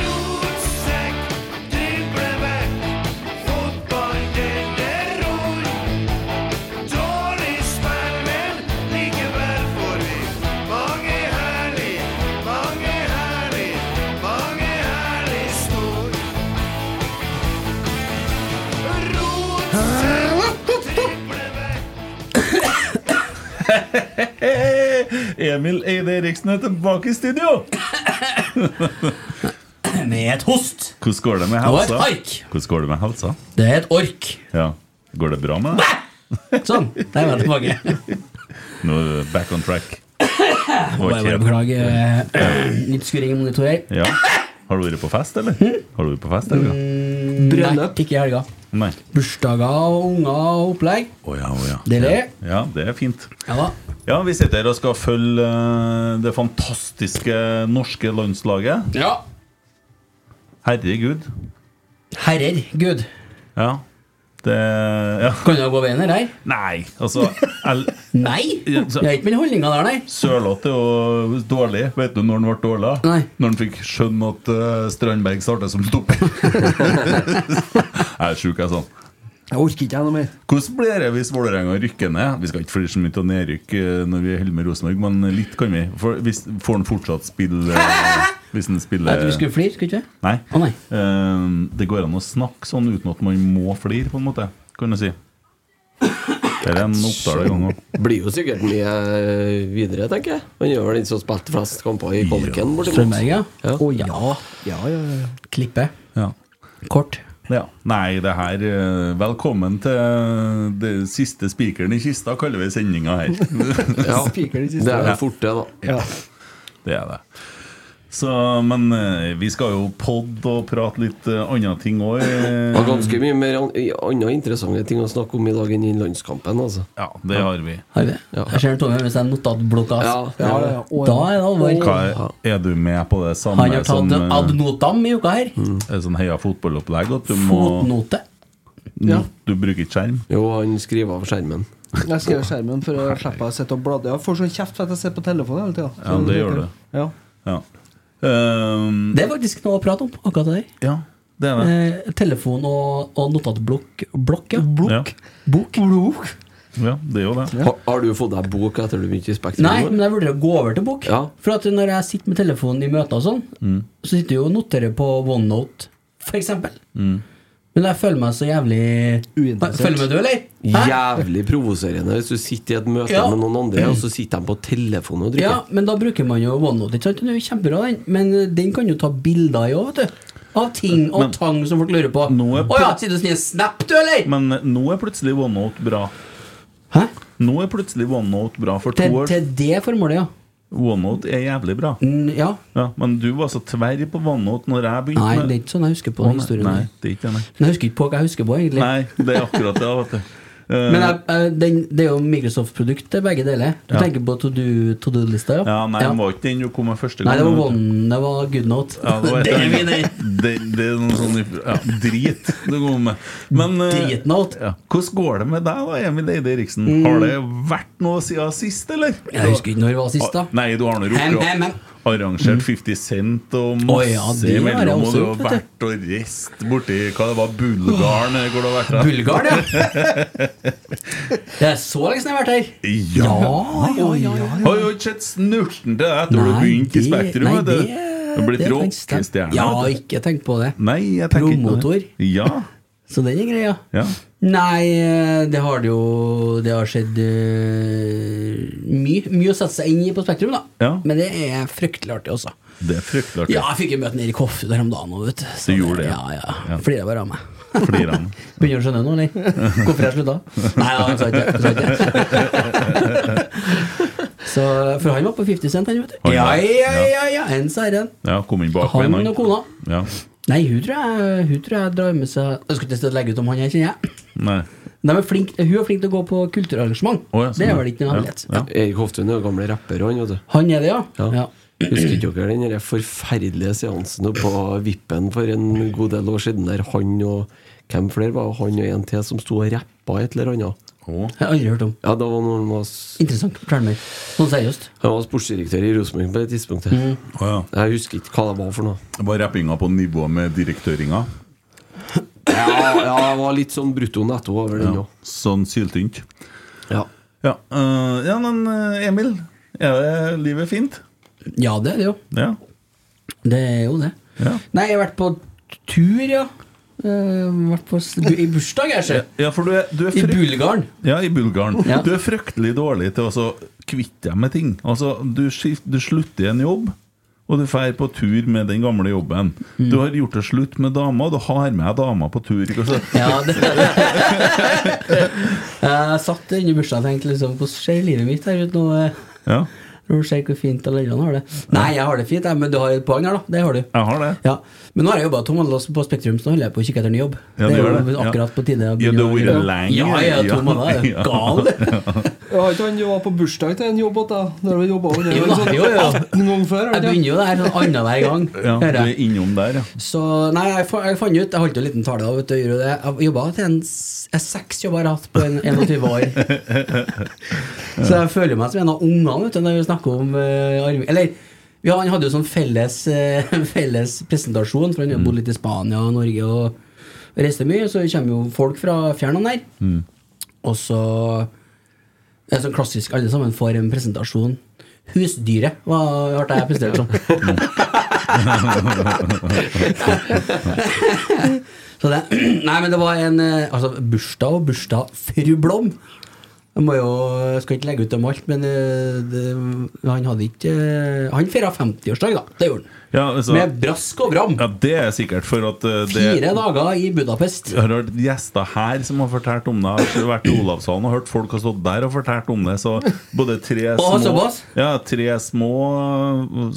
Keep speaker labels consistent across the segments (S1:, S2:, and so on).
S1: Rotsekk, driblevekk, fotball det er ror. Dårlig spill, men likevel får vi mange herlig, mange herlig, mange herlig snor. Rotsekk, driblevekk.
S2: Emil Eide Eriksen er tilbake i studio!
S3: Med et host.
S2: Hvordan går det med
S3: Og et
S2: helsa?
S3: haik.
S2: Hvordan går det med helsa?
S3: Det er et ork.
S2: Ja. Går det bra med deg?
S3: Sånn. Der var jeg tilbake.
S2: Nå er du back on track.
S3: Må jeg bare beklage eh, litt skurring i monitorer.
S2: Ja. Har du vært på fest, eller? Har du vært på fest, eller?
S3: Bryllup. Ikke i helga.
S2: Nei.
S3: Bursdager og unger og opplegg.
S2: Å ja, å ja.
S3: Deilig.
S2: Ja, det er fint.
S3: Ja da.
S2: Ja, vi sitter her og skal følge eh, det fantastiske norske landslaget.
S3: Ja.
S2: Herregud.
S3: Herrer, gud.
S2: Ja. Det Ja.
S3: Kan du gå veien her? her?
S2: Nei, altså el-
S3: Nei!
S2: Ja, så-
S3: Det er ikke min holdninga der, nei.
S2: Sørloth er jo dårlig. Vet du når han ble dårlig? da?
S3: Nei.
S2: Når han fikk skjønne at eh, Strandberg startet som stopper. jeg er sjuk, jeg, sånn.
S4: Jeg orker ikke jeg noe mer.
S2: Hvordan blir det hvis Vålerenga rykker ned? Vi skal ikke flire så mye av nedrykk eh, når vi holder med Rosenborg, men litt kan vi. For hvis, får han fortsatt spille eh, Hvis han
S3: Jeg trodde
S2: spiller
S3: vi skulle flire, skulle vi ikke?
S2: Nei.
S3: Å, nei.
S2: Eh, det går an å snakke sånn uten at man må flire, på en måte, kan du si. Det er en Oppdal en gang òg.
S4: Blir jo sikkert mye eh, videre, tenker jeg. Han gjør vel den som spilte flest kamper i Kolken, bortimot.
S3: Strømberg, ja.
S4: Ja.
S3: Å ja.
S4: Ja, ja, ja.
S3: Klippe.
S2: Ja.
S3: Kort.
S2: Ja. Nei, det her eh, Velkommen til det siste spikeren i kista, kaller vi sendinga her.
S4: Ja,
S3: Spiker de siste.
S4: Det er jo fort, det, da.
S2: Det er det. Så, men eh, vi skal jo podde og prate litt eh, andre ting òg.
S4: Det var ganske mye mer an- i- andre interessante ting å snakke om i dag enn den landskampen, altså.
S2: Ja, det har vi.
S3: Har vi det?
S4: Ja.
S3: Jeg ser Tommy med sånn seg notatblokka.
S4: Ja,
S3: ass.
S4: ja, ja.
S3: Da er det alvor.
S2: Hva er, er du med på det samme
S3: Han har
S2: som
S3: tatt en
S2: eh,
S3: ad notam i uka her.
S2: er sånn heia fotballopplegg? At du må
S3: Fotnote.
S2: no, Du bruker ikke skjerm?
S4: Jo, han skriver av skjermen.
S1: Jeg skriver skjermen for å slippe å sitte og bladre. Jeg får sånn kjeft for at jeg sitter på telefonen hele tida.
S2: Ja, det gjør du.
S1: Ja.
S2: Ja. Ehm,
S3: Det er faktisk noe å prate om, akkurat det der.
S2: ja, det er det.
S3: Eh, telefon og, og notatblokk. Blokk, ja.
S2: Ja.
S3: Bok.
S2: ja, det er jo det.
S4: Har, har du fått deg bok etter du begynte i Spektrum?
S3: Nei, men jeg vurderer å gå over til bok.
S4: Ja.
S3: For at når jeg sitter med telefonen i møter og sånn,
S2: Mm.
S3: så sitter jeg jo og noterer på OneNote, for eksempel.
S2: Mm.
S3: Men jeg føler meg så jævlig
S1: Uinteressert.
S3: Følger med du, eller?
S4: Jævlig provoserende hvis du sitter i et møte
S3: Ja.
S4: med noen andre, og så sitter de på telefonen og
S3: Ja,
S4: drikker.
S3: men da bruker man jo OneNote. Ikke sant? Den er jo kjempebra, den. Men eh, den kan jo ta bilder i òg, vet du. Av ting og
S2: Eh, Men-
S3: tang som folk lurer på. Å
S2: Nå er-
S3: ja, sitter du og sniker Snap, du, eller?
S2: Men eh, nå er plutselig OneNote bra.
S3: Hæ?
S2: Nå er plutselig OneNote bra for to
S3: Til,
S2: år.
S3: til det formålet, ja.
S2: OneNote er jævlig bra.
S3: Mm, ja.
S2: Ja, men du var så tverr på OneNote når jeg begynte
S3: Nei,
S2: med
S3: det er ikke sånn jeg husker på
S2: Å,
S3: den historien.
S2: Nei,
S3: der.
S2: det er ikke det, nei.
S3: Men jeg husker ikke på hva jeg husker på, egentlig.
S2: Nei, det er akkurat det. Vet du. Eh,
S3: Men jeg, jeg, den, det er jo Microsoft-produkt, det er begge deler. Du
S2: Ja.
S3: tenker på to do-lista, ja?
S2: ja, nei,
S3: Ja.
S2: den var ikke den du kom med første
S3: Nei,
S2: gang.
S3: det var one, det var good note.
S2: Ja, det, var et
S3: er
S2: eller
S3: min eh,
S2: annet. det, det er noe sånn ifra- ja, drit du kom med. Men, eh,
S3: Dritnote.
S2: Ja. Hvordan går det med deg, da, Emil Eide Eriksen? eh, Har det vært noe siden sist, eller?
S3: Jeg husker ikke når det var sist, da.
S2: Nei, du har nå
S3: Hem,
S2: rukket
S3: hem, hem.
S2: å- arrangert 50 Cent og masse
S3: Å ja, det har jeg
S2: imellom, og
S3: også
S2: du har
S3: gjort, vet
S2: vært og reist borti hva det var, Bulgaren eller hvor det har vært da?
S3: Bulgaren, ja! Det er så lenge siden jeg har vært her.
S2: Ja!
S3: ja, ja, ja.
S2: Har jo ikke sett snurten til deg etter at du
S3: Nei,
S2: begynte i
S3: det-
S2: Spektrum.
S3: nei,
S2: vet du.
S3: det-
S2: Du har blitt
S3: det er faktisk det.
S2: rockestjerne.
S3: Ja,
S2: vet du.
S3: ikke tenk på det.
S2: Nei, jeg tenker ikke på
S3: Promotor.
S2: det. Ja,
S3: Så den er greia.
S2: ja.
S3: Nei, eh, det har det jo Det har skjedd eh, mye. Mye å sette seg inn i på Spektrum, da.
S2: Ja.
S3: Men det er fryktelig artig, også.
S2: Det er fryktelig artig.
S3: Ja, jeg fikk jo møte Erik Hoffe der om dagen òg, vet du. Så
S2: Du gjorde det,
S3: Ja,
S2: ja.
S3: ja.
S2: Ja.
S3: Flirer bare av meg.
S2: Flirer han.
S3: Begynner du å skjønne noe, eller? Hvorfor jeg slutta? Nei, ja, han sa ikke han sa ikke. Så, For han var på 50 Cent, han, vet du.
S2: Han
S3: Ja,
S2: var-
S3: ja,
S2: ja.
S3: ja, ja, en seieren.
S2: Ja, kom inn bak
S3: Han
S2: meg,
S3: og kona.
S2: Ja.
S3: Nei, hun tror jeg, hun tror jeg drar med seg Jeg skulle ikke legge ut om han her, kjenner jeg.
S2: Nei.
S3: De er flink, hun er flink til å gå på kulturarrangement.
S2: Å, ja, sånn,
S3: det
S2: ja.
S3: er vel ikke noe
S2: Ja,
S3: hemmelighet.
S2: ja.
S3: Ja,
S4: Erik Hoftun er jo gamle rapper, han, vet du.
S3: Han er det, ja?
S4: Ja.
S3: ja.
S4: Husker ikke dere den der forferdelige seansen oppe på Vippen for en god del år siden, der han og hvem flere var han og en til som sto og rappa et eller annet?
S2: Å.
S3: Jeg har aldri hørt om.
S4: Ja, det var når han var, s-
S3: Interessant. Fortell mer. Sånn seriøst.
S4: han var sportsdirektør i Rosenborg på det tidspunktet.
S3: Mm.
S2: Å ja.
S4: Jeg husker ikke hva det var for noe.
S2: Det Var rappinga på nivå med direktøringa?
S4: Ja, ja det var litt sånn brutto netto over den
S2: Ja.
S4: òg.
S2: Sånn syltynt.
S4: Ja.
S2: Ja, eh, ja, men eh, Emil, er det livet fint?
S3: Ja, det er det jo.
S2: Ja.
S3: Det er jo det.
S2: Ja.
S3: Nei, jeg har vært på tur, ja. Eh, vært på, s- I bursdag, kanskje.
S2: Ja, for du er, du er
S3: I
S2: frykt-
S3: Bulgaren.
S2: Ja, i Bulgaren.
S3: Ja.
S2: Du er fryktelig dårlig til å så kvitte deg med ting. Altså, du, skift, du slutter i en jobb, og du drar på tur med den gamle jobben.
S3: Mm.
S2: Du har gjort det slutt med dama, og du har med deg dama på tur. Ikke? Så,
S3: Ja, det Jeg satt inne i bursdagen og tenkte liksom Hvordan ser livet mitt her ut nå? eh?
S2: ja,
S3: Når du ser hvor fint alle andre har det. Nei, jeg har det fint, jeg, men du har et poeng her, da. Det har du.
S2: jeg har det.
S3: Ja. Men nå har jeg jobba tom måneder på Spektrum, så nå holder jeg på å kikke etter ny jobb.
S2: Ja,
S3: det
S2: du
S3: er
S2: gjør
S3: jo
S2: det.
S3: akkurat på tide. å
S2: Ja, du har
S3: begynne å-
S2: vært lenge.
S3: Ja, ja, to
S2: Ja.
S3: måneder. Jeg
S2: Ja.
S3: er Gal.
S1: Ja, ikke han var på bursdag til en jobb da? Der vi jobba over
S3: Jo da, jo, jo.
S1: ganger før?
S3: Jeg begynner jo der sånn annenhver gang.
S2: Ja,
S3: hører jeg.
S2: du er innom der, ja.
S3: Så nei, jeg, fa- jeg fant ut Jeg holdt jo en liten tale av, vet du, jeg gjorde det. Jeg jobba til en s- jeg har seks jobber jeg har hatt på en 21 år. Så jeg føler meg som en av ungene vet du, når vi snakker om eh, arving. Eller ja, han hadde jo sånn felles, eh, felles presentasjon, for han har bodd litt i Spania og Norge og reiste mye. Så kommer jo folk fra fjernene der.
S2: Mm.
S3: Og så det er sånn klassisk, alle sammen får en presentasjon. Husdyret var hørte jeg presentert som. Så det, nei, men det var en eh, altså, bursdag og bursdag fru Blom. Jeg må jo, jeg skal ikke legge ut om alt, men eh, det, han hadde ikke eh, Han feira 50-årsdag, da. Det gjorde han.
S2: Ja, altså,
S3: Med brask og bram.
S2: ja, det er sikkert for at eh, det
S3: Fire dager i Budapest.
S2: Jeg har hørt gjester her som har fortalt om det. Jeg har vært i Olavshallen og hørt folk har stått der og fortalt om det. Så både tre små
S3: såpass?
S2: Ja, tre små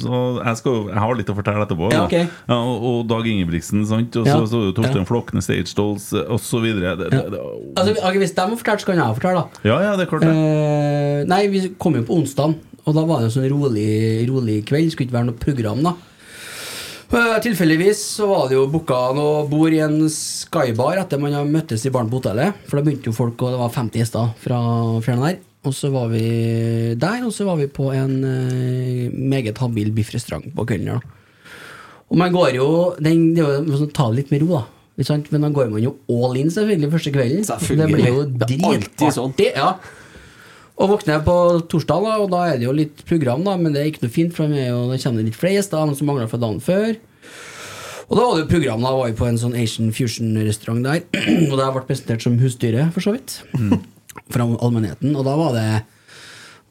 S2: så jeg, skal, jo- jeg har litt å fortelle etterpå.
S3: Ja,
S2: da.
S3: ok.
S2: Ja, og, og Dag Ingebrigtsen, sant? Og
S3: Ja.
S2: så, så er det Torstein
S3: Ja.
S2: Flokne, Stage Dolls osv. Ja. Det, det, det,
S3: Altså, ok, hvis de har fortalt, så kan jeg fortelle, da.
S2: ja, ja, det er klart, det.
S3: Eh, nei, vi kom jo på onsdagen, og da var det en sånn rolig, rolig kveld. Skulle ikke være noe program, da. Eh, tilfeldigvis så var det jo booka noe bord i en skybar etter man har møttes i baren på hotellet. For da begynte jo folk, og det var 50 gjester fra fjernet der. Og så var vi der, og så var vi på en eh, meget habil biffrestaurant på kvelden. her, da. Og man går jo den, Det er jo sånn, ta det litt med ro, da. Ikke sant? Men da går man jo all in selvfølgelig første kvelden.
S4: Selvfølgelig.
S3: Det blir jo
S4: Det er alltid
S3: dritartig.
S4: sånn.
S3: Ja. Og våkner jeg på torsdag, da, og da er det jo litt program, da, men det er ikke noe fint, for det er jo, det kommer litt flere gjester, noen som mangler fra dagen før. Og da var det jo program, da var vi på en sånn Asian Fusion-restaurant der, og der ble jeg presentert som husdyret, for så vidt, fra allmennheten, og da var det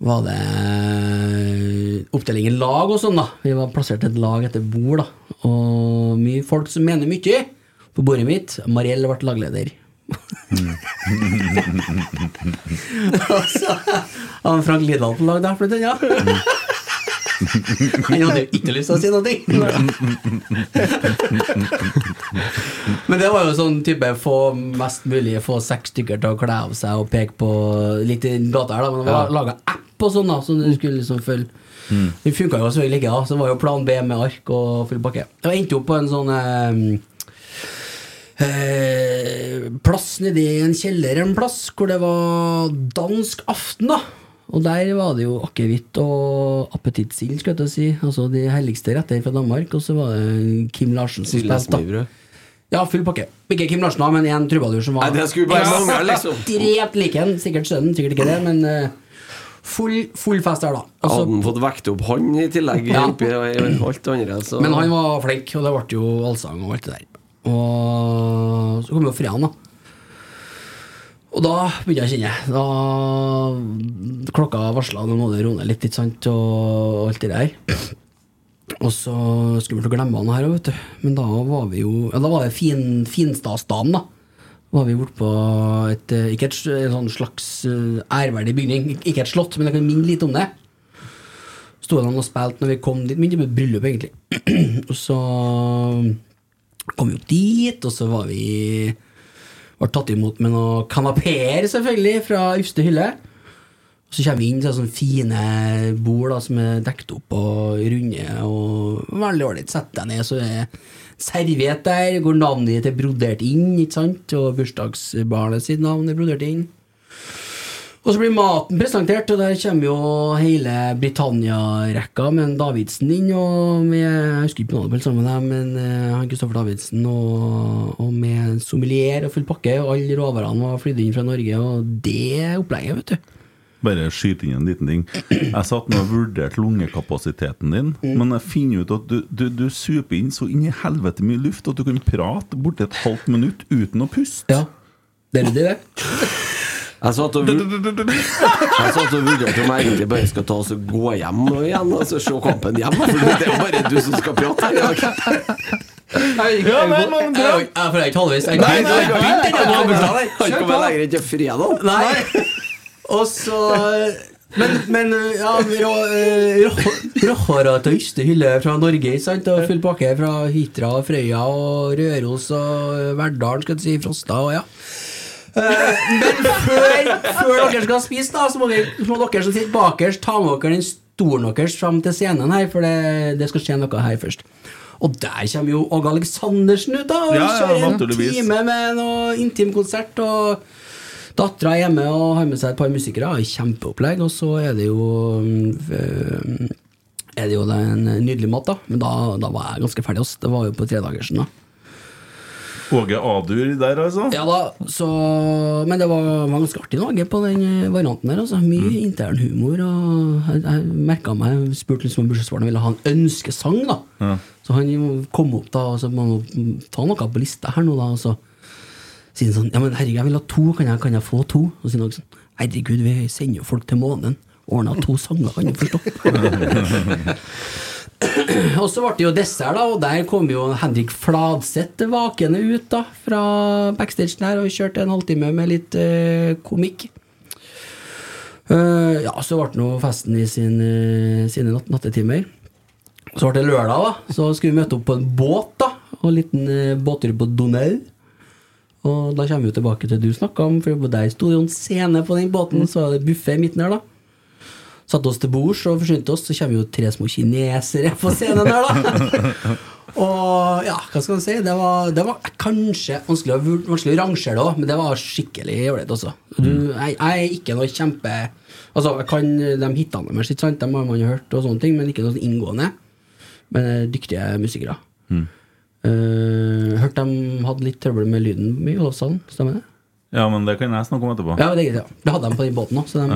S3: var det oppdeling i lag og sånn, da. Vi var plassert et lag etter bord, da. Og mye folk som mener mye på bordet mitt. Mariell ble lagleder. Og så har Frank Lidahl på lag der, blant annet. Han hadde jo ikke lyst til å si noe. Men det var jo sånn type få mest mulig, få seks stykker til å kle av seg og peke på litt i den gata her, da. Men det var laga app og sånn, da, som du skulle liksom følge. Det funka jo selvfølgelig ikke, da. Så det var jo plan B med ark og full pakke. Jeg endte opp på en sånn eh, eh, plass nedi en kjeller en plass hvor det var dansk aften, da. Og der var det jo akevitt og appetittsild, skulle jeg til å si. Altså de helligste retter fra Danmark. Og så var det Kim Larsen som spilte. da.
S4: Sildesmibrød.
S3: Ja, full pakke. Ikke Kim Larsen, da, men en trubadur som var
S4: Nei, det skulle bare mangle, liksom.
S3: ekstremt lik en. Sikkert sønnen, sikkert ikke det, men eh, full, full fest der, da. Og så-
S4: Hadde han fått vekt opp han i tillegg,
S3: Altså- Ja.
S4: oppi alt det andre, så
S3: Men han var flink, og det ble jo allsang og alt det der. Og så kom jo fredagen, da. Og da begynte jeg å kjenne. Da Klokka varsla nå må det roe ned litt, ikke sant, og alt det der. Og så skummelt å glemme han her òg, vet du. Men da var vi jo ja, Da var det fin, Finstasdagen, da. Var vi bortpå et eh, Ikke et s- en sånn slags eh, ærverdig bygning, Ik- ikke et slott, men jeg kan minne litt om det sto han og spilte når vi kom dit. Mindre med bryllup, egentlig. og så kom vi opp dit, og så var vi Ble tatt imot med noen kanapeer, selvfølgelig, fra ypperste hylle. Og så kommer vi inn til sånne fine bord da, som er dekket opp og runde. og Veldig ålreit. Sett deg ned, så er serviett der. Går navnet ditt er brodert inn, ikke sant? Og bursdagsbarnet sitt navn er brodert inn. Og så blir maten presentert, og der kommer jo hele Britannia-rekka med en Davidsen inn, og med Jeg husker ikke navnet på alle sammen, her, men eh, han Kristoffer Davidsen, og, og med en sommelier og full pakke, og alle råvarene var flydd inn fra Norge, og det opplegget, vet du.
S2: Bare skyte inn en liten ting. Jeg satt nå og vurderte lungekapasiteten din, men jeg finner ut at du, du, du super inn så inn i helvete mye luft at du kan prate borti et halvt minutt uten å puste.
S3: Ja. Det er det, det.
S4: Jeg satt og vur- jeg satt og vurderte om jeg egentlig bare skal ta oss og gå hjem og igjen og så se kampen hjemme, for det er jo bare du som skal prate her i dag.
S3: Ja, nei, men bra! Jeg får ikke halvveis. Jeg-
S4: Nei, nei, nei, nei,
S3: Jeg- jeg- jeg-
S4: Han kommer lenger enn til fredag.
S3: Nei. Og så eh, Men, men eh, ja, Råhara til ytste hylle fra Norge, ikke sant? Og full pakke fra Hitra og Frøya og Røros og Verdalen, skal jeg si, Frosta og ja. Eh, Men før, før dere skal spise, da, så må dere, så må dere som sitter bakerst, ta med dere den stolen deres fram til scenen her, for det, det skal skje noe her først. Og der kommer jo Åge Aleksandersen ut, da! Og
S2: Ja, ja,
S3: kjører en
S2: naturligvis.
S3: time med noe intimkonsert. Og dattera er hjemme og har med seg et par musikere. og Kjempeopplegg. Og så er det jo mm, eh, Er det jo da en nydelig mat, da. Men da, da var jeg ganske ferdig. ass. Det var jo på tredagersen, da.
S2: Åge Adur der, altså?
S3: Ja da, så, Men det var, var ganske artig Norge på den eh, varianten der. Altså. Mye intern humor. Og jeg, jeg merket meg Jeg spurte liksom om bursdagsbarnet ville ha en ønskesang. da Så han jo kom opp da og så må han jo ta noe på lista her nå, da. Og så sier han sånn Ja, men herregud, jeg vil ha to. Kan jeg, kan jeg få to? Og så sier han sånn Herregud, vi sender jo folk til månen. Ordna to sanger, kan du forstå. Og så ble det jo dessert, da, og der kom jo Henrik Fladseth vakende ut da, fra backstagen her og kjørte en halvtime med litt eh, komikk. Eh, ja, så ble det nå festen i sin, eh, sine natt nattetimer. Så ble det lørdag, da. Så skulle vi møte opp på en båt, da. Og en liten eh, båttur på Donau. Og da kommer vi jo tilbake til det du snakka om, for der sto det jo en scene på den båten, så var det buffé i midten her, da satte oss til bords og forsynte oss, så kommer jo tre små kinesere på scenen der, da. og ja, hva skal man si? Det var, det var kanskje vanskelig å, vur- vanskelig å rangere det òg, men det var skikkelig ålreit også. Du, jeg, jeg er ikke noe kjempe Altså, jeg kan de hitene deres, ikke sant? Dem har man jo hørt, og sånne ting, men ikke noe sånn inngående. Men eh, dyktige musikere. Eh, hørte de hadde litt trøbbel med lyden i Olavshallen, stemmer det?
S2: Ja, men det kan jeg snakke om etterpå.
S3: Ja, det, er greit, ja. det hadde de på den båten òg,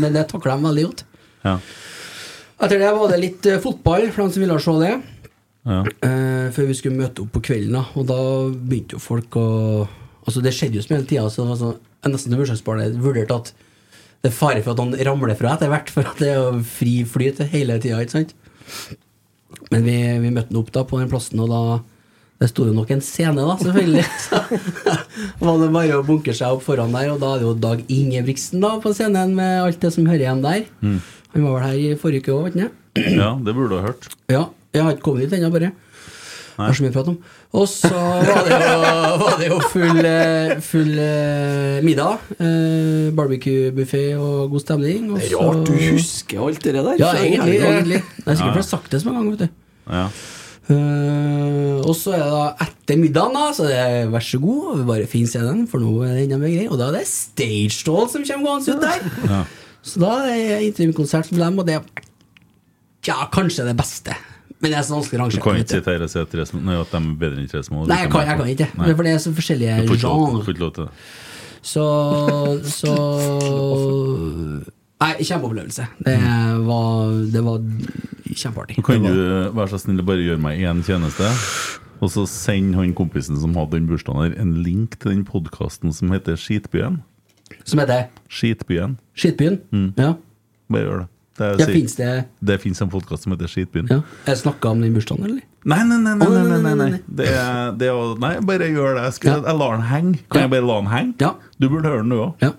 S3: men det takla de veldig godt.
S2: Ja.
S3: Etter det var det litt eh, fotball for dem som ville se det.
S2: Ja.
S3: Eh, før vi skulle møte opp på kvelden, da. Og da begynte jo folk å Altså, det skjedde jo som hele tida. Så det var sånn, jeg nesten til bursdagsbarnet vurderte at det er fare for at han ramler fra etter hvert, for at det er jo fri flyt hele tida, ikke sant? Men vi, vi møtte han opp da på den plassen, og da det sto jo nok en scene, da, selvfølgelig. Så var det bare å bunke seg opp foran der, og da er det jo Dag Ingebrigtsen da på scenen med alt det som hører igjen der. Han var vel her i forrige uke òg, vet du.
S2: Mm. Ja, det burde du ha hørt.
S3: Ja, jeg har ikke kommet dit ennå, bare. Det er så mye prat om. Og så var det jo, var det jo full, eh, full eh, middag. Eh, Barbecue-buffé og god stemning. Og
S5: Det er
S3: så-
S5: rart du husker alt det der.
S3: Ja,
S5: så
S3: egentlig.
S5: jævlig.
S3: egentlig. Det er sikkert fordi jeg har sagt det så mange ganger. vet du
S2: Ja.
S3: Eh, og så er det da etter middagen, da, så det er vær så god, og vi bare finn scenen, for nå er det enda mer greier. Og da er det Stage Doll som kommer gående ut der. Så da er det intervjukonsert med dem, og det er ja, kanskje det beste. Men det er så vanskelig å
S2: Du
S3: rangere.
S2: kan
S3: vet du.
S2: ikke si til RSC tre små- Nei, at de er bedre enn tre små.
S3: Nei, jeg kan, jeg kan ikke.
S2: Nei.
S3: Det er fordi det er så forskjellige
S2: Du får ikke lov- du
S3: genre.
S2: får ikke lov til det.
S3: Så, så Nei, kjempeopplevelse. Det var, det var kjempeartig.
S2: Nå kan du være så snill å bare gjøre meg én tjeneste, og så send han kompisen som hadde den bursdagen her, en link til den podkasten som heter Skitbyen.
S3: Som heter
S2: Skitbyen.
S3: Skittbyen. Ja.
S2: Mm. Bare gjør det. Det, er
S3: Ja,
S2: sikkert-
S3: finnes det-
S2: det fins en podkast som heter Skitbyen.
S3: Ja. Jeg snakka om den bursdagen, eller?
S2: Nei, nei, nei, nei,
S3: Å,
S2: nei, nei, nei,
S3: nei, nei.
S2: Det er, det er, nei bare gjør det. Jeg, skal,
S3: Ja.
S2: jeg lar den henge.
S3: Ja.
S2: Kan jeg bare la den henge?
S3: Ja.
S2: Du burde høre den, du òg.
S3: Ja.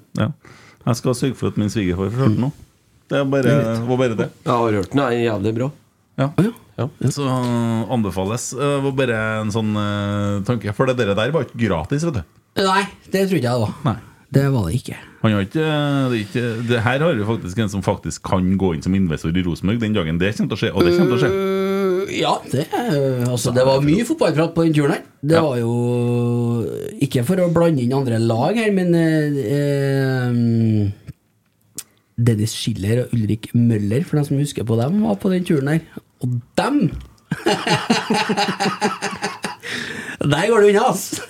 S2: Jeg skal sørge for at min svigerfar får høre den nå. Det er bare, var bare det.
S5: Jeg har hørt den, den er jævlig bra.
S2: Ja.
S3: Å ja.
S2: Så eh, anbefales. Det var bare en sånn eh, tanke. For det dere der var ikke gratis, vet du.
S3: Nei, det trodde jeg det var.
S2: Nei.
S3: Det var det ikke.
S2: Han har ikke, det er ikke det Her har vi faktisk en som faktisk kan gå inn som investor i Rosenborg den dagen det kommer til å skje. Og det kommer til å skje.
S3: Øh, ja, det, øh, altså, det var mye fotballprat på den turen her. Det
S2: Ja.
S3: var jo eh, Ikke for å blande inn andre lag her, men øh, øh, Dennis Schiller og Ulrik Møller, for dem som husker på dem, var på den turen her. Og dem Der går det unna, ass!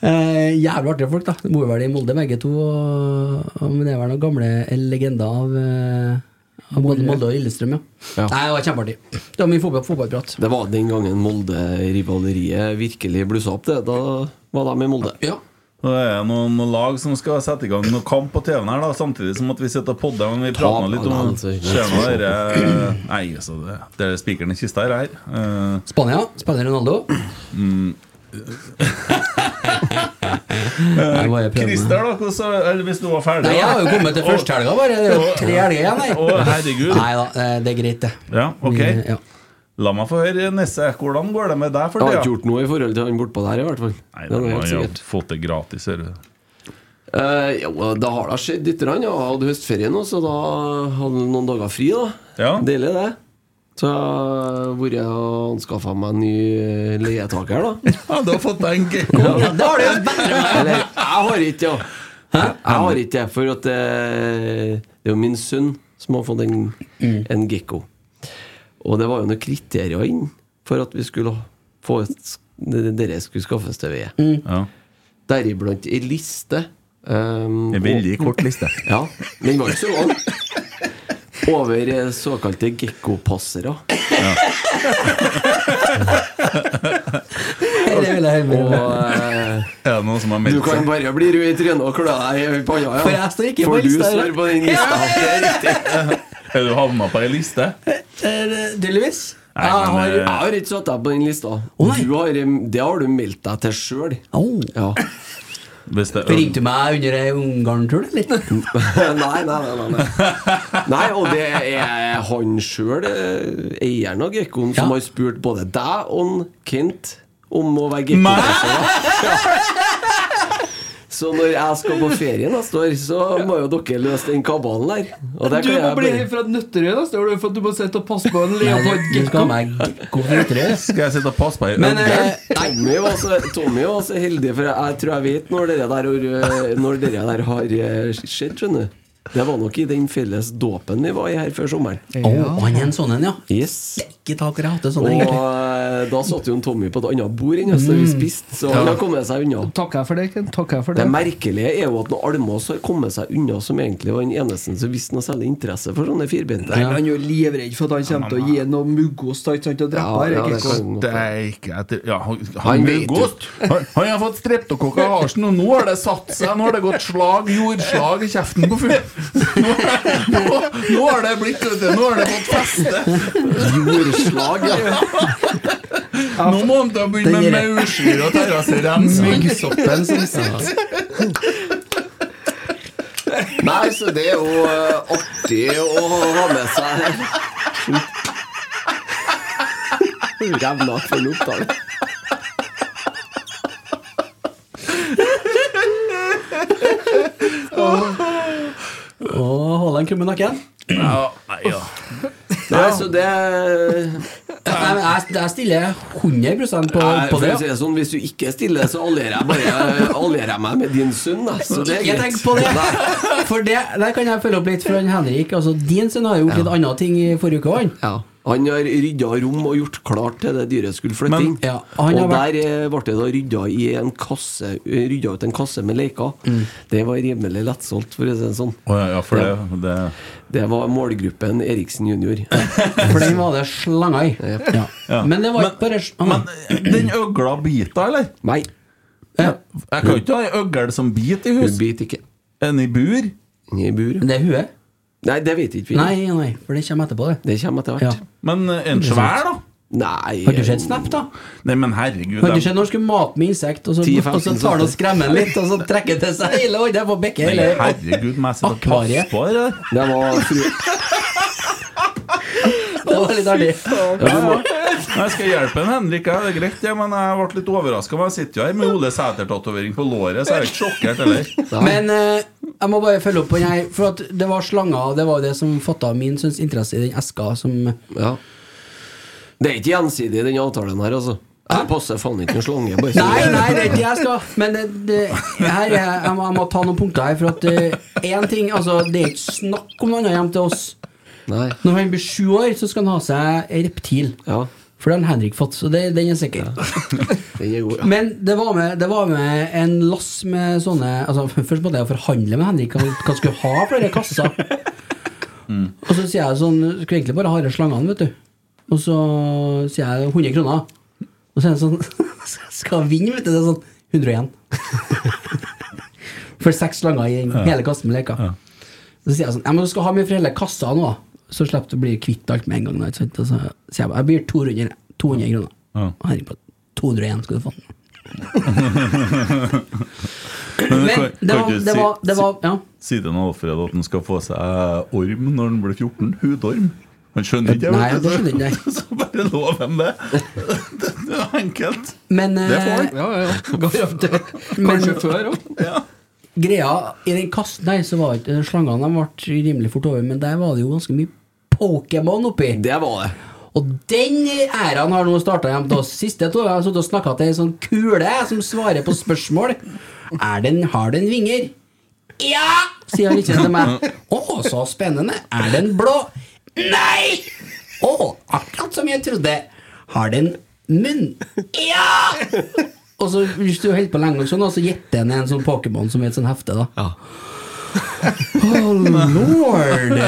S3: Eh, jævlig artige folk, da. De bor vel i Molde, begge to. Og, og, men det er vel noen gamle legender av, eh, av både Molde og Lillestrøm, ja.
S5: Ja.
S3: Nei, det var kjempeartig. Det var mye fotball, fotballprat.
S5: Det var den gangen Molde-rivaleriet virkelig blussa opp. det Da var de i Molde.
S3: Ja.
S2: Og Det er noen, noen lag som skal sette i gang noen kamp på TV-en her, da samtidig som at vi sitter og podder. Men vi
S5: Ta
S2: prater nå litt
S5: ballen,
S2: om
S5: altså.
S2: Ser nå dere Nei, altså, det, det er spikeren i kista her. her. Eh,
S3: Spania spiller Ronaldo.
S2: Mm.
S3: Jeg bare prøver meg.
S2: Christer, da, hvordan, eller hvis du var ferdig
S3: Nei, jeg har jo kommet til første helga, bare. Det er jo tre helger igjen, jeg.
S2: Å, herregud.
S3: Nei da, eh, det er greit, det.
S2: Ja, ok.
S3: Vi- Ja.
S2: La meg få høre, Nesse, hvordan går det med deg for
S5: Jeg har ikke
S2: tida?
S5: gjort noe i forhold til han bortpå der, i hvert fall.
S2: Nei,
S5: Det
S2: det
S5: er noe
S2: må
S5: helt
S2: jo
S5: sikkert.
S2: fått det gratis, hører du.
S5: Eh, jo, det har da skjedd litt. grann, ja. Jeg hadde høstferie nå, så da hadde jeg noen dager fri. da
S2: Ja.
S5: Deilig, det. Så hvor jeg har anskaffa meg en ny eh, leietaker, da.
S2: Ja, du har fått deg en gekko.
S3: Ja, da har det jo bedre
S5: Eller, jeg har ikke, ja. Jeg har ikke det, for at eh, det er jo min sønn som har fått en,
S3: Mm.
S5: en gekko. Og det var jo noen kriterier inn for at vi skulle få et, dere skulle skaffes til ved.
S2: Ja.
S5: Deriblant ei liste. Um,
S2: En veldig kort liste.
S5: Ja, den var ikke så lang. Over eh, såkalte gekkopassere.
S3: Det vil jeg
S5: Og
S3: høre.
S5: eh,
S2: Er det noen som har
S5: du
S2: meldt
S5: kan
S2: seg?
S5: bare bli rød i trynet og klø deg i panna. Ja.
S3: For jeg står ikke på
S5: For
S3: lista,
S5: Du
S3: eller?
S5: står på den lista. Det er riktig.
S2: Er du havna på ei liste?
S3: Eh, Tydeligvis.
S2: Nei,
S5: Jeg har,
S2: men,
S5: jeg
S2: eh,
S5: har ikke satt deg på den lista.
S3: nei.
S5: du har, eh, det har du meldt deg til sjøl.
S3: Oh.
S5: Ja.
S2: hvis det,
S3: Ringte du meg under ei Ungarn-tur, eller?
S5: nei, nei, nei, nei, nei. Nei, og det er han sjøl, eh, eieren av Gekkoen, som
S3: Ja.
S5: har spurt både deg og han Kent om å være gekko. Så når jeg skal på ferie neste år, så må jo dere løse den kabalen der. Og det
S1: Du
S5: kan
S1: må
S5: jeg
S1: bli
S5: bare
S1: helt fra Nøtterøy, da, står det, for at du må sitte og passe på en
S3: Du skal ha
S1: leopardgekko.
S3: meg gekko-fritere.
S2: Skal jeg sitte og passe på ei
S3: Men,
S2: øgle?
S3: eh,
S5: Tommy var, så, Tommy var så heldig, for jeg tror jeg vet når dere der, har- når dere der har eh, skjedd, skjønner du. Det var nok i den felles dåpen vi var i her før sommeren.
S3: Å, han er en sånn en, ja.
S5: Yes
S3: Ikke tak dere hater sånn,
S5: Og
S3: egentlig.
S5: eh, da satt jo en Tommy på et annet bord enn oss da
S3: Mm.
S5: vi spiste, så han har kommet seg unna.
S1: Takker jeg for det, Ken. Takker jeg for
S5: Det
S1: det.
S5: merkelige er jo at når Almås har kommet seg unna, som egentlig var den eneste som viste noe særlig interesse for sånne firbente.
S1: Nei, men Han er jo livredd for at han kommer til å gi noe muggost ikke sant, og drepe her.
S5: det
S1: Gekko.
S5: kan-
S2: Steike etter Ja, han,
S5: Han
S2: han,
S5: vet jo.
S2: godt. han, han har fått streptokokk av halsen, og nå har det satt seg. Nå har det gått slag, jordslag i kjeften på fyren. Nå, nå, nå har det blitt vet du, Nå har det fått feste.
S5: Jordslag, ja.
S2: Nå må han ta begynne med maurskyer og terrasserems.
S1: Myggsoppen som sitter.
S6: Nei, så det er jo eh, artig å ha med seg
S5: Revna for en opptale.
S3: Og holde en krumme nakken.
S5: Nei, så det
S3: Jeg, jeg, jeg stiller 100 på,
S5: Nei,
S3: på
S5: for
S3: det.
S5: å si det sånn, Hvis du ikke stiller, så allierer jeg bare allierer jeg meg med din sønn. da, Så sånn, det er
S3: Ikke tenk på det! For det, der kan jeg følge opp litt for han Henrik. Altså, din sønn har jo gjort litt andre ting i forrige uke. Han.
S5: Ja. Han har rydda rom og gjort klart til det dyret skulle flytte inn.
S3: Ja, han
S5: og
S3: har vært-
S5: der eh, ble det da rydda i en kasse Rydda ut en kasse med leker.
S3: Mm.
S5: Det var rimelig lettsolgt, for å si det sånn.
S2: Å ja, ja, for det, det
S5: Det var målgruppen Eriksen junior.
S3: For den var det slanga i. Ja. Men det var ikke bare
S2: Men den øgla biter, eller?
S5: Nei,
S3: Ja.
S2: Jeg kan ikke ha ei øgle som biter i
S5: hun
S2: hus.
S5: biter ikke.
S2: En i bur?
S5: Ingen I bur.
S3: Det er huet?
S5: Nei, det vet ikke vi.
S3: Nei, nei, for det kommer etterpå, det.
S5: Det kommer etter hvert.
S3: Ja.
S2: Men eh, en svær, da?
S5: Nei
S3: Har du sett Snap, da?
S2: Nei, men herregud
S3: Har du
S2: dem-
S3: sett når du skulle mate med insekt, og så,
S5: 10-15
S3: og så tar du og skremmer den litt, og så trekker det til seg hele hånda på bekket?
S2: Nei,
S3: Eller?
S2: Herregud, må jeg sitte og passe
S3: Akvariet.
S2: på det der?
S5: Det var fru...
S3: Det var litt artig.
S2: Nei, Jeg skal hjelpe en Henrik, ja, det er greit, ja, men jeg ble litt overraska. Jeg sitter jo her med Ole Sæter-tatovering på låret, så jeg er ikke sjokkert heller.
S3: Men eh, jeg må bare følge opp på den her, for at det var slanger, og det var det som fatta min sønns interesse i den eska som
S5: Ja. Det er ikke gjensidig, den avtalen her, altså. Jeg passer faen ikke en slange. bare så-
S3: Nei, nei, det er ikke det jeg skal. Men det, det, her, er- jeg, må, jeg må ta noen punkter her. For at én ting altså, Det er ikke snakk om noe annet hjem til oss.
S5: Nei.
S3: Når han blir sju år, så skal han ha seg ei reptil.
S5: Ja,
S3: For det har Henrik fått, så det, den er sikker.
S5: den er god. Ja.
S3: Men det var, med, det var med en lass med sånne altså, Først måtte jeg forhandle med Henrik hva hva han skulle ha for denne kassa. Og så sier jeg sånn Skulle egentlig bare ha de slangene, vet du. Og så sier jeg 100 kroner. Og så er det sånn Skal jeg vinne, vet du. Det er sånn 101. For seks slanger i hele kassen med leker. Så sier jeg sånn Ja, men du skal ha mye for hele kassa nå, da. Så slipper du å bli kvitt alt med en gang. da, Ikke sant? Og så sier jeg bare Jeg byr 200, 200 kroner.
S2: Ja.
S3: Og Henrik bare 201 skal du få.
S2: Men
S3: Men
S2: kan-
S3: det
S2: kan
S3: var,
S2: ikke
S3: det
S2: si-
S3: var, det var Ja.
S2: Si si til han Alfred at han skal få seg orm når han blir 14. Hudorm. Han skjønner ikke
S3: Nei,
S2: vet du,
S3: det
S2: så-
S3: skjønner ikke
S2: Så bare lov ham det. Det er enkelt.
S3: Men,
S2: Det får
S3: eh,
S2: han.
S6: Ja, ja.
S3: men
S6: før òg.
S3: greia I den kassen der så var ikke slangene de ble rimelig fort over, men der var det jo ganske mye Pokémon oppi.
S5: Det var det.
S3: Og den æraen har nå starta hjem til oss. Siste to har jeg sittet og snakka til ei sånn kule som svarer på spørsmål. Er den, har den vinger? Ja! sier han ikke til meg. Å, så spennende. Er den blå? Nei! Å, akkurat som jeg trodde. Har den munn? Ja! Og så hvis du holder på lenge nok sånn, og så gjetter han en sånn Pokémon som er et sånn hefte, da.
S5: Ja.
S3: Oh lord!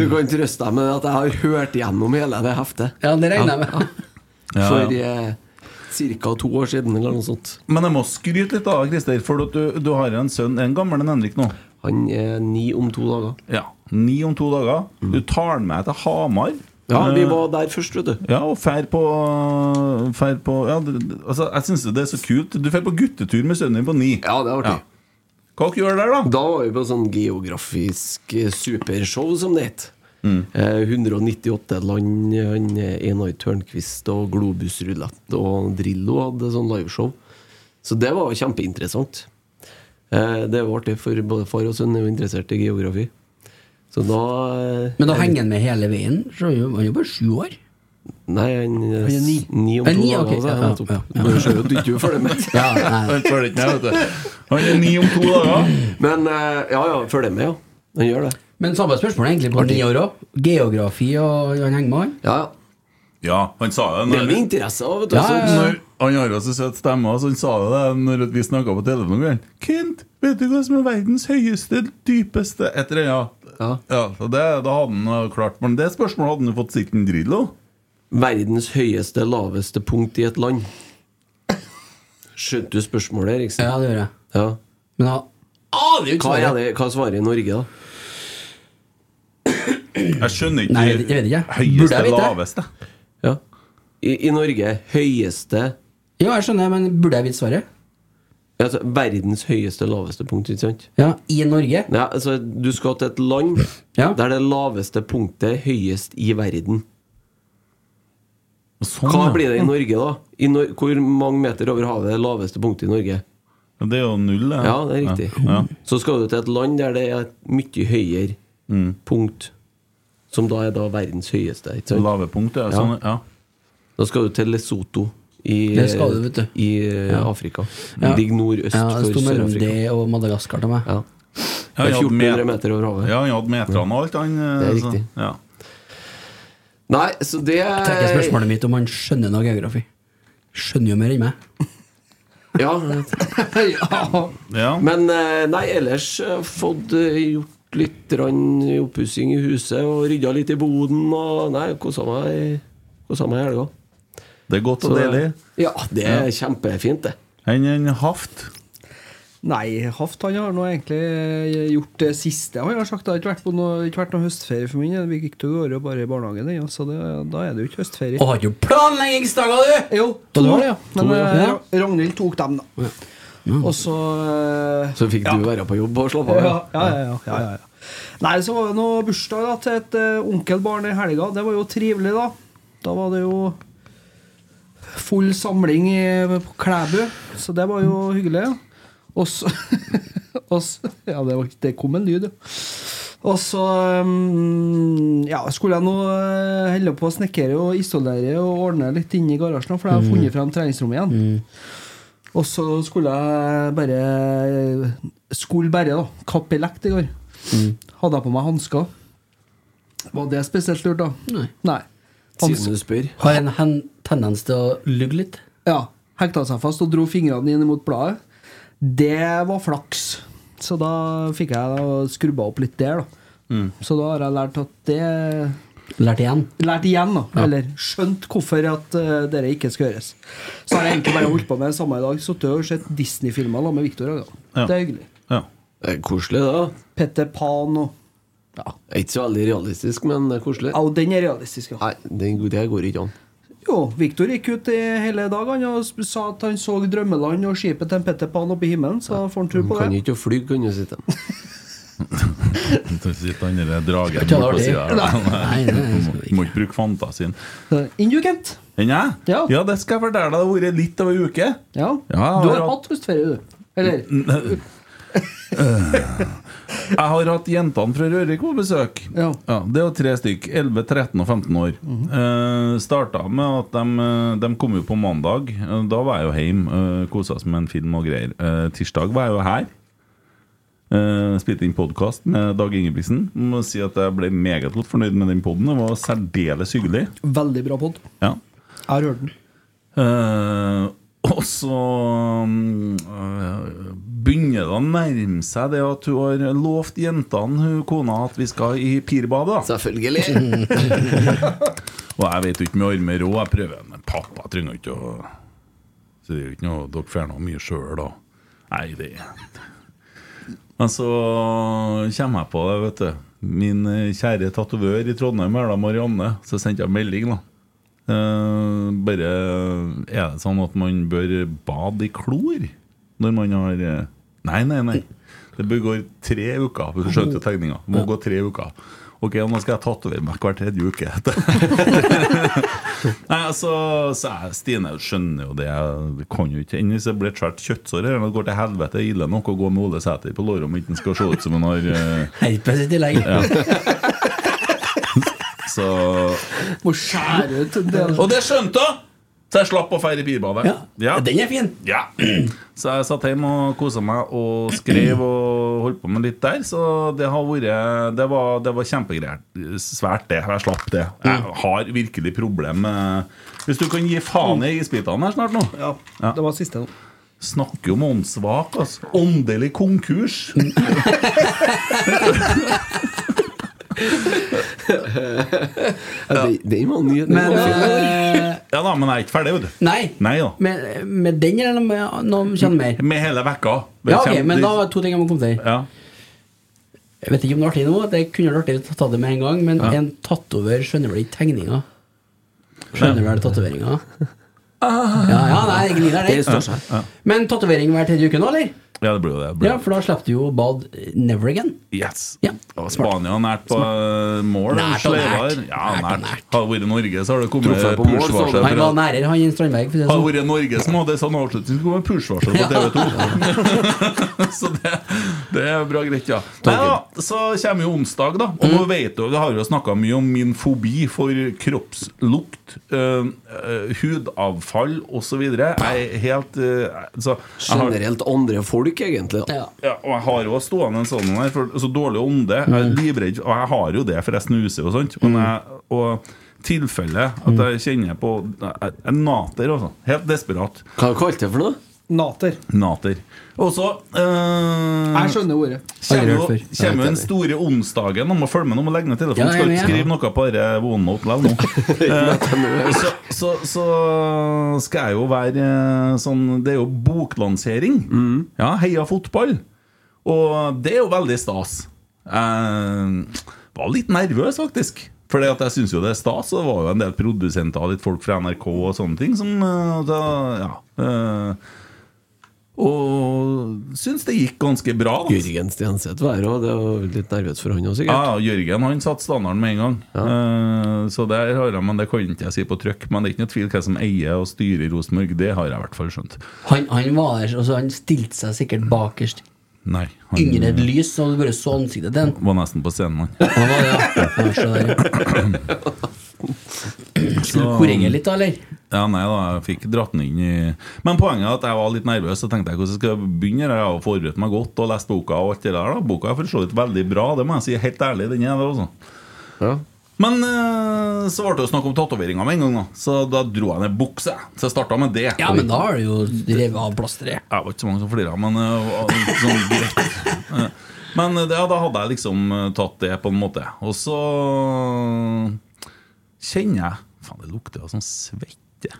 S5: Du kan trøste deg med at jeg har hørt gjennom hele det heftet.
S3: Ja, det regner jeg med.
S5: For eh, ca. to år siden, eller noe sånt.
S2: Men jeg må skryte litt av deg, Christer, for at du, du har en sønn, en gammel enn Henrik nå.
S5: Han er ni om to dager.
S2: Ja. Ni om to dager. Du tar han med til Hamar.
S5: Ja,
S2: Eh,
S5: vi var der først, vet du.
S2: Ja, og fær på, fær på ja, det, det- altså, Jeg syns det er så kult. Du fær på guttetur med sønnen din på ni.
S5: Ja, det er artig.
S2: Hva dere gjør dere der, da?
S5: Da var vi på sånn geografisk eh, supershow, som det het. Eh, 198 land. Han eh, Einar Tørnquist og Globus Rulett og Drillo hadde sånn liveshow. Så det var jo kjempeinteressant. Eh, det var artig, for både far og sønn er jo interessert i geografi. Så da eh,
S3: Men da henger han med hele veien. Så er jo- han er jo bare sju år.
S5: Nei, han er
S3: er
S5: ni.
S3: ni.
S5: ni om
S3: Er
S5: to
S3: ni,
S5: dager.
S3: ok,
S5: altså,
S3: ja,
S5: ja, nettopp.
S3: ja, ja.
S5: Du ser jo at du ikke følger med.
S3: Ja, nei.
S2: Han følger ikke med, vet du. Han er ni om to dager.
S5: Men eh, ja, ja, følger med, ja. Han gjør det.
S3: Men samme spørsmål egentlig på ni år òg. Geografi og han henger med han.
S5: Ja, ja.
S2: Ja, han sa det.
S5: Det er jo
S2: Når,
S5: interesse av, vet du. altså.
S3: Ja,
S5: så-
S3: ja, ja.
S2: når, han har jo så søt stemme, så han sa det når vi snakka på telefonen. en gang. Kent, vet du hva som er verdens høyeste, dypeste Et eller annet.
S5: Ja.
S2: så det, da hadde han eh, jo klart Men det spørsmålet hadde han jo fått sikkert en drill av.
S5: Verdens høyeste, laveste punkt i et land. Skjønte du spørsmålet, Eriksen?
S3: Ja, det gjør jeg.
S5: Ja.
S3: Men han aner jo ikke
S5: Hva, er
S3: svaret.
S5: det, hva svarer Norge, da?
S2: Jeg skjønner ikke.
S3: Nei, jeg vet- jeg vet ikke. Burde
S2: Høyeste,
S3: jeg vite?
S2: laveste.
S5: Ja. I, I Norge høyeste
S3: Ja, jeg skjønner, men burde jeg vite svaret?
S5: altså, verdens høyeste laveste punkt, ikke sant?
S3: Ja, I Norge?
S5: Ja, altså, du skal til et land der det laveste punktet er høyest i verden. Hva
S2: sånn, ja.
S5: blir det i Norge, da? I Nor hvor mange meter over havet er det laveste punktet i Norge?
S2: Ja, Det er jo null, det.
S5: Ja, det er riktig.
S2: Ja.
S5: Så skal du til et land der det er et mye høyere
S2: Mm.
S5: punkt, som da er da verdens høyeste. Ikke sant?
S2: Lave punkt, ja. Sånn, ja.
S5: Da skal du til Lesotho i,
S3: Det skal du, vet du.
S5: i eh,
S3: Ja.
S5: Afrika.
S3: Ja.
S5: Ligger nordøst
S3: Ja, det
S5: for
S3: sto mellom
S5: Sør-Afrika.
S3: det og Madagaskar til meg.
S5: Ja.
S2: Ja,
S5: Det er
S2: jeg hadde
S5: 1400
S2: met-
S5: meter over havet.
S2: Ja, han hadde metrene og alt, han.
S5: Det er
S2: eh, så-
S5: riktig.
S2: Ja.
S5: Nei, så det
S3: Jeg tenker spørsmålet mitt om han skjønner noe geografi. Skjønner jo mer enn meg.
S5: Ja. Men eh, nei, ellers eh, fått eh, gjort litt grann oppussing i huset og rydda litt i boden og Nei, kosa meg kosa meg i helga.
S2: Det er godt og
S5: Så-
S2: deilig.
S5: Ja, det er
S2: Ja.
S5: kjempefint, det.
S2: Enn en haft?
S1: Nei, Haft han har nå egentlig eh, gjort det siste. Han har sagt det har ikke vært, på noe, ikke vært noe høstferie for min del. Vi gikk til året bare i barnehagen, den, ja, så det, da er det jo ikke høstferie.
S3: Og har du planleggingsdager, du!
S1: Jo,
S3: Ja,
S1: to,
S3: du har det, ja.
S1: men
S3: To, ja.
S1: eh,
S3: Ja.
S1: Ra- Ragnhild tok dem, da. Og så eh,
S5: Så fikk du være på jobb og slappe av.
S1: ja, ja, ja, ja, ja, ja. Nei, så var det noe bursdag da, til et eh, onkelbarn i helga. Det var jo trivelig, da. Da var det jo full samling i, på Klæbu, så det var jo hyggelig. Og så og så- Ja, det, var, det kom en lyd, ja. Og så mm, ja, skulle jeg nå eh, holde på å snekre og isolere og ordne litt inne i garasjen, for jeg har funnet frem treningsrommet igjen. Og så skulle jeg bare eh, Skulle bare, da. Kappe i lekt i går. Hadde jeg på meg hansker. Var det spesielt lurt, da?
S3: Nei.
S1: Hans-
S5: Siden du spør.
S3: Har en hen- tendens til å lugge litt.
S1: Ja. Hekta seg fast og dro fingrene inn mot bladet. Det var flaks. Så da fikk jeg skrubba opp litt der, da.
S2: Mm.
S1: Så da har jeg lært at det
S3: Lært igjen.
S1: lært igjen, da. Eller skjønt hvorfor at uh, dere ikke skal gjøres. Så har jeg egentlig bare holdt på med det samme i dag. Sittet og sett Disney-filmer da med Victor. Ja.
S2: Ja.
S1: Det er hyggelig.
S2: Ja.
S5: Det er koselig, da.
S1: Petter Pan og
S5: Det er Ikke så veldig realistisk, men det er koselig.
S1: Ja, og den er realistisk, ja.
S5: Nei, det, det går ikke an.
S1: Jo, Victor gikk ut i hele dag han og sp- sa at han så drømmeland og skipet til en Petter Pan oppe i himmelen, så da får han tur
S5: Du
S1: på
S5: kan
S1: det.
S5: ikke fly, kan du sitte.
S2: Så Sitter han der dragen
S3: Ikke det
S2: bortpå
S3: artig?
S2: sida her.
S3: Nei, det skal vi ikke.
S2: Må ikke bruke fantasien.
S1: Indugent.
S2: Enn jeg?
S1: Ja.
S2: ja, det skal jeg fortelle deg. Det har vært litt av ei uke.
S1: Ja.
S2: Ja,
S1: Du
S2: har
S1: har
S2: hatt-
S1: hatt høstferie, du. Eller?
S2: Jeg har hatt jentene fra Rørik på besøk.
S1: Ja. Mhm.
S2: det er jo tre stykk. 11, 13 og 15 år. Eh, starta med at de, eh, de kom jo på mandag. Eh, Da var jeg jo hjemme. Uh, Kosa oss med en film og greier. Eh, tirsdag var jeg jo her. Uh, spilte inn podkast med Dag Ingebrigtsen. Må si at jeg ble meget godt fornøyd med den poden. Det var særdeles hyggelig.
S1: Veldig bra pod.
S2: Ja.
S1: Jeg har hørt den.
S2: Eh, og så mm, eh, begynner det å nærme seg det at hun har lovt jentene, hun kona, at vi skal i pirbadet. da.
S5: Selvfølgelig.
S2: Og jeg vet jo ikke med armer råd, jeg prøver. Men pappa trenger jo ikke å Så det er jo ikke noe Dere får noe mye sjøl, da. Nei, det Men så kommer jeg på det, vet du. Min eh, kjære tatovør i Trondheim, Erla Marianne, så sendte jeg melding, da. Eh, bare Er det sånn at man bør bade i klor når man har eh, Nei, nei, nei. Det bør gå tre uker. for Du skjønte jo tegninga. Må gå tre uker. Ok, og nå skal jeg tatovere meg hver tredje uke. Nei, altså, så jeg, Stine skjønner jo det. Jeg kan jo ikke ennå. Hvis det blir et svært kjøttsår her, det går til helvete det er ille nok å gå med Ole Sæter på låret om ikke han skal se ut som han har eh,
S3: Herpes i tillegg.
S2: Så
S1: Må skjære ut en del.
S2: Og det skjønte hun! Så jeg slapp å feire pirbadet.
S3: Ja. Den er fin.
S2: Ja. Så jeg satt hjemme og kosa meg og skrev og holdt på med litt der. Så det har vært Det var, det var kjempegreier. Svært, det. Jeg slapp det.
S3: Mm.
S2: Jeg har virkelig problem med Hvis du kan gi faen i isbitene her snart nå.
S1: Ja.
S2: Ja.
S1: Det var siste nå.
S2: Snakker om åndssvak, altså. Åndelig konkurs.
S5: Ja. Det, det var ny.
S3: Men, eh,
S2: Ja da, men jeg er ikke ferdig, vet du.
S3: nei.
S2: Nei da.
S3: Med, med den eller med noe kjenner mer?
S2: Med hele vekka. Det
S3: Ja, ok,
S2: kommer-
S3: men da var det to ting jeg må komme til.
S2: ja.
S3: Jeg vet ikke om det er artig nå. Det kunne vært artig å ta det med en gang, men en tatover skjønner vel ikke tegninga? Skjønner vel tatoveringa? Ja, ja, nei, det gnir der, det.
S4: Ah. Det står seg.
S3: Men tatovering hver tredje uke nå, eller?
S2: Ja, det blir jo det. det blir
S3: Ja,
S2: jo.
S3: for da slipper du jo bad never again.
S2: Yes.
S3: Ja.
S2: Og Spania nært på eh, mål.
S3: Nært og
S2: slevar.
S3: nært.
S2: Ja,
S3: Nært og
S2: nært.
S3: nært.
S2: Hadde det vært Norge, så har det kommet
S4: Truffet på mål, så hadde
S2: push-varsel.
S4: det
S3: Han
S2: fra-
S3: var nærere, han enn Strandberg. For å si det
S2: Hadde
S3: sånn.
S2: det vært Norge som hadde en sånn avslutning, så kom det push-varsel på TV 2. så det, det er bra greit, ja. Nei, da, så kommer jo onsdag, da. Og nå vet du, vi har jo snakka mye om min fobi for kroppslukt, øh, øh, hudavfall osv. Jeg er helt øh, så, jeg har,
S4: Generelt andre folk, egentlig. da.
S3: Ja.
S2: ja, og jeg har jo stående en sånn her, for så dårlig ånde. Jeg
S3: Mm.
S2: er livredd, og jeg har jo det, for jeg snuser og sånt. Og, når jeg, og tilfellet at jeg
S3: Mm.
S2: kjenner på Jeg jeg nater, altså. Helt desperat.
S4: Hva kalte du det for noe?
S1: Nater.
S2: Nater. Og så eh,
S1: Jeg skjønner ordet.
S2: Kommer jo
S3: Aldri hørt før.
S2: kommer jo den store onsdagen. Nå må følge med, nå må jeg legge ned
S3: Ja, jeg
S2: telefonen.
S3: er
S2: Skal
S3: med,
S2: ikke
S3: ja.
S2: skrive noe på dette OneNote likevel nå. Eh, så, så, så skal jeg jo være eh, sånn Det er jo boklansering.
S3: Mm.
S2: Ja, heia fotball. Og det er jo veldig stas. Jeg var litt nervøs, faktisk. For jeg syns jo det er stas, og det var jo en del produsenter og litt folk fra NRK og sånne ting som eh, da, Ja. eh, og syns det gikk ganske bra. da.
S4: Jørgen Stenseth var her òg. Det var litt nervøs for han òg,
S2: Ja,
S4: sikkert.
S2: ja, Jørgen han satte standarden med en gang. Eh, så der har jeg, men det kan ikke jeg si på trykk. Men det er ikke noe tvil hvem som eier og styrer Rosenborg. Det har jeg i hvert fall skjønt.
S3: Han, han var der, og så han stilte seg sikkert bakerst
S2: Nei, han
S3: under et lys, og du bare så ansiktet til han.
S2: var nesten på scenen, han.
S3: Han var det, ja. Han var så der. Skulle du korrigere litt, da, eller?
S2: Ja, nei da, jeg fikk dratt den inn i Men poenget er at jeg var litt nervøs, og tenkte jeg hvordan skal jeg begynne? her? Jeg har jo forberedt meg godt og lest boka og alt det der. da Boka er for så vidt veldig bra, det må jeg si helt ærlig. Den er det, altså.
S4: Ja.
S2: Men eh, så ble det jo snakk om tatoveringer med en gang, da. Så da dro jeg ned bukse. Så jeg starta med det.
S3: Ja, men da har du jo revet av plasteret.
S2: Jeg var ikke så mange som flira, men øh, var litt sånn greit. Eh, Men øh, det, ja, da hadde jeg liksom øh, tatt det på en måte. Og så kjenner jeg Faen, det lukter jo sånn svette.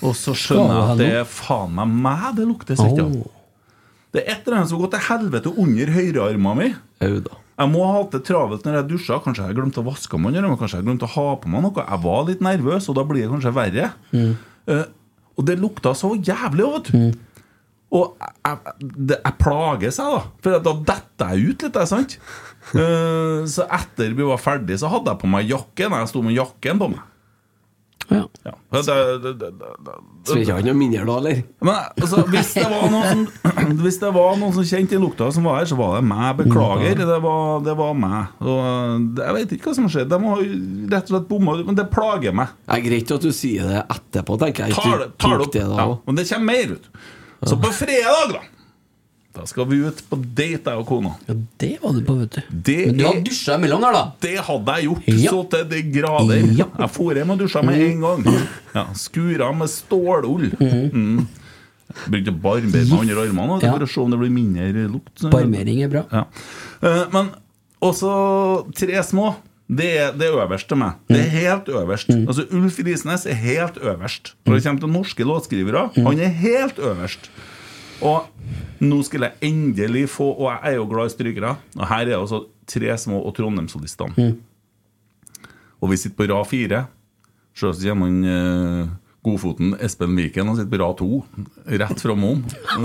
S2: Og så skjønner jeg at det er faen meg meg det lukter svette av. Det er et eller annet som har gått til helvete under høyrearma mi.
S4: Au, da.
S2: Jeg må ha hatt det travelt når jeg dusja. Kanskje jeg glemte å vaske meg under, men kanskje jeg glemte å ha på meg noe. Jeg var litt nervøs, og da blir det kanskje verre. Eh, og det lukta så jævlig, vet du.
S4: Mm.
S2: Og jeg, jeg, det, jeg plager seg, da. For da detter jeg ut litt, det er sant? Eh, så etter vi var ferdig, så hadde jeg på meg jakken. Jeg sto med jakken på meg.
S3: Ja.
S2: Ja. Det, det, det, det,
S4: Tror ikke han er mindre da, eller?
S2: men altså, hvis, det var noen som, hvis det var noen som kjente den lukta som var her, så var det meg. Beklager, det var, det var meg. Og eh, jeg vet ikke hva som skjedde. De har jo rett og slett bomma, men det plager meg.
S4: Det er greit at du sier det etterpå, tenker jeg.
S2: Tar det, tar det
S4: Tok
S2: opp.
S4: det da
S2: ja,
S4: også.
S2: men det kommer mer ut. Så på fredag, da, da skal vi ut på date, jeg og kona.
S3: ja, det var du på, vet du.
S2: Det
S3: Men du har
S2: er-
S3: dusja imellom der, da.
S2: Det hadde jeg gjort
S3: Ja.
S2: så til de grader.
S3: Ja.
S2: Jeg for hjem og dusja med en gang. Ja, Skura med stålull. Mm. Begynte å barbere meg under armene vet du,
S3: Ja.
S2: for å se om det blir mindre lukt.
S3: Barmering er bra.
S2: Ja. Eh, Men også tre små. Det er det øverste meg. Det er helt øverst. Altså Ulf Risnes er helt øverst. Når det kommer til norske låtskrivere, han er helt øverst. Og nå skulle jeg endelig få Og jeg er jo glad i strykere. Og her er også tre små og Trondheimssolistene. Og vi sitter på rad fire. Sjølsagt kommer han eh, godfoten Espen Viken og sitter på rad to. Rett framom.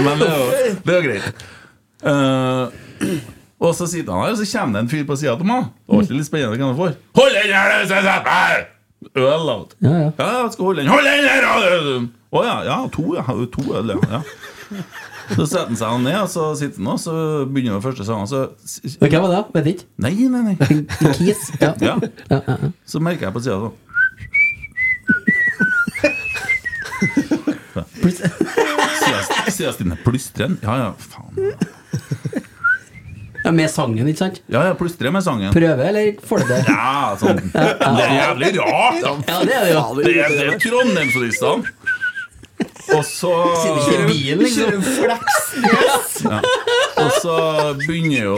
S2: Men det er jo, det er jo greit. Eh, og så sitter han her, og så kommer det en fyr på sida av meg. Det var alltid litt spennende hva han får. Hold den her, du, så jeg setter meg! Øl out.
S3: Ja, ja.
S2: jeg skal holde den. Hold den her! Å ja, ja, to, ja. To øl, ja. ja. Så setter han seg ned, og så sitter han, og så begynner den første sangen, så
S3: Men Hvem var det? Vet ikke.
S2: Nei, nei, nei.
S3: Kiss. Ja.
S2: Ja. Så merker jeg på sida sånn Sier jeg- sier jeg Stine plystren? Ja, ja, faen.
S3: Ja, med sangen, ikke sant?
S2: Ja, ja, plystrer med sangen.
S3: Prøve, eller får du det?
S2: Ja, sånn. Det er jævlig rart, da.
S3: Ja, det er det jo.
S2: Det er, det er Trondheimsturistene. Og så
S3: Sitter ikke i bilen, liksom.
S2: Og så begynner jo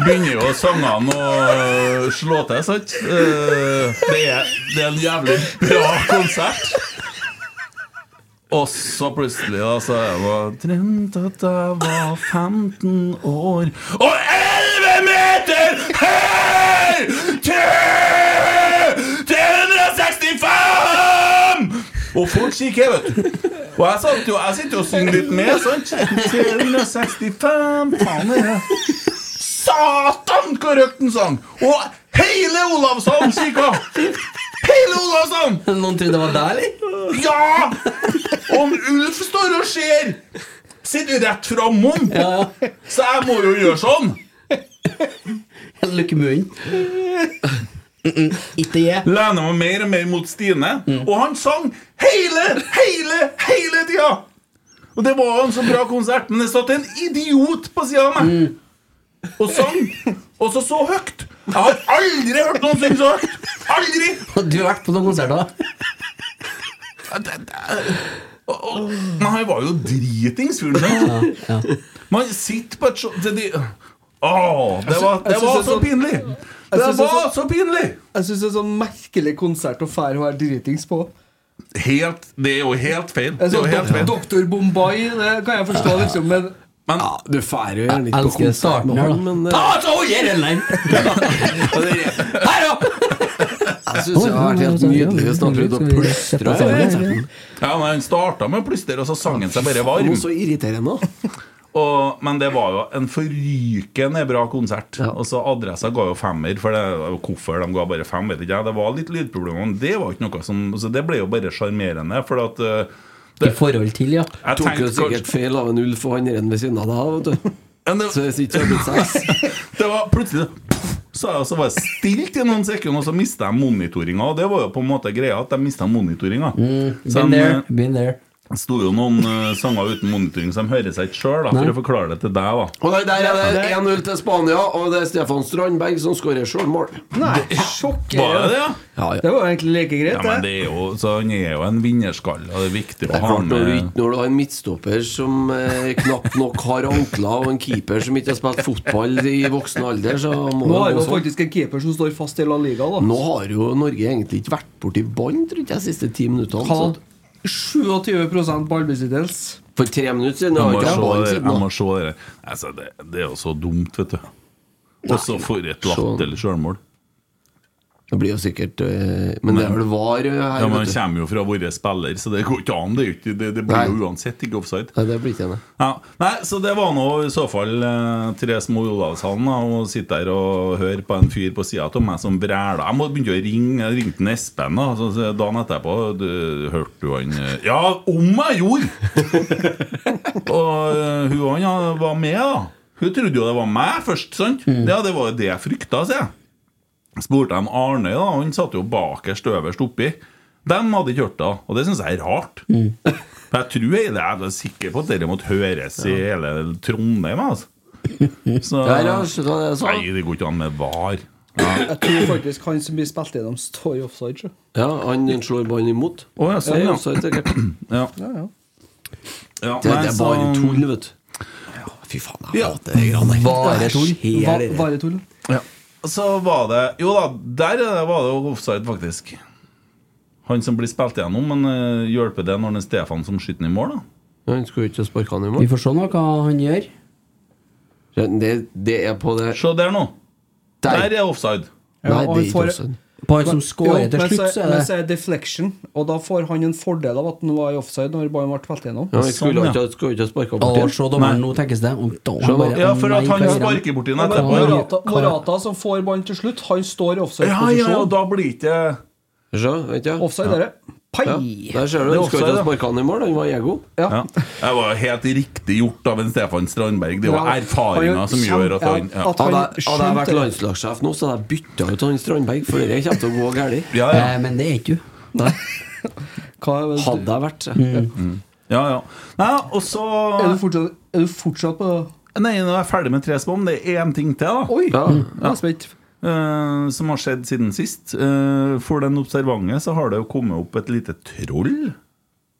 S2: Begynner jo sangene å slå til, sant? Eh, Det er, det er en jævlig bra konsert. Og så plutselig, da, så er det bare Drømte at jeg var 15 år og 11 meter høy! Gratulerer til 365! Og folk kikker, vet du. Og jeg, satt jo, jeg sitter jo og synger litt med, sant? 365 Faen er det Satan, hvor høyt den sang! Og hele Olavshallen kikka! Hele Olavshallen!
S3: Noen trodde det var deg, eller?
S2: Ja! Om Ulf står og ser Sitter rett fram om Så jeg må jo gjøre sånn
S3: Eller lukke munnen. Mm, mm, Ikke jeg.
S2: Lener meg mer og mer mot Stine
S4: Mm.
S2: Og han sang hele, hele, hele tida Og det var en så bra konsert Men det satt en idiot på siden av meg Og sang Og så så høyt Jeg har aldri hørt noen synge så høyt Aldri
S3: Du har vært på noen konserter.
S2: Men han var jo dritings, fyren der. Man sitter på et så det, det, Åh, det var, det
S1: jeg synes det
S2: var
S1: er
S2: så
S1: sånn-
S2: pinlig! Det
S1: synes det er
S2: var
S1: sånn-
S2: så pinlig!
S1: Jeg syns det er sånn merkelig konsert å fære å være dritings på.
S2: Helt, det er jo helt feil. Det er
S1: Altså,
S2: jo helt feil.
S1: Doktor Bombay, det kan jeg forstå, liksom, men
S2: Men
S5: Ja, du feirer jo
S3: Jeg
S5: litt på
S3: elsker
S5: konsert
S3: starten
S5: nå.
S3: her, da.
S4: Men eh,
S3: Ta så gir den den! Her, da!
S4: eh,
S5: Jeg syns det har vært helt nydelig å snakke ut og plystre.
S2: ja, men han starta med plyster, og så sang han seg bare varm.
S5: Noe så irriterende.
S2: Og, men det var jo en forrykende bra konsert. Og så Adressa ga jo femmer, for det, hvorfor de ga bare fem, vet ikke jeg. Det var litt lydproblemer, men det var ikke noe som Så det ble jo bare sjarmerende, for at eh,
S3: I forhold til, ja.
S2: jeg
S4: tok
S2: tenkte
S4: jo sikkert
S2: kanskje-
S4: feil av en Ulf og han der ved siden av deg, vet du.
S2: Men det-
S4: Så det sitter ikke og har blitt sex.
S2: Det var plutselig så, jeg- så var det stilt i noen sekunder, og så mista jeg monitoringa. Og det var jo på en måte greia at jeg mista monitoringa. så
S3: Been there.
S2: de,
S3: Been there.
S2: eh, sto jo noen eh, sanger uten monitoring, så de hører seg ikke sjøl, for å forklare det til deg, da.
S5: Og nei, der er det 1-0 til Spania, og det er Stefan Strandberg som skårer sjølmål.
S1: Nei,
S2: Var det
S1: sjokkerende.
S2: det, ja?
S1: Det var jo egentlig like greit,
S2: Ja,
S1: det.
S2: men det er jo, så han er jo en vinnerskalle, og det er
S4: Det
S2: viktig å
S4: er
S2: ha
S4: klart når du,
S2: med
S4: ikke- når du har en midtstopper som eh, knapt nok har ankler, og en keeper som ikke har spilt fotball i voksen alder, så må
S1: Nå har
S4: det
S1: jo
S4: gå sånn.
S1: faktisk en keeper som står fast i La Liga, da.
S4: Nå har jo Norge egentlig ikke vært borti ballen, tror ikke jeg, de siste ti minuttene.
S1: Han
S4: Så
S1: hadde 27 ballbesittelse.
S4: for tre minutter siden
S2: Jeg
S4: har
S2: må
S4: ikke
S2: se
S4: jeg ballen
S2: det,
S4: siden
S2: jeg
S4: da.
S2: må se det. Altså, det, det er jo så dumt, vet du. Og så for et
S4: sånn.
S2: latterlig sjølmål.
S4: Det blir jo sikkert eh, Men det er vel var eh, her,
S2: Ja, men han
S4: vet du.
S2: kommer jo fra vår spiller, så det går ikke an. Det, er jo ikke- det, det blir
S4: Nei.
S2: jo uansett ikke offside.
S4: Nei, det blir ikke det.
S2: Ja, nei, så det var nå i så fall eh, tre små Olavshallen da, Å sitte her og høre på en fyr på sida av meg som bræla. Jeg må begynne å ringe. Jeg ringte en Espen da, altså, så så dagen etterpå. Du, hørte du han eh, Ja, om jeg gjorde! og eh, hun og han ja, var med, da. Hun trodde jo det var meg først, sant?
S3: Mm.
S2: Ja, det var jo det jeg frykta, sier jeg. Spurte jeg om Arne, da. Han satt jo bakerst øverst oppi. Dem hadde ikke hørt det, og det syns jeg er rart. For jeg tror jeg, jeg er sikker på at dere måtte høres i hele Trondheim. Altså. Så
S4: Der, ja, skjønner du hva jeg sa?
S2: Nei, det går ikke an med var.
S1: Jeg tror faktisk han som blir spilt gjennom, står i offside. sjø.
S4: Ja, han slår ballen imot.
S2: Å ja,
S4: Det
S2: sånn,
S4: er
S2: ja.
S4: offside, sikkert.
S2: ja.
S4: Det,
S2: Ja, nei, sånn,
S4: det er bare
S2: så-
S4: tull, vet du. Fy faen, jeg hater det greiene der.
S3: Bare tull.
S1: Va- Bare tull.
S2: Så var det Jo da, der eh, var det jo offside, faktisk. Han som blir spilt gjennom, men eh, hjelper det når det er Stefan som skyter den i mål, da?
S4: Han skulle jo ikke sparke han i
S3: Vi
S4: mål.
S3: får se nå hva han gjør.
S4: Det, det er på det
S2: Se der nå. Der
S4: Der!
S2: er offside.
S4: Nei,
S1: Ja,
S4: det er
S1: og han
S4: ikke
S1: får-
S4: offside.
S3: På han som
S1: Jo,
S3: scorer til
S1: men
S3: slutt, så er
S1: Men så
S3: det
S1: er det deflection, og da får han en fordel av at han var i offside når ballen ble spilt gjennom.
S4: Ja, jeg skulle
S2: Sånn, ja.
S4: ikke ha- skulle ikke ha sparka
S3: Å,
S4: bort den.
S3: se dommeren, nå tenkes det. Å, da,
S4: Se,
S3: bare-
S2: Ja, for at
S3: Nei, hva
S2: han
S3: gjør
S2: sparker borti den
S1: Ja, men
S2: etterpå. Ja,
S1: Morata, Morata som får ballen til slutt, han står i
S2: ja, ja, ja,
S1: offside-posisjon.
S2: da blir ikke
S4: Se, vet du.
S1: Offside, dere. Pai!
S4: Ja, der ser du,
S2: Det er
S4: han skulle ikke
S2: offside,
S4: ha sparka han i mål, han var ego.
S2: Ja. Det var helt riktig gjort av en Stefan Strandberg. Det var
S1: Ja.
S2: erfaringa
S1: Han
S2: som
S1: kjem-
S2: gjør at han
S1: ja,
S2: ja.
S1: at
S4: Hadde
S1: han
S4: jeg- hadde jeg vært
S1: skjønte det.
S4: landslagssjef nå, så hadde jeg bytta ut han Strandberg, for det kommer til å gå galt.
S2: Ja,
S3: han?
S2: ja.
S3: Eh, Men det er ikke du.
S1: Hva er det-
S4: Hadde jeg vært det.
S2: ja, ja. Nei, og
S1: Mm.
S2: så
S1: Er du fortsatt, er du fortsatt på
S2: Nei, nå er jeg ferdig med Tresbom. Det er én ting til, da.
S1: Oi!
S4: Ja.
S1: Jeg er spent.
S2: eh, som har skjedd siden sist. Eh, for den observante så har det jo kommet opp et lite troll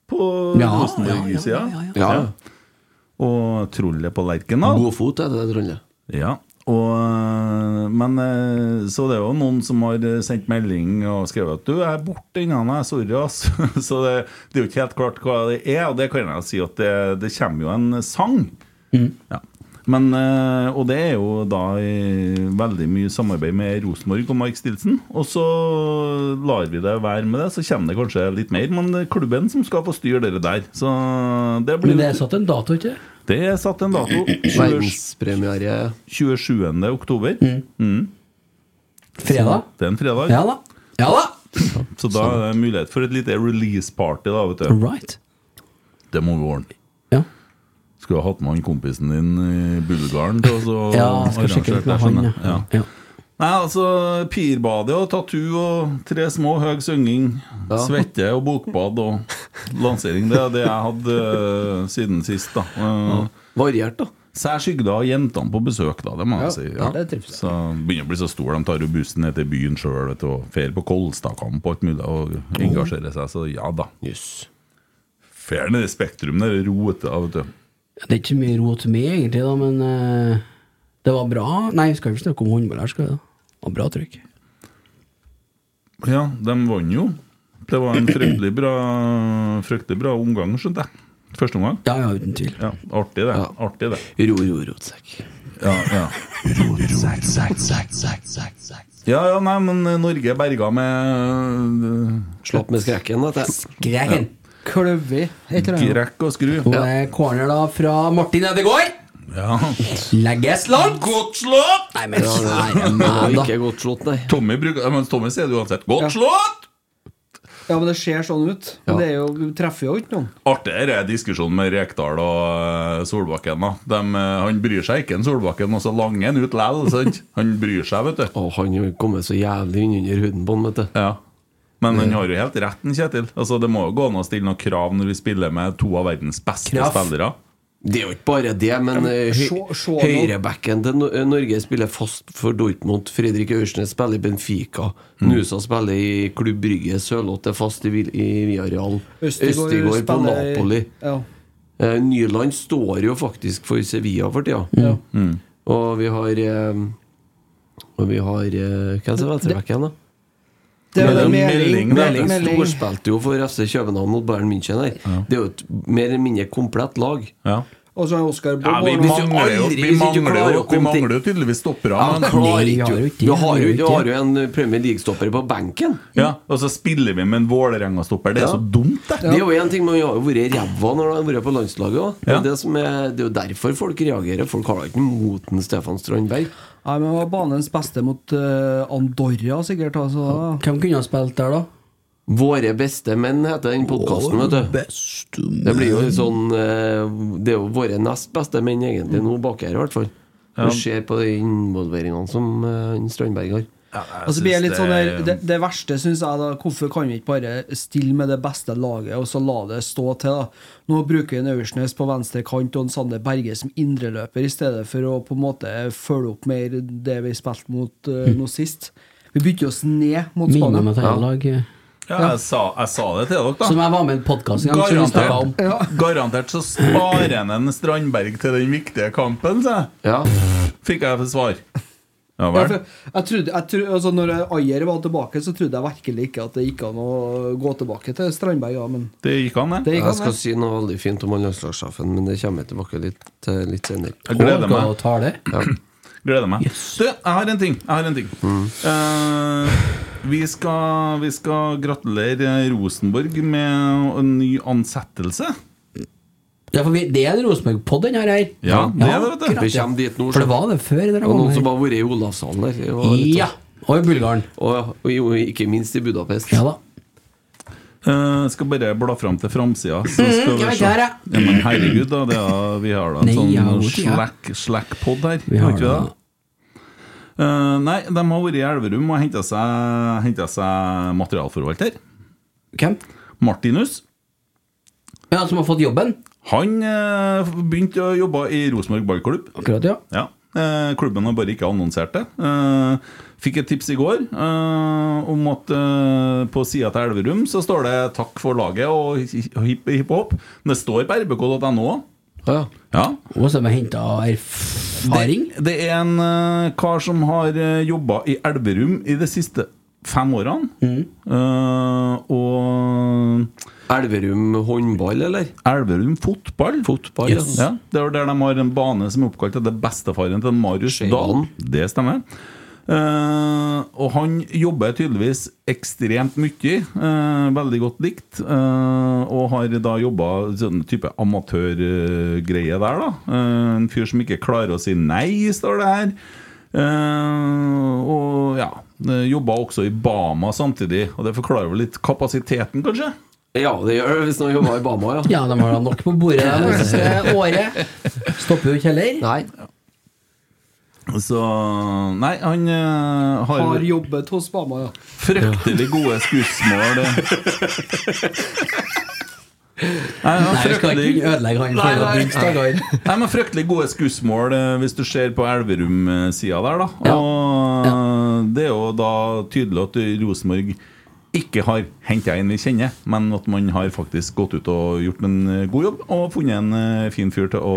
S2: på Rosenborg-sida.
S4: Ja.
S2: Og trollet på Lerkendal.
S4: Godfot er det det trollet.
S2: Ja, og, men eh, så det er jo noen som har eh, sendt melding og skrevet at du jeg er borte innan jeg, sorry ass. Så det, det er jo ikke helt klart hva det er, og det kan jeg si at det, det kommer jo en sang. Ja. Men, eh, og det er jo da i veldig mye samarbeid med Rosenborg og Mark Stilson. Og så lar vi det være med det, så kommer det kanskje litt mer. Men det er klubben som skal få styre det der. Så det
S3: Men
S2: blir
S3: det er satt en dato, ikke
S2: Det er satt en dato. 20,
S4: eh,
S5: Verdenspremiere.
S2: 27. oktober.
S3: Fredag?
S2: Det er en fredag.
S3: Ja da. Ja da!
S2: Så da er det mulighet for et lite release-party, da, vet du.
S3: Right.
S2: Det må vi ordne.
S3: Ja.
S2: Skulle ha hatt med han kompisen din i Bulgaren til oss og
S3: ja, skal sjekke litt
S2: arrangert det,
S3: med han,
S2: skjønner jeg.
S3: ja.
S2: Ja.
S3: ja.
S2: Nei, altså Pirbadet og tattoo og tre små, høy synging, svette og bokbad og lansering. Det er det jeg hadde eh, siden sist, da. Eh,
S5: Variert, da.
S2: Sær skygda og jentene på besøk, da. Det må jeg
S5: Ja,
S2: si.
S5: ja, det trives jeg.
S2: Så begynner å bli så stor. De tar jo bussen ned til byen sjøl og drar på Kolstadkamp og alt mulig og engasjerer seg. Så ja da.
S5: Jøss.
S2: Fer ned i Spektrum, det er rotet av, vet du.
S3: Det er ikke mye rot med, egentlig, da, men eh, det var bra. Nei, vi skal ikke snakke om håndball her, skal vi da? Det var bra trykk.
S2: Ja, de vant jo. Det var en fryktelig bra, fryktelig bra omgang, skjønte jeg. Første omgang.
S3: Ja, ja, uten tvil.
S2: Ja, artig det. Artig det.
S5: Ro, ro, rotsekk.
S2: Ja, ja. ja, ja, nei, men Norge berga med øh,
S5: Slapp med skrekken. Da,
S3: Greken.
S1: Kløvi, heter det.
S2: grekk og skru.
S3: Og det er corner da fra Martin Ødegaard.
S2: Ja.
S3: Legges langt! Godt slått! Nei, men kjære
S2: eh,
S3: meg, da.
S5: ikke godt slått, nei.
S2: Tommy bruker Men Tommy sier det uansett. Godt slått!
S1: Ja, men det ser sånn ut. Men det er jo, du treffer jo ikke noen.
S2: Artigere er diskusjonen med Rekdal og eh, Solbakken. da Dem, eh, Han bryr seg ikke, en Solbakken, og så langer han ut lell.
S3: Sånn.
S2: sant? Han bryr seg, vet du.
S5: Å, han har kommet så jævlig inn under huden på han, vet du.
S2: Ja. Men han har jo helt rett, en Kjetil. Altså, Det må jo gå an å stille noen krav når vi spiller med to av verdens beste
S3: Krav.
S2: spillere.
S5: Det er jo ikke bare det, men eh, høy-
S1: se- se nå.
S5: høyrebacken til No- eh, Norge spiller fast for Dortmund. Fredrik Aursnes spiller i Benfica.
S1: Mm.
S5: Nusa spiller i Klubb Brygge. Sørloth er fast i, Vil- i Viareal. Østigård på
S1: spiller-
S5: Napoli.
S1: Ja.
S5: Eh, Nyland står jo faktisk for Sevilla for tida. Mm.
S1: Ja.
S5: Og vi har eh, Og vi har eh, Hvem som er venstrebacken, da?
S1: Det er
S2: Men
S1: jo
S2: det er melding,
S1: melding.
S2: det er
S5: Meling
S1: melding.
S5: storspilte jo for FC København mot Bayern München her. Det er jo et mer eller mindre komplett lag.
S2: Ja.
S1: Og så er Oskar
S2: Ja,
S1: Bob
S2: vi
S1: og-
S2: mangler jo
S5: aldri-
S2: Vi
S5: hvis du
S2: mangler
S5: klarer å
S2: jo, vi
S5: komme til-
S2: mangler jo tydeligvis stoppere. men-
S3: klarer ikke jo.
S5: Du har jo, du har jo en Premier League-stopper på benken.
S2: Ja, og så spiller vi med en Vålerenga-stopper. Det er så dumt, det.
S5: Det er jo en ting, men vi har jo vært ræva når han har vært på landslaget òg. Det,
S2: Ja.
S5: er det som er- det er jo derfor folk reagerer. Folk har da ikke mot den Stefan Strandberg.
S1: Nei, men det var banens beste mot eh, Andorra, sikkert. Altså.
S3: Hvem kunne ha spilt der, da?
S5: Våre beste menn heter den podkasten, vet du. Det blir jo litt sånn eh, Det er jo våre nest beste menn, egentlig, nå bak her i hvert fall. Du ser på de involveringene som eh, han Strandberg har.
S1: Altså, blir jeg litt sånn der,
S5: um,
S1: det, det verste syns jeg da Hvorfor kan vi ikke bare stille med det beste laget og så la det stå til? da Nå bruker vi en Aursnes på venstre kant og en Sander Berge som indreløper, i stedet for å på en måte følge opp mer det vi spilte mot uh, nå sist. Vi bytter oss ned mot
S3: Minner
S1: Spania.
S3: meg til hele lag. eh,
S2: Ja, jeg, sa, jeg sa det til dere, da.
S3: Som jeg var med i en podkast en gang, som vi snakka om.
S2: Garantert, garantert så sparer han en Strandberg til den viktige kampen, sa jeg.
S5: Ja.
S2: Fikk jeg for svar. Ja
S1: Ja,
S2: vel.
S1: for jeg trodde, jeg trodde, altså når Ayer var tilbake, så trodde jeg virkelig ikke at det gikk an å gå tilbake til Strandberg. Ja, men
S2: Det gikk an, det.
S1: det gikk
S5: Jeg
S1: an.
S5: skal
S1: det.
S5: si noe veldig fint om han landslagssjefen, men det kommer jeg tilbake litt, til litt senere.
S2: Jeg gleder
S3: Folk
S2: meg.
S3: og tar det.
S2: Gleder meg. Du, jeg har en ting. Jeg har en ting.
S3: Mm.
S2: Eh, vi, skal, vi skal gratulere Rosenborg med en ny ansettelse.
S3: Ja, for vi, det er en Rosenborg-pod, den her. her.
S2: Ja, det er det, vet du.
S3: akkurat,
S5: Vi
S3: ja.
S5: kommer dit nå.
S3: For det var det før. Det
S5: Det var noen som har vært i Olavshallen der. Det var litt-
S3: Ja! Og i Bulgaren.
S5: Og, og jo, ikke minst i Budapest.
S3: Ja da.
S2: Eh, skal bare bla fram til framsida. Så skal
S3: jeg
S2: vi
S3: vet
S2: se.
S3: det her,
S2: Ja,
S3: Mm, ja.
S2: men herregud, da. Det er, vi har da en
S3: Nei, ja,
S2: sånn
S3: hvor tid, ja.
S2: slack- slack-pod her.
S3: Vi har
S2: ikke vi
S3: det.
S2: Eh, nei, de har vært i Elverum og henta seg, hentet seg materialforvalter.
S3: Hvem?
S2: Martinus.
S3: Ja, som har fått jobben?
S2: Han eh, begynte å jobbe i Rosenborg ballklubb.
S3: Akkurat, ja.
S2: Ja. Eh, klubben har bare ikke annonsert det. Eh, fikk et tips i går eh, om at eh, på sida til Elverum så står det 'takk for laget' og hi- hipp hipp hopp. Men det står på rbk.no òg.
S5: Ja.
S2: Ja.
S3: Og som har henta
S2: Det,
S3: erfaring?
S2: eh, det er en eh, kar som har uh, jobba i Elverum i det siste fem årene. Eh, og
S5: Elverum håndball, eller?
S2: Elverum fotball.
S5: Fotball,
S3: Yes.
S2: Ja, det er der de har en bane som er oppkalt etter bestefaren til Marius
S5: Skeivan.
S2: Dahl. Det stemmer. Eh, og han jobber tydeligvis ekstremt mye. eh, veldig godt likt. eh, og har da jobba sånn type amatørgreie der, da. Eh, en fyr som ikke klarer å si nei, står det her. Eh, og ja. eh, Jobba også i Bama samtidig, og det forklarer vel litt kapasiteten, kanskje?
S5: Ja, det gjør det hvis noen jobber i Bama, ja.
S3: Ja, de har da nok på bordet det neste året. Stopper jo ikke heller.
S5: Nei.
S2: Så Nei, han eh, har,
S1: Har jobbet hos Bama, ja.
S2: Fryktelig gode skussmål. det. Nei, han
S3: Nei,
S2: har
S3: vi skal
S2: fryktelig,
S3: ikke ødelegge han for å
S1: nei.
S3: bygge stakkar.
S2: nei, men fryktelig gode skussmål eh, hvis du ser på Elverum-sida der, da.
S3: Ja.
S2: Og eh, det er jo da tydelig at Rosenborg ikke har henta en vi kjenner, men at man har faktisk gått ut og gjort en eh, god jobb og funnet en eh, fin fyr til å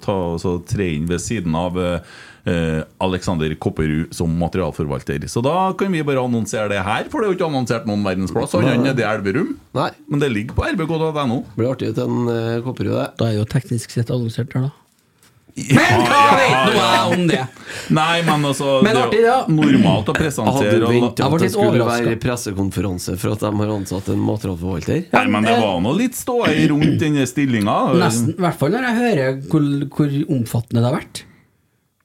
S2: ta og så tre inn ved siden av eh, eh, Alexander Kopperud som materialforvalter. Så da kan vi bare annonsere det her, for det er jo ikke annonsert noen verdensplass. Han er nede i Elverum,
S5: Nei.
S2: men det ligger på rbk.no.
S5: Det blir artig til en uh, kopperud, det.
S3: Da er jo teknisk sett annonsert der, da.
S2: Men
S3: Hva vet nå jeg om det?
S2: Nei, men altså
S3: Men
S2: det er jo
S3: artig, ja.
S2: Normalt å
S5: Jeg hadde
S2: presentere og-
S5: venta
S3: Jeg ble
S5: at det
S3: litt
S5: skulle være
S3: overrasket.
S5: pressekonferanse for at de har ansatt en materialforvalter.
S2: Nei, men det var nå litt ståe rundt denne stillinga.
S3: eh, Nesten. I hvert fall når jeg hører hvor, hvor omfattende det har vært.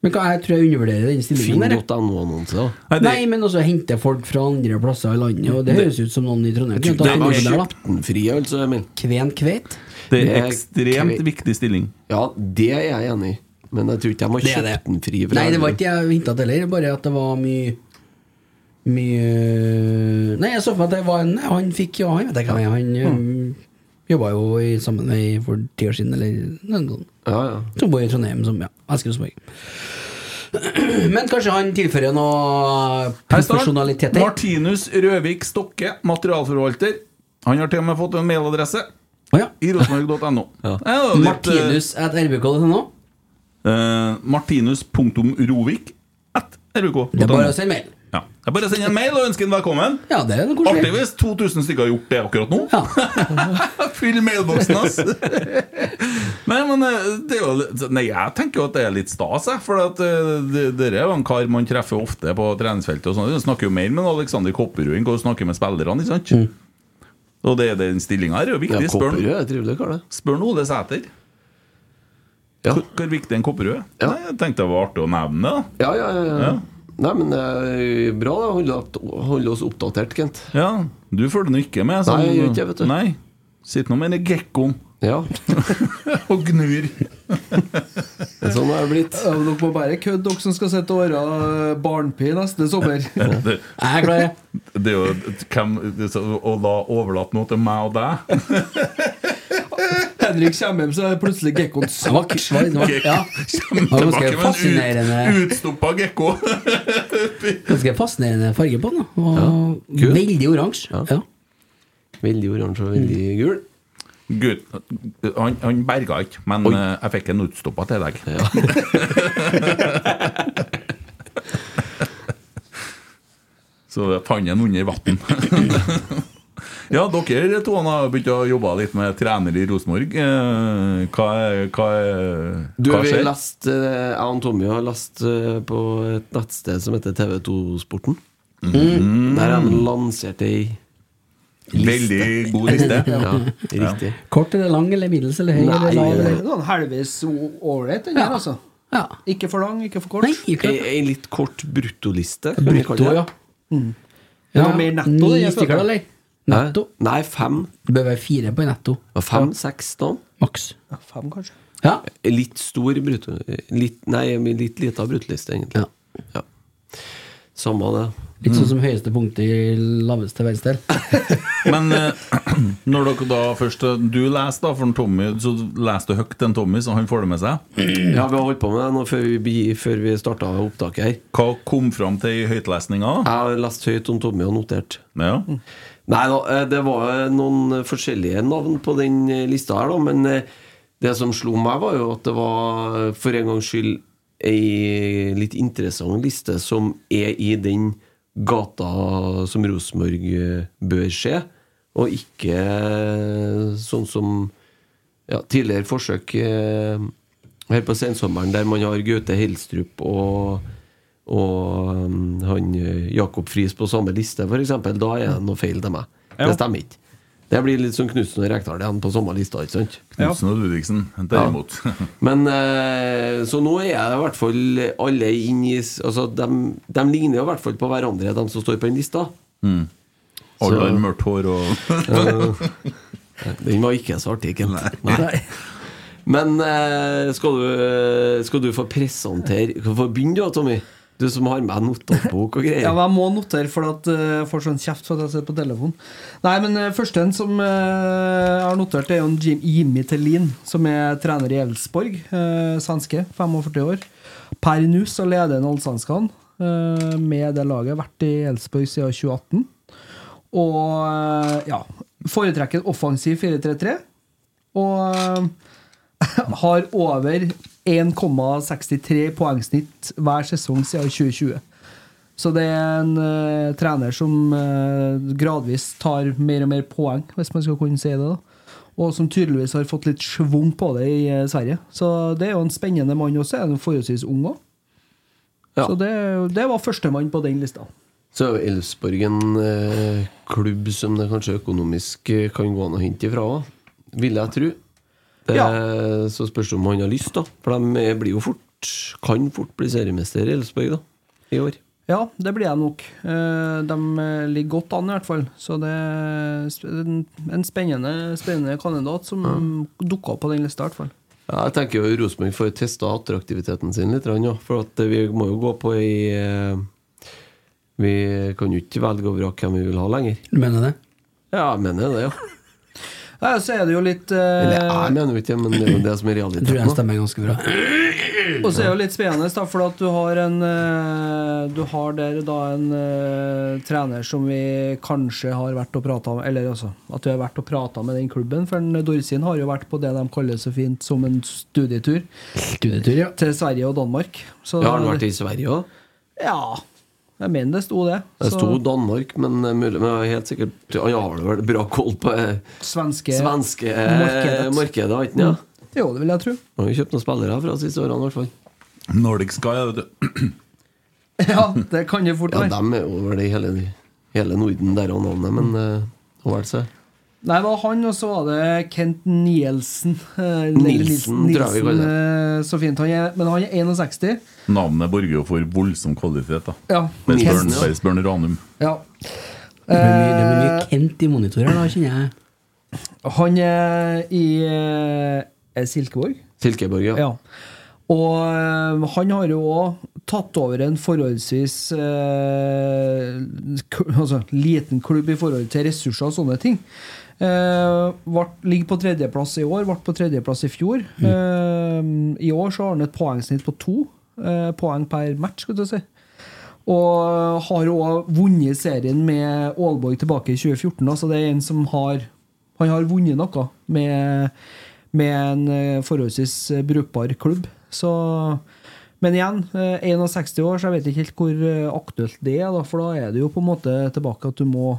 S3: Men hva, jeg tror jeg undervurderer den stillingen der. jeg.
S5: Finn.no-annonse, da.
S2: Nei, det-
S3: Nei, men også hente folk fra andre plasser i landet, og det høres ut som noen i Trondheim.
S5: Jeg
S3: kunne
S5: tror
S3: ta
S5: de
S3: en
S5: har
S3: jobb der, da.
S5: kjøpt den fri, altså, Emil.
S3: Kven kveit.
S2: Det er
S5: Det er
S2: ekstremt
S5: kve-
S2: viktig stilling.
S5: Ja, det er jeg enig i. Men jeg tror ikke de har
S3: Det er
S5: kjøpt
S3: det.
S5: den fri. fra
S3: Nei, det var
S5: Elverum.
S3: ikke jeg hinta til heller, bare at det var mye mye Nei, jeg så for meg at det var en Han fikk jo Han vet jeg hva han er, Han mm. jobba jo i, sammen med for ti år siden, eller noe sånt.
S5: Ja, ja.
S3: Som bor i Trondheim, som ja, elsker Rosenborg. Men kanskje han tilfører noe
S2: Her står han.
S3: profesjonalitet der?
S2: Martinus Røvik Stokke, materialforvalter. Han har til og med fått en mailadresse
S3: Å ja.
S2: i rosenborg.no.
S5: Ja.
S2: Det er jo litt,
S3: Martinus at rbk.no.
S2: eh, eh, Martinus.rovik at rbk.no.
S3: Det er bare å sende mail.
S2: Ja. Det er bare å sende en mail og ønske den velkommen.
S3: Ja, det er noe
S2: Artig
S3: koselig.
S2: hvis 2000 stykker har gjort det akkurat nå.
S3: Ja.
S2: Fyll mailboksen hans! Nei, men eh, det er jo litt, Nei, jeg tenker jo at det er litt stas, jeg. For at eh, det- dere er jo en kar man treffer ofte på treningsfeltet. og sånn. sånt. Du snakker jo mer med Alexander Kopperud enn hva du snakker med spillerne. ikke sant? Og det, den stillinga her er jo
S5: Ja,
S2: viktig. Spør,
S5: Kopperud er en trivelig kar, det.
S2: spør nå Ole Sæter.
S5: Ja.
S2: Hvor, hvor viktig en Kopperud er.
S5: Ja.
S2: Nei, jeg tenkte det var artig å nevne det.
S5: Ja, ja, ja. ja.
S2: Ja.
S5: Nei, men det er bra å holde, opp- holde oss oppdatert, Kent.
S2: da. Ja, Du følger nå ikke med?
S5: Nei, jeg gjør ikke det, vet du.
S2: Nei. Sitter nå med den gekkoen
S5: Ja,
S2: og gnur.
S5: men sånn er det blitt.
S1: Ja, men Dere må bare kødde, dere som skal sitte og åre barnpi neste sommer.
S2: Det,
S3: Jeg er klar, jeg.
S2: Det er jo hvem, det er så- Å da overlate noe til meg og deg
S1: Henrik kommer hjem, så er plutselig gekkoen
S3: Det var, det var, det var, ja. det var ganske fascinerende.
S2: med en ut, utstoppa gekko.
S3: Ganske fascinerende farge på den. da. Og
S5: kul.
S3: Veldig oransje. Ja.
S5: Ja. Veldig oransje og veldig gul.
S2: Gud, han, han berga ikke, men eh, jeg fikk en utstoppa til deg. Så jeg fant den under vann. Ja, dere to har begynt å jobbe litt med trener i Rosenborg. Eh, Hva, er- hva, er-
S5: Du,
S2: hva
S5: vi
S2: skjer?
S5: lest, eh, jeg og Tommy har lest eh, på et nettsted som heter TV2-sporten.
S2: Mhm.
S5: Der har de lansert ei
S2: Veldig god liste.
S5: Ja, riktig.
S3: Kort eller lang eller middels eller høy
S5: Nei,
S3: eller lav.
S1: Det er
S3: Eller.
S1: sånn Helvetes o- ålreit, den
S3: Ja.
S1: der, altså.
S3: Ja.
S1: Ikke for lang, ikke for kort.
S3: Nei, ikke
S5: Ei, ei litt kort bruttoliste. kan vi kalle
S3: Eh, Brutto,
S5: det.
S3: ja.
S1: Det var Mm. mer netto, det,
S3: Ni
S1: jeg
S3: stykker,
S1: følte.
S3: eller?
S5: Hæ?
S3: Netto.
S5: Nei, fem.
S3: Det bør være fire på netto.
S5: Fem-seks navn.
S3: Maks.
S1: Ja, fem, kanskje.
S3: Ja.
S5: Litt stor brutto... Litt, nei, litt lita bruttoliste, egentlig.
S3: ja.
S5: Ja. Samme det.
S3: Litt sånn som høyeste punkt i laveste verdensdel.
S2: Men eh, når dere da først Du leser, da, for en Tommy, så leser du høyt en Tommy, så han får det med seg.
S5: Ja, vi har holdt på med det nå før vi, bi- før vi starta opptaket her.
S2: Hva kom fram til i høytlesninga?
S5: Jeg har lest høyt om Tommy og notert.
S2: Ja.
S5: Nei da, eh, det var eh, noen eh, forskjellige navn på den eh, lista her, da. Men eh, det som slo meg, var jo at det var eh, for en gangs skyld ei litt interessant liste som er i den gata som Rosenborg eh, bør skje, og ikke eh, sånn som ja, tidligere forsøk eh, her på sensommeren, der man har Gaute Helstrup og, og mm, han eh, Jakob Friis på samme liste, f.eks. Da er det noe feil til meg.
S1: Ja.
S5: Det stemmer ikke. Det blir litt sånn Knutsen og Rekdal igjen på samme lista, ikke sant?
S2: Knutsen og Ludvigsen, derimot.
S5: Men eh, Så nå er det i hvert fall alle inn i s- altså, de, ligner jo i hvert fall på hverandre, de som står på den lista.
S2: Alle
S5: Så-
S2: har mørkt hår og
S5: Den var ikke så artig, Kent. Nei. Men eh, skal, du, eh, skal du få presentere Kan du få begynne, da, Tommy? Du som har med notatbok og
S1: Ja,
S5: greier.
S1: men jeg må notere, for at eh, jeg får sånn kjeft for at jeg sitter på telefon. Nei, men uh, første en som eh, jeg har notert, er jo en Jim, Jimmy Tellin, som er trener i Elfsborg. eh, svenske, 45 år. Per nå så leder han Allsvenskan eh, med det laget. Vært i Elfsborg siden 2018. Og eh, ja Foretrekker en offensiv 4-3-3. Og eh, har over 1,63 poengsnitt hver sesong siden 2020. Så det er en eh, trener som eh, gradvis tar mer og mer poeng, hvis man skal kunne si det. da. Og som tydeligvis har fått litt schwung på det i eh, Sverige. Så det er jo en spennende mann også. Han er jo forholdsvis ung òg.
S5: Ja.
S1: Så det, det var førstemann på den lista.
S5: Så er jo Elfsborg en eh, klubb som det kanskje økonomisk eh, kan gå an å hente ifra òg, vil jeg tro. Det, Så spørs det om han har lyst, da. For de eh, blir jo fort kan fort bli seriemester i Elfsborg da, i år.
S1: Ja, det blir jeg nok. Eh, De eh, ligger godt an, i hvert fall. Så det er sp- en en spennende, spennende kandidat som dukka opp på den lista, i hvert fall.
S5: Ja, jeg tenker jo Rosenborg får testa attraktiviteten sin litt, ja, for at eh, vi må jo gå på ei eh, Vi kan jo ikke velge og vrake hvem vi vil ha lenger.
S3: Du mener det?
S5: Ja, jeg mener det, ja.
S1: Ja, så er det jo litt eh,
S5: Eller jeg mener jo ikke det, men det er jo det som er
S3: Jeg tror den
S5: realiteten. da.
S3: stemmer ganske bra.
S1: Og så er det jo litt spennende, da, for at du har en eh, Du har der da en eh, trener som vi kanskje har vært og prata med Eller altså, at vi har vært og prata med den klubben. For en Dorsin har jo vært på det de kaller så fint som en studietur
S3: Studietur, ja.
S1: til Sverige og Danmark. Så,
S5: Ja, har han vært i Sverige òg?
S1: Ja. Jeg mener det sto det.
S5: Det
S1: Så
S5: sto Danmark, men eh, mulig Men jeg er helt sikkert Han har vel bra koll på eh,
S1: svenske
S5: svenske eh,
S1: markedet. Mm.
S5: markedet, har ikke han? ja?
S1: Jo, det vil jeg tro.
S5: Han har jo kjøpt noen spillere fra de siste årene, i hvert fall.
S2: Nordic Sky. ja, vet du.
S1: Ja, det kan jo fort
S5: Ja,
S1: være.
S5: dem er jo vel i hele, hele Norden der og navnet, men eh, har valgt seg.
S1: Nei, det var han, og så var det Kent Nielsen. eh, eller
S5: Nilsen, tror jeg vi kaller
S1: eh, så fint. Han er, men han er 61.
S2: Navnet borger jo for voldsom kvalitet, da.
S1: Ja.
S2: Bernsbørn
S5: Nilsen, ja.
S2: Bernsbørn Ranum.
S1: ja.
S3: Det blir mye, det blir mye
S1: eh,
S3: Kent i monitorer, da, kjenner jeg.
S1: Han er i eh, er Silkeborg.
S5: Silkeborg, ja.
S1: Ja. Og eh, han har jo òg tatt over en forholdsvis eh, k- altså, liten klubb i forhold til ressurser og sånne ting. Eh, vart, ligger på tredjeplass i år, ble på tredjeplass i fjor. Eh, I år så har han et poengsnitt på to eh, poeng per match, skal du si. Og eh, har òg vunnet serien med Aalborg tilbake i 2014. da, Så det er en som har Han har vunnet noe med, med en eh, forholdsvis eh, brukbar klubb. Så Men igjen, eh, 61 år, så jeg vet ikke helt hvor eh, aktuelt det er. da, For da er det jo på en måte tilbake at du må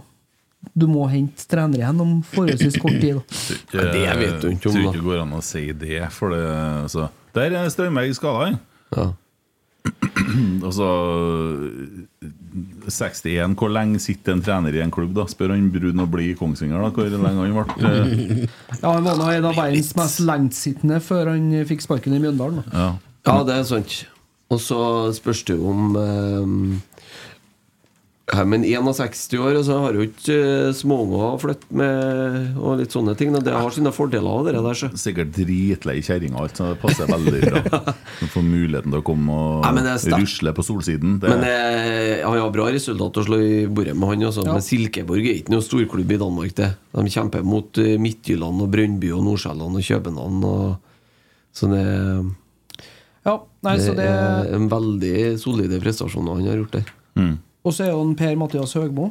S1: du må hente trener igjen om forholdsvis kort tid. Da.
S2: Ja,
S5: det vet du ikke om,
S2: Tror
S5: da.
S2: ikke det går an å si det, for det altså. Der er Strømberg skada,
S5: ja.
S2: Altså 61 Hvor lenge sitter en trener i en klubb, da? Spør han Brun og Blid i Kongsvinger, da. Hvor lenge han ble eh,
S1: Ja, han var nå en av verdens mest lengtsittende før han fikk sparken i Mjøndalen. Da.
S2: ja.
S5: Ja, det er sant. Og så spørs det jo om eh, ja, Men 61 år, og så har jo ikke eh, småunger å flytte med og litt sånne ting. da. Det har sine fordeler av det der. Så.
S2: Sikkert dritlei kjerringa, alt, så det passer veldig bra. Du får muligheten til å komme og
S5: Nei, men det er sterkt.
S2: rusle på solsiden. Det,
S5: Men eh, han har bra resultat å slå i bordet med han. Også.
S1: Ja.
S5: Men Silkeborg er ikke noen storklubb i Danmark. Det. De kjemper mot eh, Midtjylland og Brøndby og Nordsjælland og København. Og, så det,
S1: Ja, nei, så
S5: det
S1: det,
S5: er en veldig solide prestasjon han har gjort der.
S1: Og så er jo en Per-Mathias Høgmo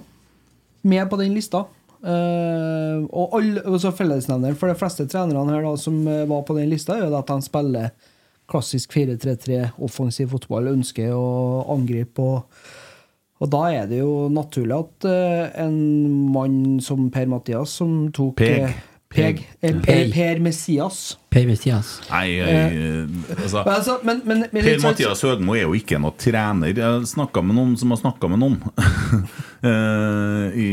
S1: med på den lista. Eh, og all, altså fellesnevner for de fleste trenerne her da, som eh, var på den lista, er jo det at de spiller klassisk 4-3-3, offensiv fotball, ønsker å angripe og Og da er det jo naturlig at eh, en mann som Per-Mathias, som tok
S2: Peg.
S1: eh, Peg. eh, Per,
S3: Peg.
S1: per Messias.
S3: Per Mathias.
S2: Nei, eh, altså
S1: Men, altså, men, men, men, litt sånn-
S2: Per-Mathias Høgmo er jo ikke noen trener. Jeg snakka med noen som har snakka med noen. Eh, i,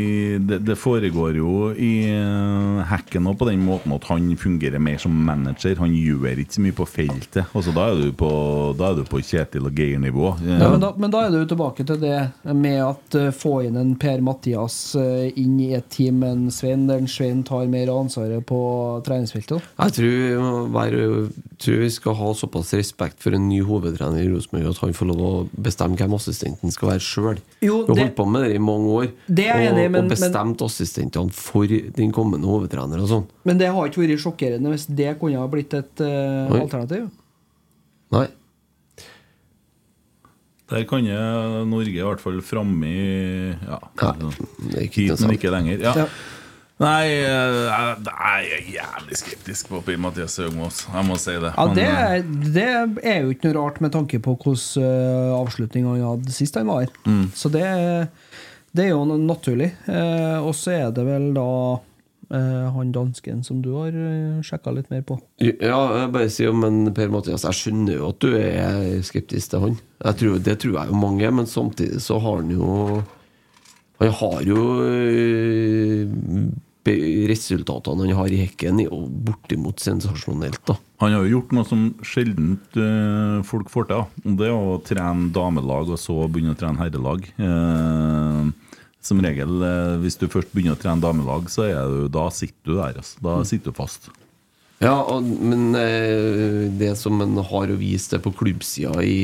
S2: det, det foregår jo i eh, hacken og på den måten at han fungerer mer som manager. Han gjør ikke så mye på feltet. Altså, da, er du på, da er du på Kjetil og Geir-nivå. Eh,
S1: Ja, men, da, men da er du jo tilbake til det med at eh, få inn en Per-Mathias eh, inn i et team med en Svein, der en Svein tar mer av ansvaret på treningsfeltet.
S5: Jeg tror, vi må være- tror vi skal ha såpass respekt for en ny hovedtrener i Rosenborg at han får lov å bestemme hvem assistenten skal være sjøl. Vi
S1: Jo,
S5: har holdt
S1: det-
S5: på med det i mange år.
S1: Det er jeg
S5: og,
S1: enig i, men-
S5: og bestemt assistentene for den kommende hovedtrener og sånn.
S1: Men det har ikke vært sjokkerende hvis det kunne ha blitt et eh,
S5: Oi.
S1: alternativ.
S5: Nei.
S2: Der kan jeg Norge i hvert fall framme i ja, altså,
S5: Nei, det er ikke
S2: hit,
S5: noe
S2: men
S5: sant.
S2: ikke lenger. Ja.
S1: Ja.
S2: Nei, eh, jeg jeg er jævlig skeptisk på Per-Mathias Høgmo. altså. Jeg må si det.
S1: Ja,
S2: Han,
S1: det,
S2: eh,
S1: er- det er jo ikke noe rart med tanke på hvordan eh, avslutninga han hadde sist han var her.
S5: Mm.
S1: Så det, det er jo noe naturlig. Eh, Og så er det vel da eh, han dansken som du har sjekka litt mer på.
S5: Ja, jeg bare sier jo, men Per Mathias, jeg skjønner jo at du er skeptisk til han. Jeg tror, det tror jeg jo mange, men samtidig så har han jo Han har jo øh, be- Resultatene han har i hekken, er jo bortimot sensasjonelt, da.
S2: Han har jo gjort noe som sjelden eh, folk får til. da. Og Det er å trene damelag og så begynne å trene herrelag. Eh, som regel, eh, hvis du først begynner å trene damelag, så er du, da sitter du der. Altså. Da sitter du fast.
S5: Ja, og, men eh, det som han har å vise til på klubbsida i,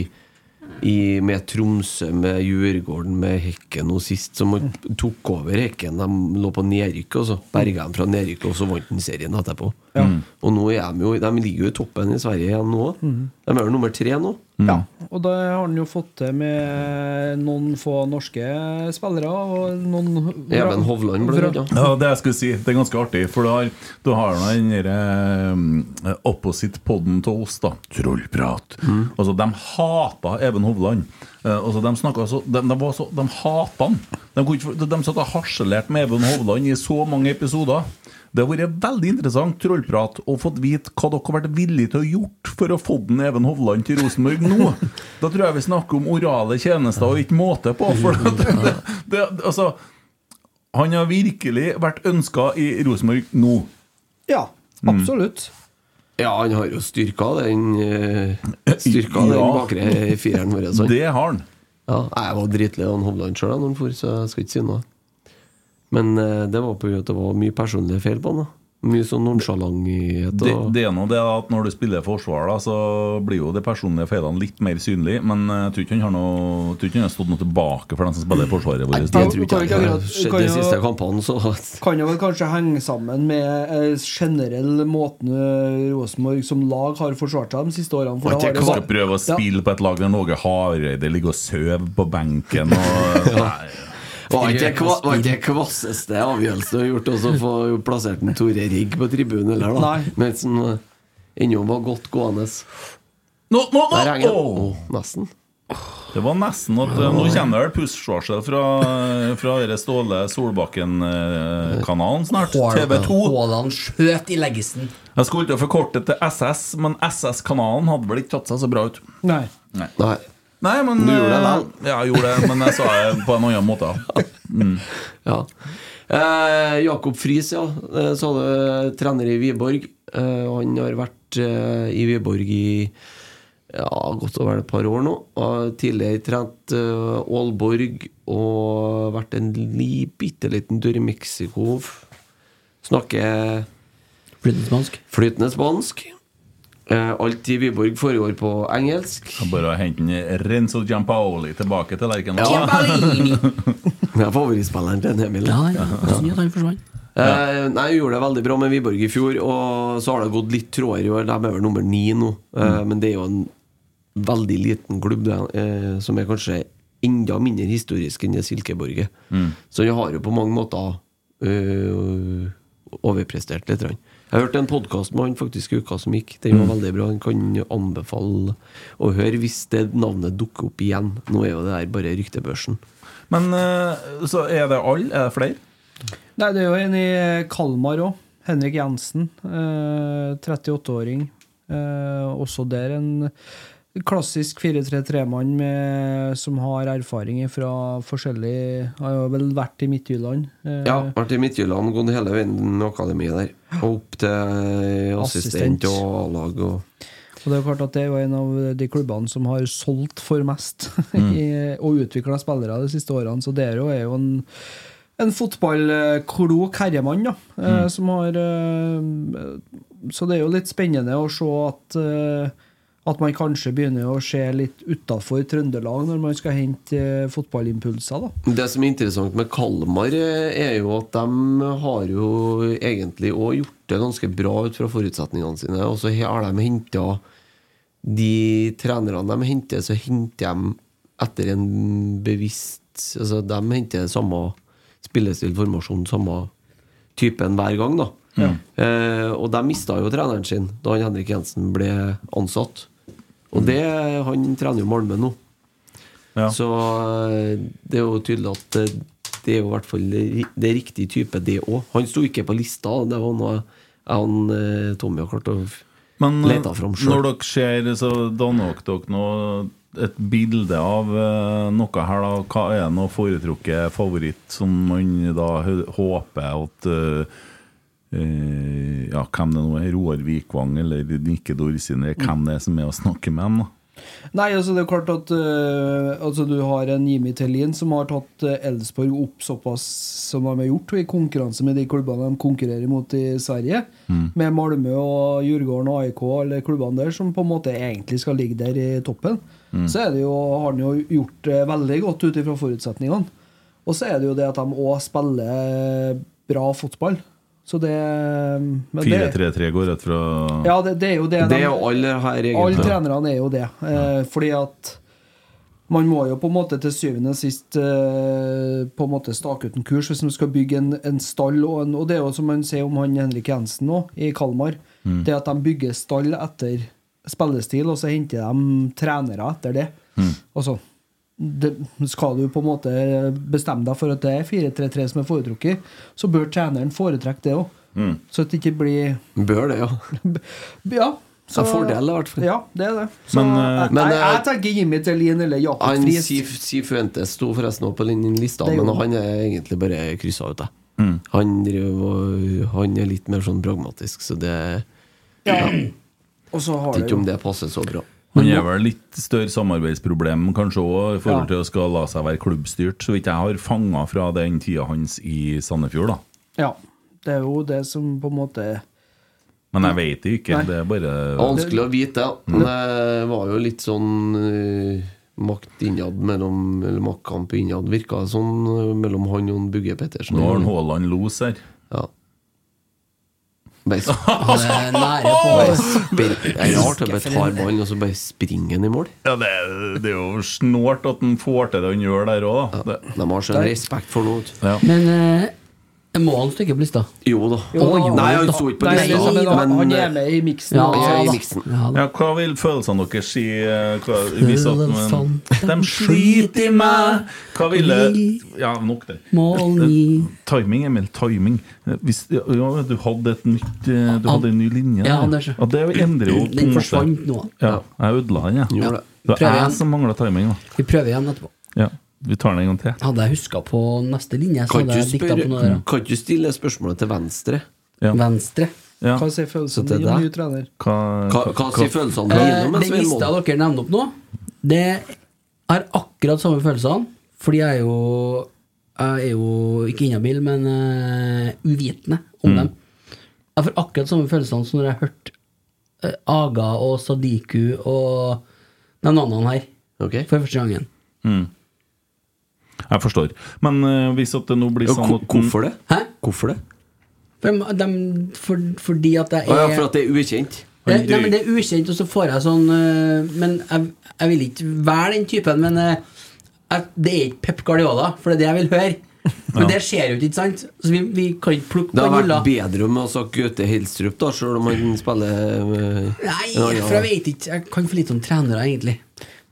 S5: i, med Tromsø, med Djurgården, med Hekken og sist, som han tok over Hekken De lå på nedrykk, og så
S2: altså,
S5: berga de fra nedrykk, og så vant han serien etterpå. Og nå er de jo De ligger jo i toppen i Sverige igjen nå. De er jo nummer tre nå.
S1: Og da har han jo fått til med noen få norske spillere og noen
S5: Even Hovland ble
S1: Vra-
S5: det, ja.
S2: Ja, det jeg skulle si, det er ganske artig, for du har, du har nå den derre eh, opposite podden til oss, da. Trollprat. Altså, de hata Even Hovland. Eh, altså, de snakka så De, de, var så, de hata han. De, kunne ikke få- de, de satt og harselerte med Even Hovland i så mange episoder. Det har vært veldig interessant trollprat og fått vite hva dere har vært villige til å gjort for å få den Even Hovland til Rosenborg nå. Da tror jeg vi snakker om orale tjenester og ikke måte på. For det, det, det, altså han har virkelig vært ønska i Rosenborg nå.
S1: Ja, absolutt.
S5: Ja, han har jo styrka den eh, Styrka den
S2: Ja.
S5: bakre fireren vår. sånn.
S2: Det har han.
S5: Ja, jeg var dritlei av han Hovland sjøl når han for, så jeg skal ikke si noe. Men eh, det var pga. at det var mye personlige feil på han. da Mye sånn nonsjalanthet.
S2: Det,
S5: og-
S2: det er nå det at når du spiller forsvar, da, så blir jo de personlige feilene litt mer synlige. Men eh, jeg tror ikke han har noe, jeg tror ikke han har stått noe tilbake for dem som spiller i forsvaret
S5: Nei,
S2: vårt.
S5: det tror
S1: Kan
S5: ikke
S1: ikke
S5: jeg har
S1: akkurat-
S5: skjedd
S1: kan
S5: de
S1: jo-
S5: siste kampene. Så
S1: Kan jo vel kanskje henge sammen med eh, generell måten eh, Rosenborg som lag har forsvart seg de siste årene. For
S2: At
S1: da
S2: jeg
S1: har det
S2: skal
S1: vært-
S2: prøve å
S1: Ja.
S2: spille på et lag der Norge Hareide ligger og sover på benken og Nei.
S5: var ikke kva- var ikke det kvasseste avgjørelsen du har gjort, også å få plassert en Tore Rigg på tribunen eller da.
S1: Nei.
S5: Men som eh, ennå var godt gående.
S2: Nå, nå, nå!
S5: Der henger den.
S2: Åh!
S5: Åh, nesten.
S2: Det var nesten at eh, Nå kjenner jeg vel push-varsel fra, fra dere Ståle Solbakken-kanalen snart. TV 2.
S3: Haaland skjøt i leggesen.
S2: Jeg skulle til å forkorte til SS, men SS-kanalen hadde vel ikke tatt seg så bra ut.
S1: Nei.
S5: Nei.
S2: Nei, men
S5: Du gjorde det
S2: eh,
S5: vel?
S2: Ja, jeg gjorde det, men jeg sa det på en annen måte.
S5: Ja. Eh, Jakob Friis, ja. Eh, Så hadde trener i Wiborg. Eh, han har vært eh, i Wiborg i ja, godt over et par år nå. Og tidligere trent eh, Aalborg og vært en li, bitte liten tur i Mexico. F- Snakker
S3: Flyttesmansk.
S5: flytende spansk. Eh, alt i Wiborg foregår på engelsk.
S2: Jeg Bare å hente en Renzo Giampaoli tilbake til
S3: Ja,
S2: Lerkendal.
S3: ja,
S5: Det er favorittspilleren til Emil.
S3: ja. Synd at han forsvant.
S5: Eh, nei, hun gjorde det veldig bra med Wiborg i fjor, og så har det gått litt tråder i år. De er vel nummer ni nå, eh, men det er jo en veldig liten klubb det, eh, som er kanskje enda mindre historisk enn det Silkeborget. Så de har jo på mange måter eh, overprestert litt. grann. Jeg hørte en podkast med han faktisk i uka som gikk. Den var veldig bra. Han kan anbefale å høre hvis det navnet dukker opp igjen. Nå er jo det der bare ryktebørsen.
S2: Men eh, så er det alle? Er det flere?
S1: Nei, det er jo en i Kalmar òg. Henrik Jensen. eh, 38-åring. Eh, også der en klassisk 4-3-3-mann med- som har erfaring fra forskjellige Har jo vel vært i Midtjylland. eh,
S5: Ja, vært i Midtjylland, gått hele veien med akademiet der. Og opp til eh, assistent
S1: Assistent.
S5: og A-lag og
S1: Og det er klart at det er jo en av de klubbene som har solgt for mest i, og utvikla spillere de siste årene, så Dero er jo en en fotballklok herremann, da. eh,
S5: Mm.
S1: Som har eh, Så det er jo litt spennende å se at eh, at man kanskje begynner å se litt utafor Trøndelag når man skal hente eh, fotballimpulser. da.
S5: Det som er interessant med Kalmar, eh, er jo at de har jo egentlig òg gjort det ganske bra ut fra forutsetningene sine. Og så har de henta De trenerne de henter, så henter de etter en bevisst Altså, de henter samme spillestil, formasjon, samme typen hver gang, da. Eh, og de mista jo treneren sin da han Henrik Jensen ble ansatt. Og det, han trener jo Malmö nå.
S2: Ja.
S5: Så eh, det er jo tydelig at eh, det er jo i hvert fall ri- det er riktig type, det òg. Han sto ikke på lista, det var noe jeg og eh, Tommy har klart å f-
S2: Men eh,
S5: Leter fram selv.
S2: når dere ser, så danner dere nå et bilde av eh, noe her, da. Hva er noe foretrukket favoritt som man da hø- håper at eh, eh, Ja, hvem det nå er, Roar Vikvang eller Nikke Dorsin, eller hvem det er som er å snakke med dem, da?
S1: Nei, altså det er klart at øh, altså du har en Jimmy Tellin som har tatt øh, Elfsborg opp såpass som de har gjort, i konkurranse med de klubbene de konkurrerer mot i Sverige.
S2: Mm.
S1: Med Malmö og Djurgården og AIK, eller klubbene der, som på en måte egentlig skal ligge der i toppen.
S2: Mm.
S1: Så er det jo, har han jo gjort det veldig godt ut ifra forutsetningene. Og så er det jo det at de òg spiller bra fotball. Så det men det-
S2: 4-3-3 går rett fra
S1: Ja, det, det er jo det.
S5: Det
S1: de-
S5: er jo alle her,
S1: alle
S5: egentlig.
S1: trenerne er jo det. Eh, fordi at man må jo på en måte til syvende og sist eh, på en måte stake ut en kurs hvis man skal bygge en, en stall. Og, en, og det er jo som man sier om han Henrik Jensen nå, i Kalmar. Det at de bygger stall etter spillestil, og så henter de trenere etter det. Og så det, skal du på en måte bestemme deg for at det er 4-3-3 som er foretrukket, så bør treneren foretrekke det òg. Så at det ikke blir
S5: Bør det, ja.
S1: ja.
S5: En fordel, i hvert fall.
S1: Ja, det er det. Så
S2: Men, eh,
S1: jeg,
S5: Men,
S1: jeg,
S5: eh,
S1: jeg tenker Jimmy Tellin eller Jakob
S5: Han
S1: Friis.
S5: Sif, Sif Fuentes sto forresten også på den lista,
S1: Det
S5: men
S1: gjorde
S5: han er egentlig bare kryssa ut. jeg. Han, driver og- han er litt mer sånn pragmatisk, så det jeg
S1: Og så har
S5: vet
S1: det
S5: ikke
S1: jo
S5: om det passer så bra.
S2: Han er vel litt større samarbeidsproblem kanskje òg, i forhold til å skal la seg være klubbstyrt, så vidt jeg har fanga fra den tida hans i Sandefjord, da.
S1: Ja. Det er jo det som på en måte
S2: Men jeg vet det ikke.
S1: Nei.
S2: Det er bare
S5: Det er Vanskelig å vite,
S1: Mm.
S5: ja. Men det var jo litt sånn eh, makt innad mellom Eller maktkamp innad, virka det sånn eh, mellom han og en Bugge Pettersen.
S2: Nå har han Haaland los her.
S5: Ja. Bare
S3: Ja, Eh, det er nære på.
S5: spiller Det er rart å bare tar ballen og så bare springer han i mål.
S2: Ja, det, er- det er jo snålt at han får til det han gjør der òg, da. Det,
S5: De har sånn respekt for noe. vet du.
S3: Men eh, må han stikke på lista?
S5: Jo da.
S1: Jo da.
S5: Nei, han sto ikke på
S1: Nei,
S3: lista,
S1: liksom, men han-
S5: men,
S1: Han
S5: eh,
S1: er med i miksen.
S3: Ja,
S1: altså.
S5: jeg er i
S3: da.
S5: miksen.
S3: Ja, da.
S2: ja, hva vil følelsene deres si? eh, Hva, hvis at, men,
S3: Følelsene,
S2: de sliter i meg! Hva ville Ja, nok det. Eh,
S3: Mål i
S2: Timing, Emil. Timing. Eh, Hvis, ja, ja, du hadde et nytt eh, Du hadde en ny linje.
S3: Ja,
S2: der.
S3: Anders.
S2: Ja, det endrer jo på en
S3: Den
S2: måte.
S3: forsvant nå.
S2: Ja, jeg ødela den,
S5: Gjorde
S2: jeg. Ja.
S5: det.
S2: Det var
S3: Prøv igjen.
S2: jeg som mangla timing, da.
S3: Vi prøver igjen etterpå.
S2: Ja. Vi tar den en gang til.
S3: Hadde jeg huska på neste linje, så
S5: Kan
S3: hadde
S5: ikke
S3: jeg dikta på noe der.
S5: spørre- kan ikke stille spørsmålet til venstre?
S2: Ja.
S3: Venstre.
S2: Ja.
S1: Hva sier følelsen
S5: Så
S1: din
S5: til
S1: om
S5: deg?
S1: ny trener?
S2: Hva,
S5: Hva, hva sier følelsene
S3: Eh,
S5: dine mens
S3: Den
S5: vi er i
S3: lista
S5: mål?
S3: dere nevner opp nå, det er akkurat samme følelsene. Fordi jeg er jo Jeg er jo ikke inhabil, men eh, uvitende
S5: Mm.
S3: om dem. Jeg får akkurat samme følelsene som når jeg hørte eh, Aga og Sadiku og de navnene her
S5: Ok.
S3: for første gangen.
S2: Jeg forstår. Men eh, hvis at det nå blir
S5: Ja,
S2: sånn
S5: ko-
S2: at
S5: Hvorfor det?
S3: Hæ?
S5: Hvorfor det?
S3: For, dem, for, fordi at jeg
S5: Å
S3: er
S5: ja, for at det er ukjent?
S3: Det, Eh, nei, men det er ukjent, og så får jeg sånn øh, Men jeg, jeg vil ikke være den typen, men øh, jeg, det er ikke Pep Guardiola, for det er det jeg vil høre. Men det skjer jo ikke, ikke sant? Så vi, vi kan ikke plukke
S5: Det
S3: på
S5: hadde
S3: hylla.
S5: vært bedre om å ha sagt Gaute Helstrup, da, sjøl om han spiller eh,
S3: Nei,
S5: en annen-
S3: for jeg vet ikke. Jeg kan for lite om trenere, egentlig.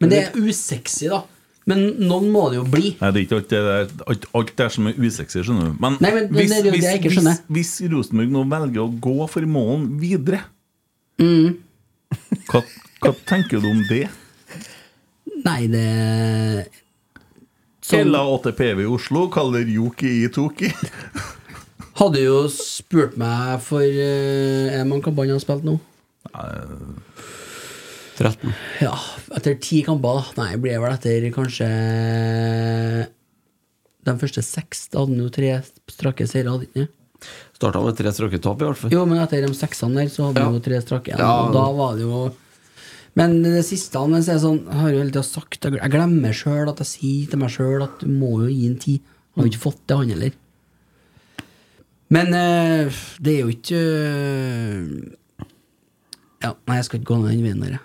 S3: Men det er usexy, da. Men noen må det jo bli.
S2: Nei, det er ikke alt det der, alt, alt det der som er usexy, skjønner du. Men,
S3: Nei, men- men det er jo det jeg ikke
S2: hvis,
S3: skjønner.
S2: hvis Rosenborg nå velger å gå for målen videre hva, hva tenker du om det?
S3: Nei, det Sånn-
S2: Kella 8PV i Oslo kaller Joki i Toki.
S3: Hadde jo spurt meg for eh, Er det mange kamper han har spilt nå?
S4: 13.
S3: Ja, etter ti kamper, da. Nei, blir det vel etter kanskje eh, De første seks. Da hadde han jo tre strake seire, hadde han ikke?
S4: Starta med tre strake tap, i hvert fall.
S3: Jo, men etter de seksene der, så hadde han
S4: Ja.
S3: jo tre strake igjen.
S4: Ja.
S3: Og da var det jo Men det siste han så er det sånn, jeg har jo hele tida sagt Jeg jeg glemmer sjøl at jeg sier til meg sjøl at du må jo gi en tid. Han har jo ikke fått det, han heller. Men eh, det er jo ikke eh, Ja, nei, jeg skal ikke gå ned den veien der, jeg.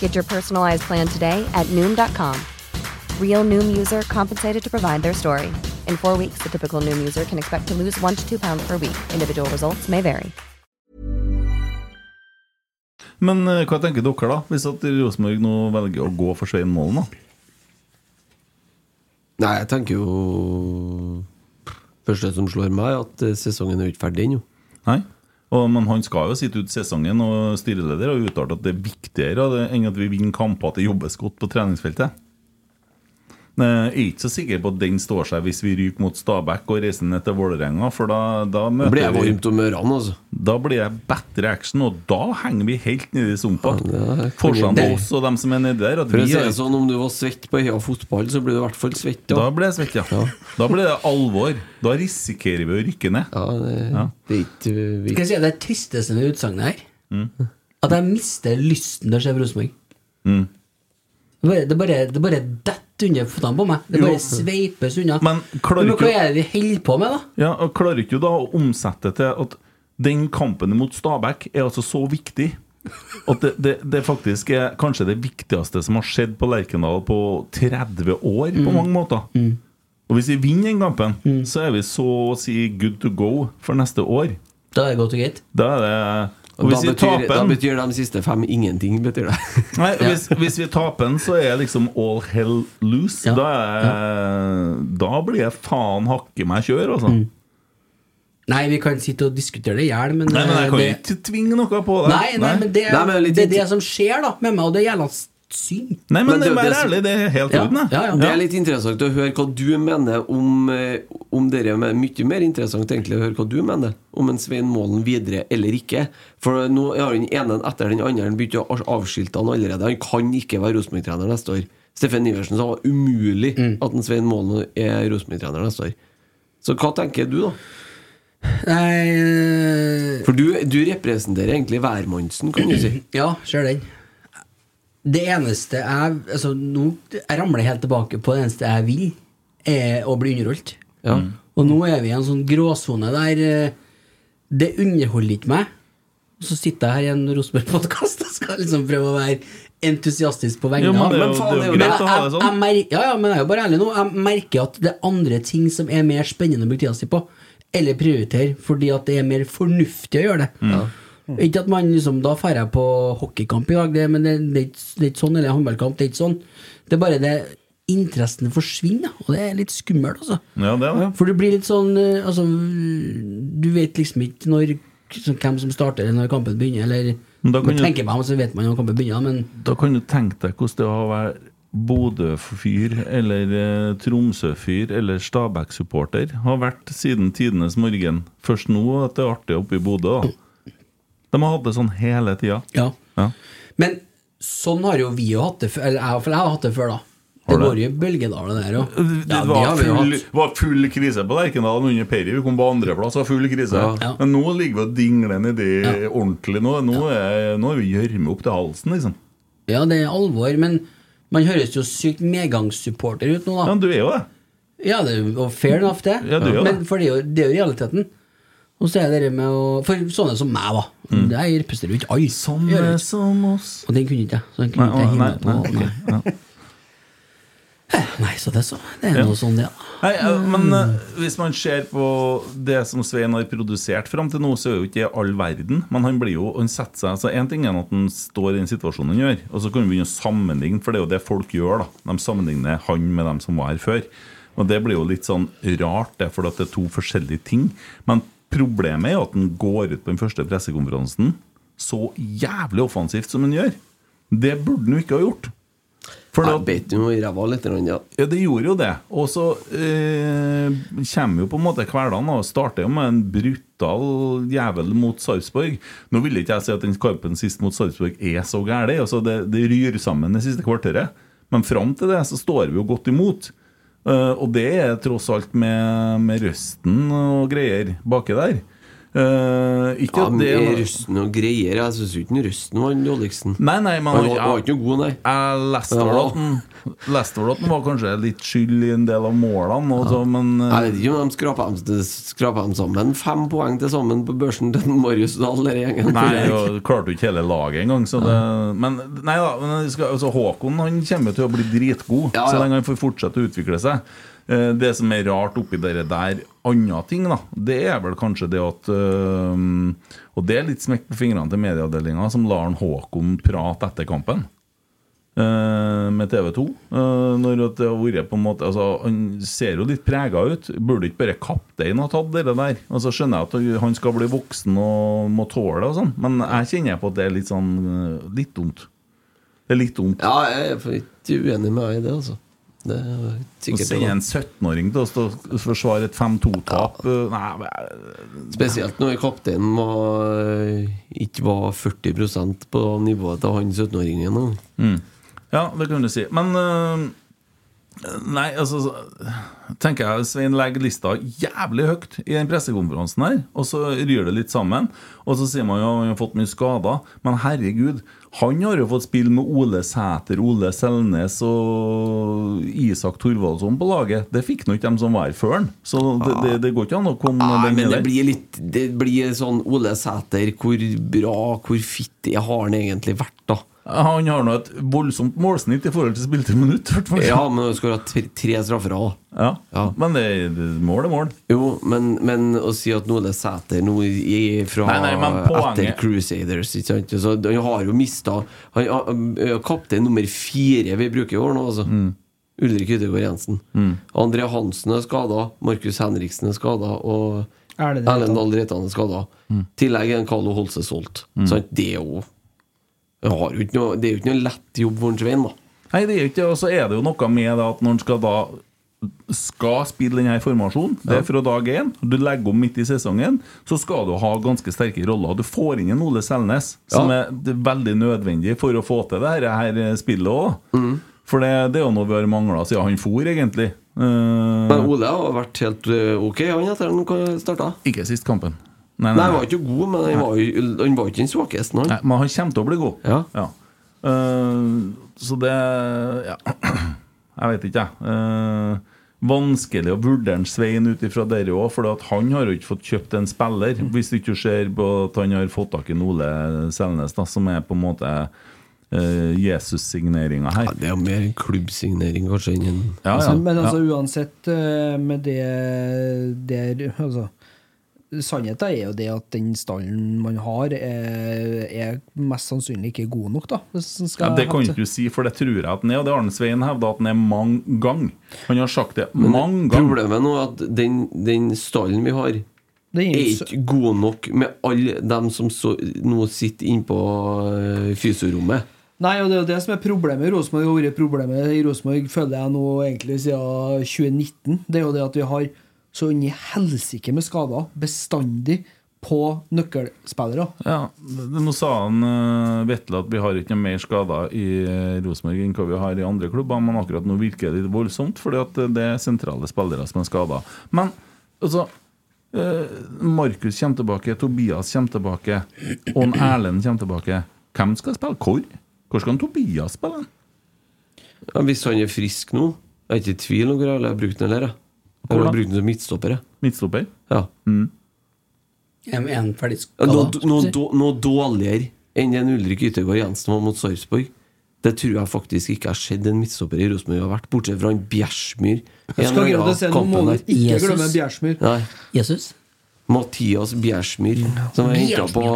S7: Get your personalized plan today at Noom.com. Real Noom user compensated to provide their story. In four weeks, the typical Noom user can expect to lose one to two pounds per week. Individual results may vary.
S2: Men eh, hva tenker dere, da? Hvis at Rosenborg nå velger å gå for Svein Målen, da?
S4: Nei, jeg tenker jo Første som slår meg, er at eh, sesongen er jo ikke ferdig ennå.
S2: Nei. Og, men han skal jo sitte ut sesongen, og styreleder har uttalt at det er viktigere av det enn at vi vinner kamper at det jobbes godt på treningsfeltet. Nei, Jeg er ikke så sikker på at den står seg hvis vi ryker mot Stabæk og reiser ned til Vålerenga, for da, da
S4: Det blir
S2: møter
S4: jeg
S2: vi
S4: varmt om ørene, altså.
S2: Da blir det bedre action, og da henger vi helt nede i sumpa.
S4: Ja, det er-
S2: Forskjellen på oss og dem som er nedi der, at
S4: For å
S2: vi
S4: si
S2: er
S4: det sånn, om du var svett på Heia fotball, så blir du i hvert fall svett.
S2: Da
S4: Da.
S2: blir jeg svett, ja. Da blir det alvor. Da risikerer vi å rykke ned.
S4: Ja, det,
S2: Ja.
S4: det er ikke eh, vi-
S3: Skal jeg si at det er tristeste med utsagnet her?
S2: Mm.
S3: At jeg mister lysten til å se på Rosenborg. Det bare- Det bare, det bare detter under føttene på meg. Det
S2: Jo.
S3: bare sveipes unna.
S2: Men klarer
S3: Men
S2: ikke
S3: hva
S2: å-
S3: er det vi holder på med, da?
S2: Ja, og Klarer ikke du da å omsette til at den kampen mot Stabæk er altså så viktig at det, det, det faktisk er kanskje det viktigste som har skjedd på Lerkendal på 30 år, på mange måter. Og hvis vi vinner den kampen, så er vi så å si good to go for neste år. Eh,
S3: Da er det godt og greit.
S2: Da er det
S4: Og
S2: Og
S4: da,
S2: hvis vi
S4: betyr,
S2: taper
S4: da
S2: den
S4: betyr de siste fem ingenting, betyr det.
S2: Nei, hvis, hvis vi taper den, så er liksom all hell loose.
S3: Ja.
S2: Da, er, da blir jeg faen hakke meg kjør, altså.
S3: Nei, vi kan sitte og diskutere det i hjel, men eh,
S2: Nei, men jeg kan jo
S3: det-
S2: ikke tvinge noe på deg.
S3: Nei, nei, men det er
S4: Nei, men litt-
S3: det, er det som skjer da med meg, og det er jævla synd.
S2: Nei,
S4: Men
S2: men, det,
S4: det-
S2: vær
S4: det-
S2: ærlig, det er helt
S3: Ja,
S2: orden, jeg.
S3: ja, ja.
S4: Det er litt interessant å høre hva du mener om, eh, om dere, men Mye mer interessant egentlig å høre hva du mener om en Svein Målen videre eller ikke. For nå har den ene etter den andre begynt å avskilte han allerede. Han kan ikke være Rosenborg-trener neste år. Steffen Iversen sa det var umulig at en Svein Målen er Rosenborg-trener neste år. Så hva tenker du, da?
S3: Nei,
S4: For du, du representerer egentlig hvermannsen, kan du si.
S3: Ja, ser den. Det eneste jeg altså, nå, Jeg ramler helt tilbake på det eneste jeg vil, er å bli underholdt.
S4: Ja.
S3: Og nå er vi i en sånn gråsone der eh, det underholder ikke meg. Og så sitter jeg her i en Rosenborg-podkast og skal liksom prøve å være entusiastisk på
S2: Jo,
S3: vegne
S2: men
S3: av
S2: det er jo,
S4: faen, det
S2: det er jo
S4: er jo
S2: greit å ha det
S3: jeg, jeg
S2: sånn.
S3: mer, ja, ja, men jeg er jo bare ærlig nå. Jeg merker at det er andre ting som er mer spennende å bruke tida si på eller prioritere, fordi at det er mer fornuftig å gjøre det.
S8: Mm. Ja.
S3: Ikke at man liksom Da drar jeg på hockeykamp i dag, det, men det, det, er ikke- det er ikke sånn. Eller håndballkamp, det er ikke sånn. Det er bare det interessen forsvinner, og det er litt skummelt, altså.
S2: Ja, det er det.
S3: For det blir litt sånn eh, altså, Du vet liksom ikke når, sånn, hvem som starter eller når kampen begynner. Eller,
S2: Men da kan
S3: man
S2: jo-
S3: tenker meg om, så vet man når kampen begynner. Men
S2: Da kan du tenke deg hvordan det var å være Bodø-fyr eller eh, Tromsø-fyr eller Stabæk-supporter. Har vært siden tidenes morgen. Først nå at det er artig oppe i Bodø. da. De har hatt det sånn hele tida.
S3: Ja. Men sånn har jo vi jo hatt det før. Eller jeg, for jeg har hatt det før, da. Det
S2: Har du?
S3: går jo i bølgedaler, det der òg.
S2: Det var, full, var full krise på Lerkendal under Perry. Vi kom på andreplass og full krise.
S3: Ja.
S2: Men nå ligger vi og dingler nedi ordentlig. Nå, nå, er, nå er vi gjørme opp til halsen, liksom.
S3: Ja, det er alvor, men man høres jo sykt medgangssupporter ut nå, da.
S2: Ja, du er jo det.
S3: Ja, det er jo og fair enough, det.
S2: Ja, du er jo
S3: men
S2: det.
S3: for det er jo, det er jo realiteten. Og så er det det med å For sånne som meg, da. Jeg representerer jo ikke alle. Gjør jeg ikke.
S2: Mm. som oss.
S3: Og den kunne ikke jeg. Så den kunne
S2: Nei,
S3: ikke jeg
S2: nei,
S3: himle på.
S2: nei,
S3: Nei. Eh, Nei, så det er så. Det er
S2: Ja.
S3: noe sånn, det.
S2: Nei, ja, men eh, hvis man ser på det som Svein har produsert fram til nå, så er jo ikke det all verden. Men han blir jo, han setter seg altså En ting er at han står i den situasjonen han gjør, og så kan vi begynne å sammenligne, for det er jo det folk gjør. da De sammenligner han med dem som var her før. Og det blir jo litt sånn rart, det, for at det er to forskjellige ting. Men problemet er jo at han går ut på den første pressekonferansen så jævlig offensivt som han gjør. Det burde han jo ikke ha gjort. For jeg bet
S5: jo i ræva litt. Ja.
S2: ja, det gjorde jo det. Og så eh, kommer jo på en måte kveldene og starter jo med en brutal jævel mot Sarpsborg. Nå vil ikke jeg si at den kampen sist mot Sarpsborg er så gæren. Altså det, det ryr sammen det siste kvarteret. Men fram til det så står vi jo godt imot. Eh, og det er tross alt med, med røsten og greier baki der. Eh, ikke
S5: Ja,
S2: at det
S5: men Røsten og greier Jeg syns ikke den Røsten var den dårligsten.
S2: Nei, nei, men
S5: han var, var ikke noe god, nei.
S2: Jeg leste vel at den- leste vel at den var kanskje litt skyld i en del av målene, og så, men eh,
S5: Jeg vet ikke om de skrapa dem, skrapa dem sammen. Fem poeng til sammen på børsen til Marius Dahl, denne gjengen.
S2: Nei, og klarte jo ikke hele laget engang. Så det, men nei da, men jeg skal, altså, Håkon han kommer jo til å bli dritgod
S5: Ja, ja.
S2: så lenge han får fortsette å utvikle seg. Eh, Det som er rart oppi det der, andre ting, da, det er vel kanskje det at øhm, Og det er litt smekk på fingrene til medieavdelinga, som lar han Håkon prate etter kampen. eh, Med TV 2. Når at det har vært på en måte altså, Han ser jo litt prega ut. Burde ikke bare kapteinen ha tatt det der? Og så skjønner jeg at han skal bli voksen og må tåle det og sånn, men jeg kjenner på at det er litt sånn eh, Litt dumt. Det er litt dumt.
S5: Ja, jeg er ikke uenig med deg i det, altså. Det er
S2: Å
S5: sikkert
S2: sende
S5: det, da.
S2: en 17-åring til å stå og forsvare et 5-2-tap eh, Nei, men-
S5: Spesielt når kapteinen var, eh, ikke var 40 på nivået til han 17-åringen. nå.
S2: Mm. Ja, det kan du si. Men øh, Nei, altså så- Tenker jeg Svein legger lista jævlig høyt i den pressekonferansen her, og så ryr det litt sammen. Og så sier man jo at han har fått mye skader, men herregud, han har jo fått spille med Ole Sæter, Ole Selnes og Isak Thorvaldsson på laget. Det fikk nå ikke dem som var her før han. Så det, det, det går ikke an å komme
S5: Ah, Nei,
S2: den
S5: men det
S2: der.
S5: blir litt Det blir sånn Ole Sæter, hvor bra, hvor fittig har han egentlig vært, da?
S2: Han har nå et voldsomt målsnitt i forhold til spilte minutt, i hvert fall.
S5: Ja, men han skåra tre straffer òg.
S2: Ja. Men det, det- mål er mål.
S5: Jo, men, men å si at Ole Sæter nå i, fra
S2: Nei, nei, men poenget-
S5: etter Crusaders ikke sant? Så Han har jo mista Han er kaptein nummer fire vi bruker i år nå, altså. Ulrik Yttergård Jensen.
S2: Mm.
S5: André Hansen er skada, Markus Henriksen er skada, og
S1: Erlend Reitan.
S5: Erlend Dahl Reitan er skada. I
S1: Mm.
S5: tillegg er en Carlo Holse solgt.
S2: Mm.
S5: Sant? Det er jo jeg har jo ikke noe, Det er jo ikke noe lett jobb for en Svein, da.
S2: Nei, det er jo ikke det. Og så er det jo noe med det at når han skal da skal spille denne formasjonen, det er fra dag én, du legger om midt i sesongen, så skal du ha ganske sterke roller. Du får inn en Ole Selnes, som
S5: Ja.
S2: er d- veldig nødvendig for å få til det her, her spillet òg. For det, det er jo noe vi har mangla siden han for, egentlig. Eh, Mm.
S5: Men Ole har vært helt eh, ok, han, etter at han starta.
S2: Ikke sist kampen.
S5: Nei, han var ikke god, men han var jo han var ikke den svakeste. Han.
S2: Nei, men han kommer til å bli god.
S5: Ja.
S2: Eh, så det Ja. Jeg vet ikke, jeg. Eh, vanskelig å vurdere en Svein ut ifra dere òg, for at han har jo ikke fått kjøpt en spiller. Hvis du ikke ser på at han har fått tak i en Ole Selnes, da, som er på en måte eh, Jesus-signeringa her.
S5: det er jo mer en klubbsignering, kanskje, enn en
S2: ja, ja,
S1: Men altså
S2: ja.
S1: uansett eh, med det der altså, sannheten er jo det at den stallen man har, er, er mest sannsynlig ikke god nok, da. Hvis den skal
S2: Ja, det kan
S1: ha-
S2: ikke du si, for det tror jeg at den er. Og det har Svein hevda at den er mange ganger. Han har sagt det mange ganger.
S5: Problemet nå er at den, den stallen vi har,
S1: Den er
S5: er
S1: jo så-
S5: ikke god nok med alle dem som så, nå sitter inne på øh, fysiorommet.
S1: Nei, og det er jo det som er problemet i Rosenborg. og har vært Problemet i Rosenborg føler jeg nå egentlig siden 2019. Det er jo det at vi har så inn i helsike med skader bestandig på nøkkelspillere.
S2: Ja, det- Nå sa han eh, Vetle at vi har ikke noe mer skader i eh, Rosenborg enn hva vi har i andre klubber, men akkurat nå virker det litt voldsomt, fordi at eh, det er sentrale spillere som er skada. Men altså eh, Markus kommer tilbake, Tobias kommer tilbake, og en Erlend kommer tilbake. Hvem eh, skal spille hvor? Hvor skal en Tobias spille?
S5: Ja, hvis han er frisk nå Jeg er ikke i tvil om hvor jeg har brukt den der. jeg. Jeg
S2: Hvordan?
S5: har brukt den som midtstopper. jeg.
S2: Midtstopper?
S5: Ja.
S3: En, en ferdig
S5: Ja,
S3: skala.
S5: Noe, noe, då- noe dårligere enn den Ulrik Yttergård Jensen var mot Sarpsborg. Det tror jeg faktisk ikke har skjedd en midtstopper i Rosenborg har vært, bortsett fra han Bjersmyr.
S1: Jeg skal
S5: En eller
S1: akkurat si,
S5: annen
S1: nå må
S5: kampen
S1: du
S5: der.
S1: ikke glemme Bjersmyr.
S5: Nei.
S3: Jesus?
S5: Mathias Bjersmyr, som er henta på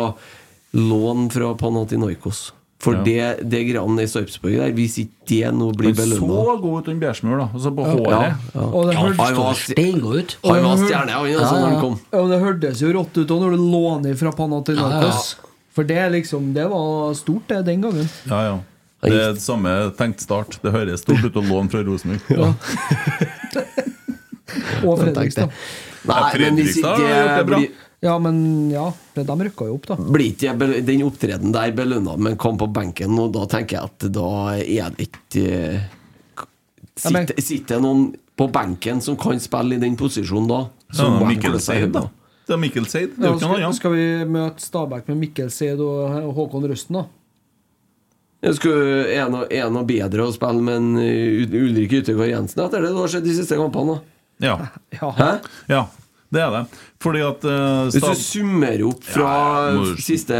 S5: lån fra Panathinaikos. For det, det greiene i Sarpsborg der, hvis ikke det nå blir
S2: Han så
S5: belønna
S2: god ut, han Bjørsmur, da. Altså på
S5: ja,
S2: håret.
S5: ja.
S1: Og det, hørtes-
S5: Han var
S3: Steingå ut.
S5: han var stjerne, han,
S2: sånn
S5: altså, når han kom.
S1: ja, men det hørtes jo rått ut da når du låner fra Panathinaikos. For det er liksom, det var stort, det, den gangen.
S2: Ja, ja. Det er det samme tenkt start. Det høres stort ut å låne fra Rosenborg.
S1: Og Fredrikstad.
S5: Nei, men hvis
S2: Fredrikstad
S5: ikke
S2: har gjort det bra.
S5: blir-
S1: Ja, men ja, de rykka jo opp, da.
S5: blir ikke jeg belø- den opptreden der belønna med en kamp på benken, og da tenker jeg at da er det ikke eh, k-
S1: Ja, men-
S5: Sitter, sitter noen på benken som kan spille i den posisjonen da?
S2: Så
S5: må de
S2: Mikkel
S5: klø seg
S2: Seid,
S5: i
S2: da.
S5: hodet.
S2: Det er Mikkel Seid. Det
S1: Ja,
S2: er jo ikke noe
S1: skal,
S2: annet.
S1: skal vi møte Stabæk med Mikkel Seid og og Håkon Røsten, da?
S5: Jeg skulle er noe- er noe bedre å spille med en eh, U- Ulrik Yttergård Jensen etter det som har skjedd de siste kampene. da.
S2: Ja.
S1: Ja.
S5: Hæ?
S2: ja, det er det. Fordi at eh,
S5: Hvis du
S2: Stab-
S5: summerer opp fra
S2: Ja, må du-
S5: siste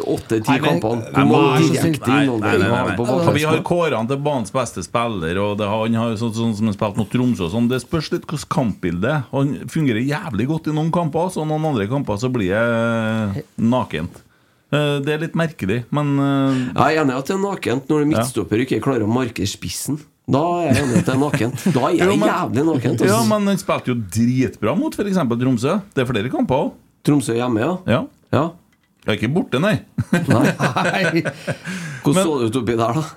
S5: åtte-ti
S2: Nei, men-
S5: kampene
S2: Nei,
S5: Hvor mange
S2: men-
S5: direkte
S2: Nei, nei, nei,
S5: innholdninger
S2: nei,
S5: har du
S2: nei.
S5: på
S2: Og Vi har
S5: Valgkampene?
S2: kåret han til banens beste spiller, og det har, han har jo sånn, sånn som han spilte mot Tromsø og sånn. Det spørs litt hvordan kampbildet er. Han fungerer jævlig godt i noen kamper, og noen andre kamper så blir det nakent. Eh, Det er litt merkelig, men eh,
S5: Jeg er enig i at det er nakent når midtstopper ikke klarer å markere spissen. Da er jeg enig i at det er nakent. Da er
S2: Jo,
S5: jeg
S2: men-
S5: jævlig nakent.
S2: Ja,
S5: altså.
S2: men han spilte jo dritbra mot f.eks. Tromsø. Det er flere kamper òg.
S5: Tromsø hjemme, ja.
S2: Ja.
S5: ja.
S2: Jeg er ikke borte, nei.
S1: Nei.
S5: Hvordan så det ut oppi der, da?
S2: Ja,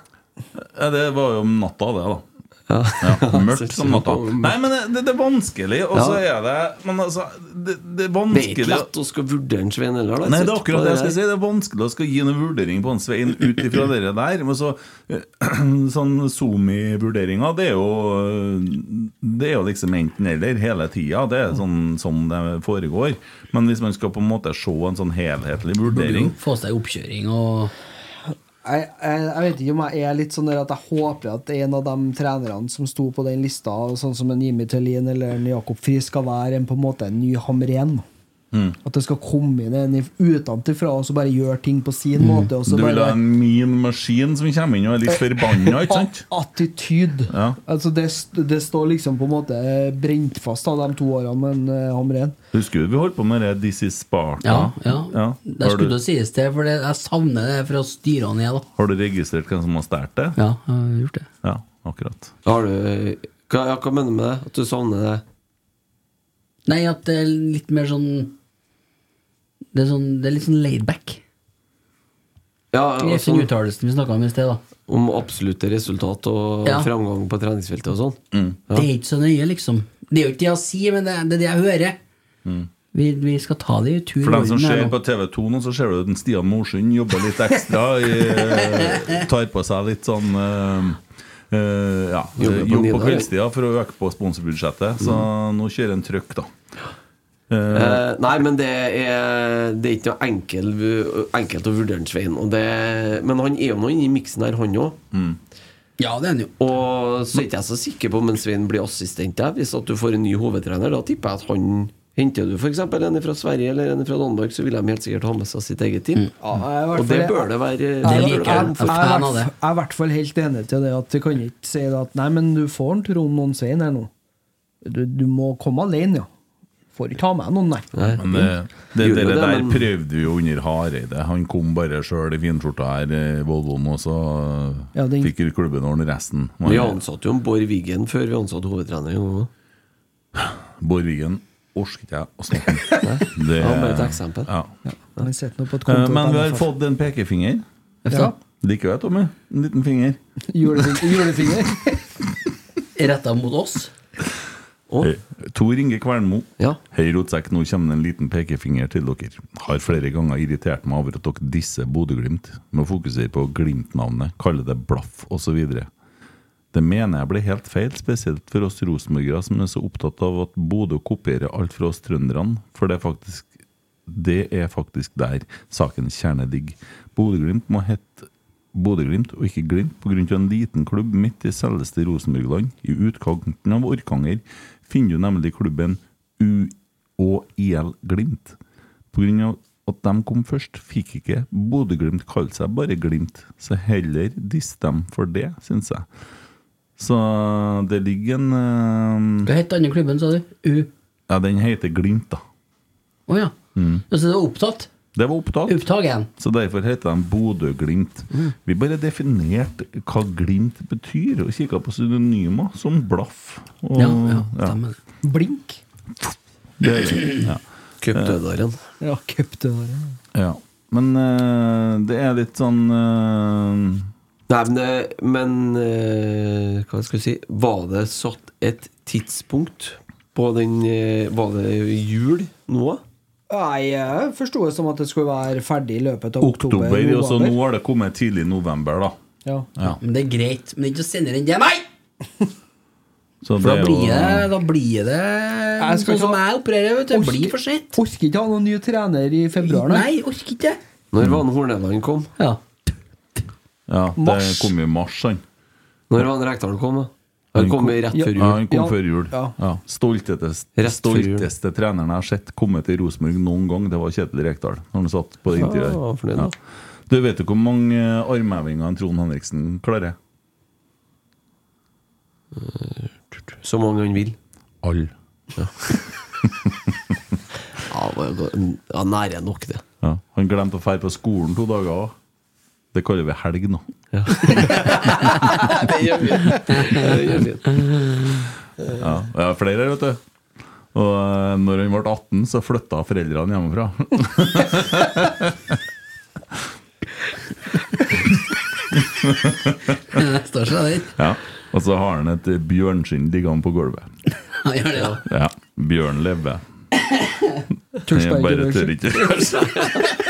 S2: Eh, Det var jo om natta, det, da. Ja, mørkt som natta. Nei, men det, det er vanskelig, og så er det Men altså, det,
S5: Det
S2: det er
S5: er ikke
S2: vanskelig
S5: lett å skal vurdere en Svein heller. da.
S2: Nei, det er
S5: Sett på
S2: akkurat det jeg skal
S5: der.
S2: si. Det er vanskelig å skal gi noen vurdering på en Svein ut ifra det der. Men så, eh, sånn Zoomi-vurderinger, det er jo Det er jo liksom enten-eller hele tida. Det er sånn som det foregår. Men hvis man skal på en måte se en sånn helhetlig vurdering
S3: Få seg oppkjøring og
S1: Jeg, jeg, jeg vet ikke om jeg er litt sånn der at jeg håper at en av de trenerne som sto på den lista, sånn som en Jimmy Tellin eller en Jakob Friis, skal være en på en måte en ny Hamren.
S2: Mm.
S1: At det skal komme inn en if- utenfra og så bare gjøre ting på sin måte. Og så
S2: Mm. Du vil
S1: bare,
S2: ha en min maskin som kommer inn og er litt forbanna, ikke sant?
S1: A- Attityd.
S2: Ja.
S1: Altså det, st- det står liksom på en måte brent fast av de to årene med en eh, Hamren.
S2: Husker du vi holdt på med det This is Sparta?
S3: Ja, ja.
S2: Ja.
S3: Det
S2: Har,
S3: skulle
S2: du,
S3: jo sies til, for det, jeg savner det fra styrene igjen, da.
S2: har du registrert hvem som har stjålet det?
S3: Ja, jeg har gjort det.
S2: Ja, akkurat.
S5: Har du hva, ja, hva mener du med det? At du savner det?
S3: Nei, at det er litt mer sånn Det er, sånn, det er litt sånn laidback.
S5: Ja,
S3: Greit,
S5: altså,
S1: sånn.
S3: den uttalelsen vi snakka om i sted, da.
S5: om absolutte resultat og
S3: Ja.
S5: framgang på treningsfeltet og sånn?
S3: Det er ikke så nøye, liksom. Det er jo ikke det jeg sier, men det er det, er det jeg hører. Vi, vi skal ta det i tur.
S2: Mm. For
S3: og
S2: dem som
S3: orden her
S2: ser
S3: nå.
S2: på TV2 nå, så ser du at Stian Morsund jobber litt ekstra. I, eh, tar på seg litt sånn eh, eh, ja,
S5: Jobber på
S2: jobb på
S5: Nidar, ja.
S2: kveldstida for å øke på sponsorbudsjettet. Så nå kjører han trøkk, da.
S5: Eh, nei, men det er, det er ikke noe enkel, eh, enkelt å vurdere en Svein. Og det, men han er jo nå inne i miksen her, han òg.
S3: Ja, det er den jo.
S5: Og så er ikke jeg så sikker på om en Svein blir assistent der. Hvis at du får en ny hovedtrener, da tipper jeg at han Henter du f.eks. en fra Sverige eller en fra Danmark, så vil de helt sikkert ha med seg sitt eget team.
S1: Mm. Ja, jeg er i hvert
S5: Og det
S1: fall-
S5: bør det være.
S1: Jeg
S5: bør
S3: liker
S5: være
S3: jeg.
S5: rom
S1: er
S5: for.
S3: fan
S1: i
S3: av det.
S1: hvert- jeg er i hvert fall helt enig til det at du kan ikke si det at Nei, men du får en Trond Monsein her nå. Du, du må komme alene, ja. Får ikke ha med noen, nei.
S2: Men det, det, det, der prøvde vi jo under Hareide. Han kom bare sjøl i finskjorta her, eh, Volvoen, og så eh,
S1: Ja, den-
S2: fikk klubben ordne resten. Men-
S5: Vi ansatte jo en Bård Wiggen før vi ansatte hovedtreneren. også.
S2: Bård Wiggen orker ikke jeg å snakke om. Det
S5: Ja, bare et eksempel.
S2: Ja.
S1: Han sitter nå på et
S2: Eh,
S1: kontor
S2: Men
S1: på
S2: vi har
S1: NFF.
S2: fått en pekefinger.
S1: Ja.
S2: Liker du det, Tommy? En liten finger.
S1: Julefinger. julefinger.
S3: Retta mot oss.
S2: Eh, Tor Inge Kvernmo. Hei, Rotsekk, nå kommer det en liten pekefinger til dere. Har flere ganger irritert meg over at dere disser Bodø-Glimt med å fokusere på Glimt-navnet, kalle det blaff osv. Det mener jeg blir helt feil, spesielt for oss rosenborgere som er så opptatt av at Bodø kopierer alt fra oss trønderne, for det er faktisk det er faktisk der sakens kjerne ligger. Bodø-Glimt må hete Bodø-Glimt og ikke Glimt pga. en liten klubb midt i selveste Rosenborg-land. I utkanten av Orkanger finner du nemlig klubben UÅIL Glimt. Pga. at de kom først, fikk ikke Bodø-Glimt kalle seg bare Glimt, så heller diss dem for det, syns jeg. Så det ligger en eh,
S3: Hva het den andre klubben, sa du? U...
S2: Ja, den heter Glimt, da.
S3: Å ja.
S2: Mm.
S3: Så det var opptatt?
S2: Det var opptatt.
S3: Opptagen.
S2: Så derfor heter de Bodø-Glimt. Vi bare definerte hva Glimt betyr, og kikka på synonymer som blaff. Og,
S3: Ja, ja, stemmer
S1: Blink.
S2: Mm, Det er det, ja.
S5: Cupdødaren.
S1: Ja, cupdødaren.
S2: Ja. Men eh, det er litt sånn eh,
S5: Nei, men, det- men eh, hva skal jeg si Var det satt et tidspunkt på den eh, Var det jul nå?
S1: Nei, jeg forsto det som at det skulle være ferdig i løpet av oktober.
S2: Oktober, og så nå har det kommet tidlig i november, da.
S1: Ja.
S2: Ja.
S3: Men det er greit. Men ikke å sende den til meg!
S2: Så
S3: For da
S2: det er jo-
S3: blir det, da blir det
S1: Jeg skal
S3: sånn som
S1: ta-
S3: jeg opererer. vet du Det
S1: Orker-
S3: blir for sent.
S1: Orker ikke ha noen ny trener i februar, nei.
S3: Nei, orker ikke.
S5: Når var det Horneland kom?
S3: Ja.
S2: ja, det
S1: Mars.
S2: kom i mars, han.
S5: Når var det Rekdal kom? da? Han kom rett før
S2: Ja,
S5: jul.
S2: han kom
S1: Ja.
S2: før jul.
S1: Ja.
S2: Ja. Stolteste,
S5: Rett før jul.
S2: stolteste treneren jeg har sett komme til Rosenborg noen gang, det var Kjetil Rekdal. Når han satt på det intervjuet.
S5: Ja, fornøyd, da.
S2: Ja. Du vet jo hvor mange eh, armhevinger en Trond Henriksen klarer?
S5: Så mange han vil.
S2: All.
S5: Ja, det var jo godt- ja, nære nok, det.
S2: Ja. Han glemte å dra på skolen to dager òg. Det kaller vi helg nå.
S5: Det gjør vi. Det gjør vi.
S2: Ja, og jeg har flere her, vet du. Og eh, når han ble 18, så flytta foreldrene hjemmefra.
S3: Det står seg der.
S2: Ja. Og så har han et eh, bjørnskinn liggende på gulvet.
S3: Han gjør det, da.
S2: Ja, Bjørn lever. Jeg
S1: Torsdag i
S2: bare tør
S1: Rødsjø.
S2: ikke.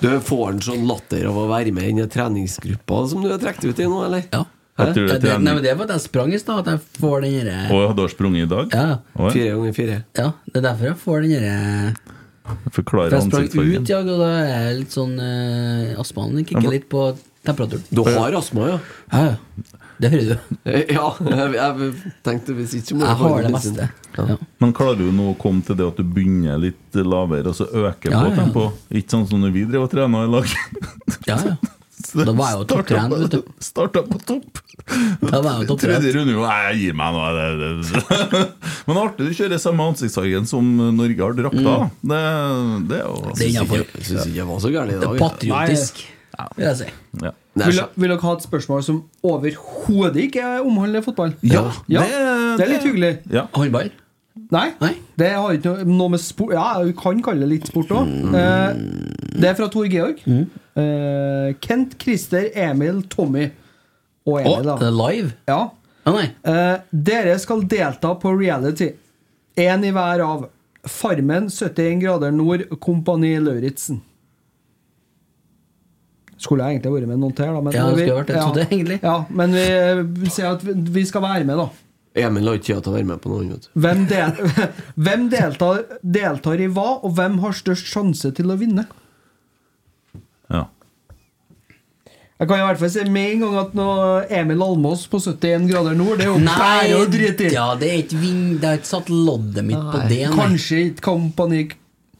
S5: Du får han sånn latter av å være med i den treningsgruppa som du har trukket ut i nå, eller?
S3: Ja.
S2: Jeg tror
S3: Ja,
S2: det
S3: det,
S2: er
S3: nei, men
S2: trening.
S3: det er for at jeg sprang i stad, at jeg får den derre
S2: Og du har sprunget i dag?
S3: ja,
S2: Å, ja.
S5: Fire ganger fire.
S3: ja, det er derfor jeg får den derre For
S2: Forklarer
S3: jeg sprang
S2: ansiktsfargen.
S3: ut, ja, og da er jeg litt sånn uh, Astmaen kicker litt på temperaturen.
S5: Du har astma, ja?
S3: Ja, ja. Det hører du.
S5: Ja, jeg, jeg tenkte hvis ikke må
S3: Jeg
S5: få
S3: har det
S5: medisin.
S2: sånn-
S3: meste. Ja.
S2: Men klarer du nå å komme til det at du begynner litt lavere, og så øker
S3: Ja,
S2: på
S3: ja.
S2: tempo? Ikke sånn som når vi drev og trena i lag.
S3: Ja, ja. Da var jeg jo topptrent, vet du.
S2: Starta på topp.
S3: Da var jeg jo
S2: Tredje
S3: topptrent.
S2: runde jo Nei, jeg gir meg nå. Det, det. Men artig, du kjører samme ansiktsfargen som Norge har drakta. Det, det er jo
S3: Det er innafor.
S5: Jeg syns ikke jeg var så gæren i
S3: Det er
S5: dag.
S3: patriotisk, vil jeg si.
S2: ja.
S5: Nei,
S1: Vil, vil dere ha et spørsmål som overhodet ikke omhandler fotball?
S2: Ja,
S1: det er litt hyggelig.
S2: Ja.
S3: Håndball?
S1: Nei,
S3: Nei.
S1: det har ikke noe, noe med sport Ja, vi kan kalle det litt sport òg. Eh, det er fra Tor Georg. Eh, Kent, Christer, Emil, Tommy og
S3: Å,
S1: Emil,
S3: det
S1: da.
S3: er live?
S1: Ja.
S3: Å nei.
S1: Eh, dere skal delta på reality. Én i hver av Farmen, 71 grader nord, Kompani Lauritzen. Skulle jeg egentlig vært med noen til, da. Men
S3: Ja, det
S1: vi-
S3: skulle vært det,
S1: ja,
S3: trodde jeg egentlig.
S1: Ja, men vi, vi sier at vi, vi skal være med, da.
S5: Emil har ikke tid til å være med på noe annet.
S1: Hvem, del, hvem deltar, deltar i hva, og hvem har størst sjanse til å vinne?
S2: ja.
S1: Jeg kan i hvert fall si med en gang at nå Emil Almås på 71 grader nord, det er jo pære å drite i.
S3: ja, det er ikke ving... Det har ikke satt loddet mitt på det. nei.
S1: Kanskje ikke Kompani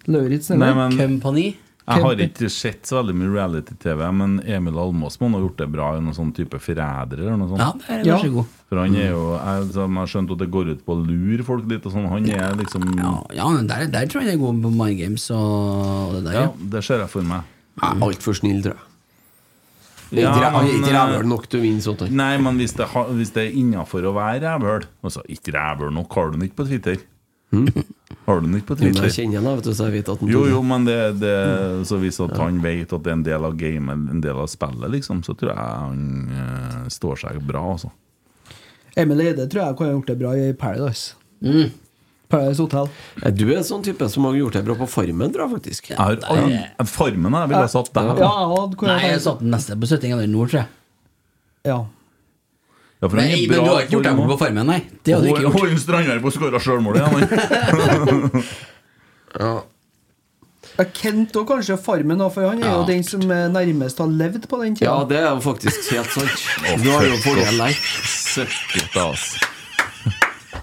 S1: Lauritzen
S2: Nei,
S1: eller?
S2: men
S3: Company?
S2: Jeg har ikke sett så veldig mye reality-TV, men Emil Almås må nå ha gjort det bra i noen sånn type forrædere eller noe sånt.
S3: Ja, det er- vær så Ja. god.
S2: For han
S3: Mm.
S2: er jo jeg, som jeg har skjønt at det går ut på å lure folk litt og sånn. Han er liksom
S3: Ja, men der, der tror jeg det går på Mind Games og det der.
S2: Ja, det ser jeg for meg.
S5: Ja, Altfor snill, tror jeg.
S3: Ikke ra- ikke rævhøl
S5: nok til å vinne sånt.
S2: eh, Nei, men hvis det, har- hvis det er innafor å være rævhøl Altså, ikke rævhøl nok, har du den ikke på Twitter? Har du den ikke på
S5: Men
S2: Twitter?
S5: jeg kjenner ham, vet du, så jeg vet at han
S2: Jo,
S5: tåler.
S2: jo, men det, det, så hvis at han vet at det er en del av gamet, en del av spillet, liksom, så tror jeg han eh, står seg bra, altså.
S1: Emil Eide tror jeg kunne gjort det bra i Paradise. Paradise Hotel.
S5: Ja, Du er en sånn type som har gjort deg bra på Farmen, tror jeg faktisk.
S2: Jeg har aldri- Farmen jeg ville ha satt deg på.
S3: Nei, jeg satte den neste på 70 grader nord, tror jeg.
S1: Ja.
S2: Ja, for han
S3: Men,
S2: er
S3: men
S2: bra
S3: du har ikke gjort deg
S2: form
S3: bort på
S2: også.
S3: farmen, nei? Det hadde du ikke
S2: Hold-
S3: gjort.
S2: Hold Strandberg på å skåre sjølmålet, ja, men.
S1: Ja, Kent og kanskje Farmen, da, for han er jo
S5: Ja.
S1: den som eh, nærmest har levd på den tida.
S5: Ja, det er jo faktisk helt sant. Du har jo fordel der.
S2: Søkkete, altså.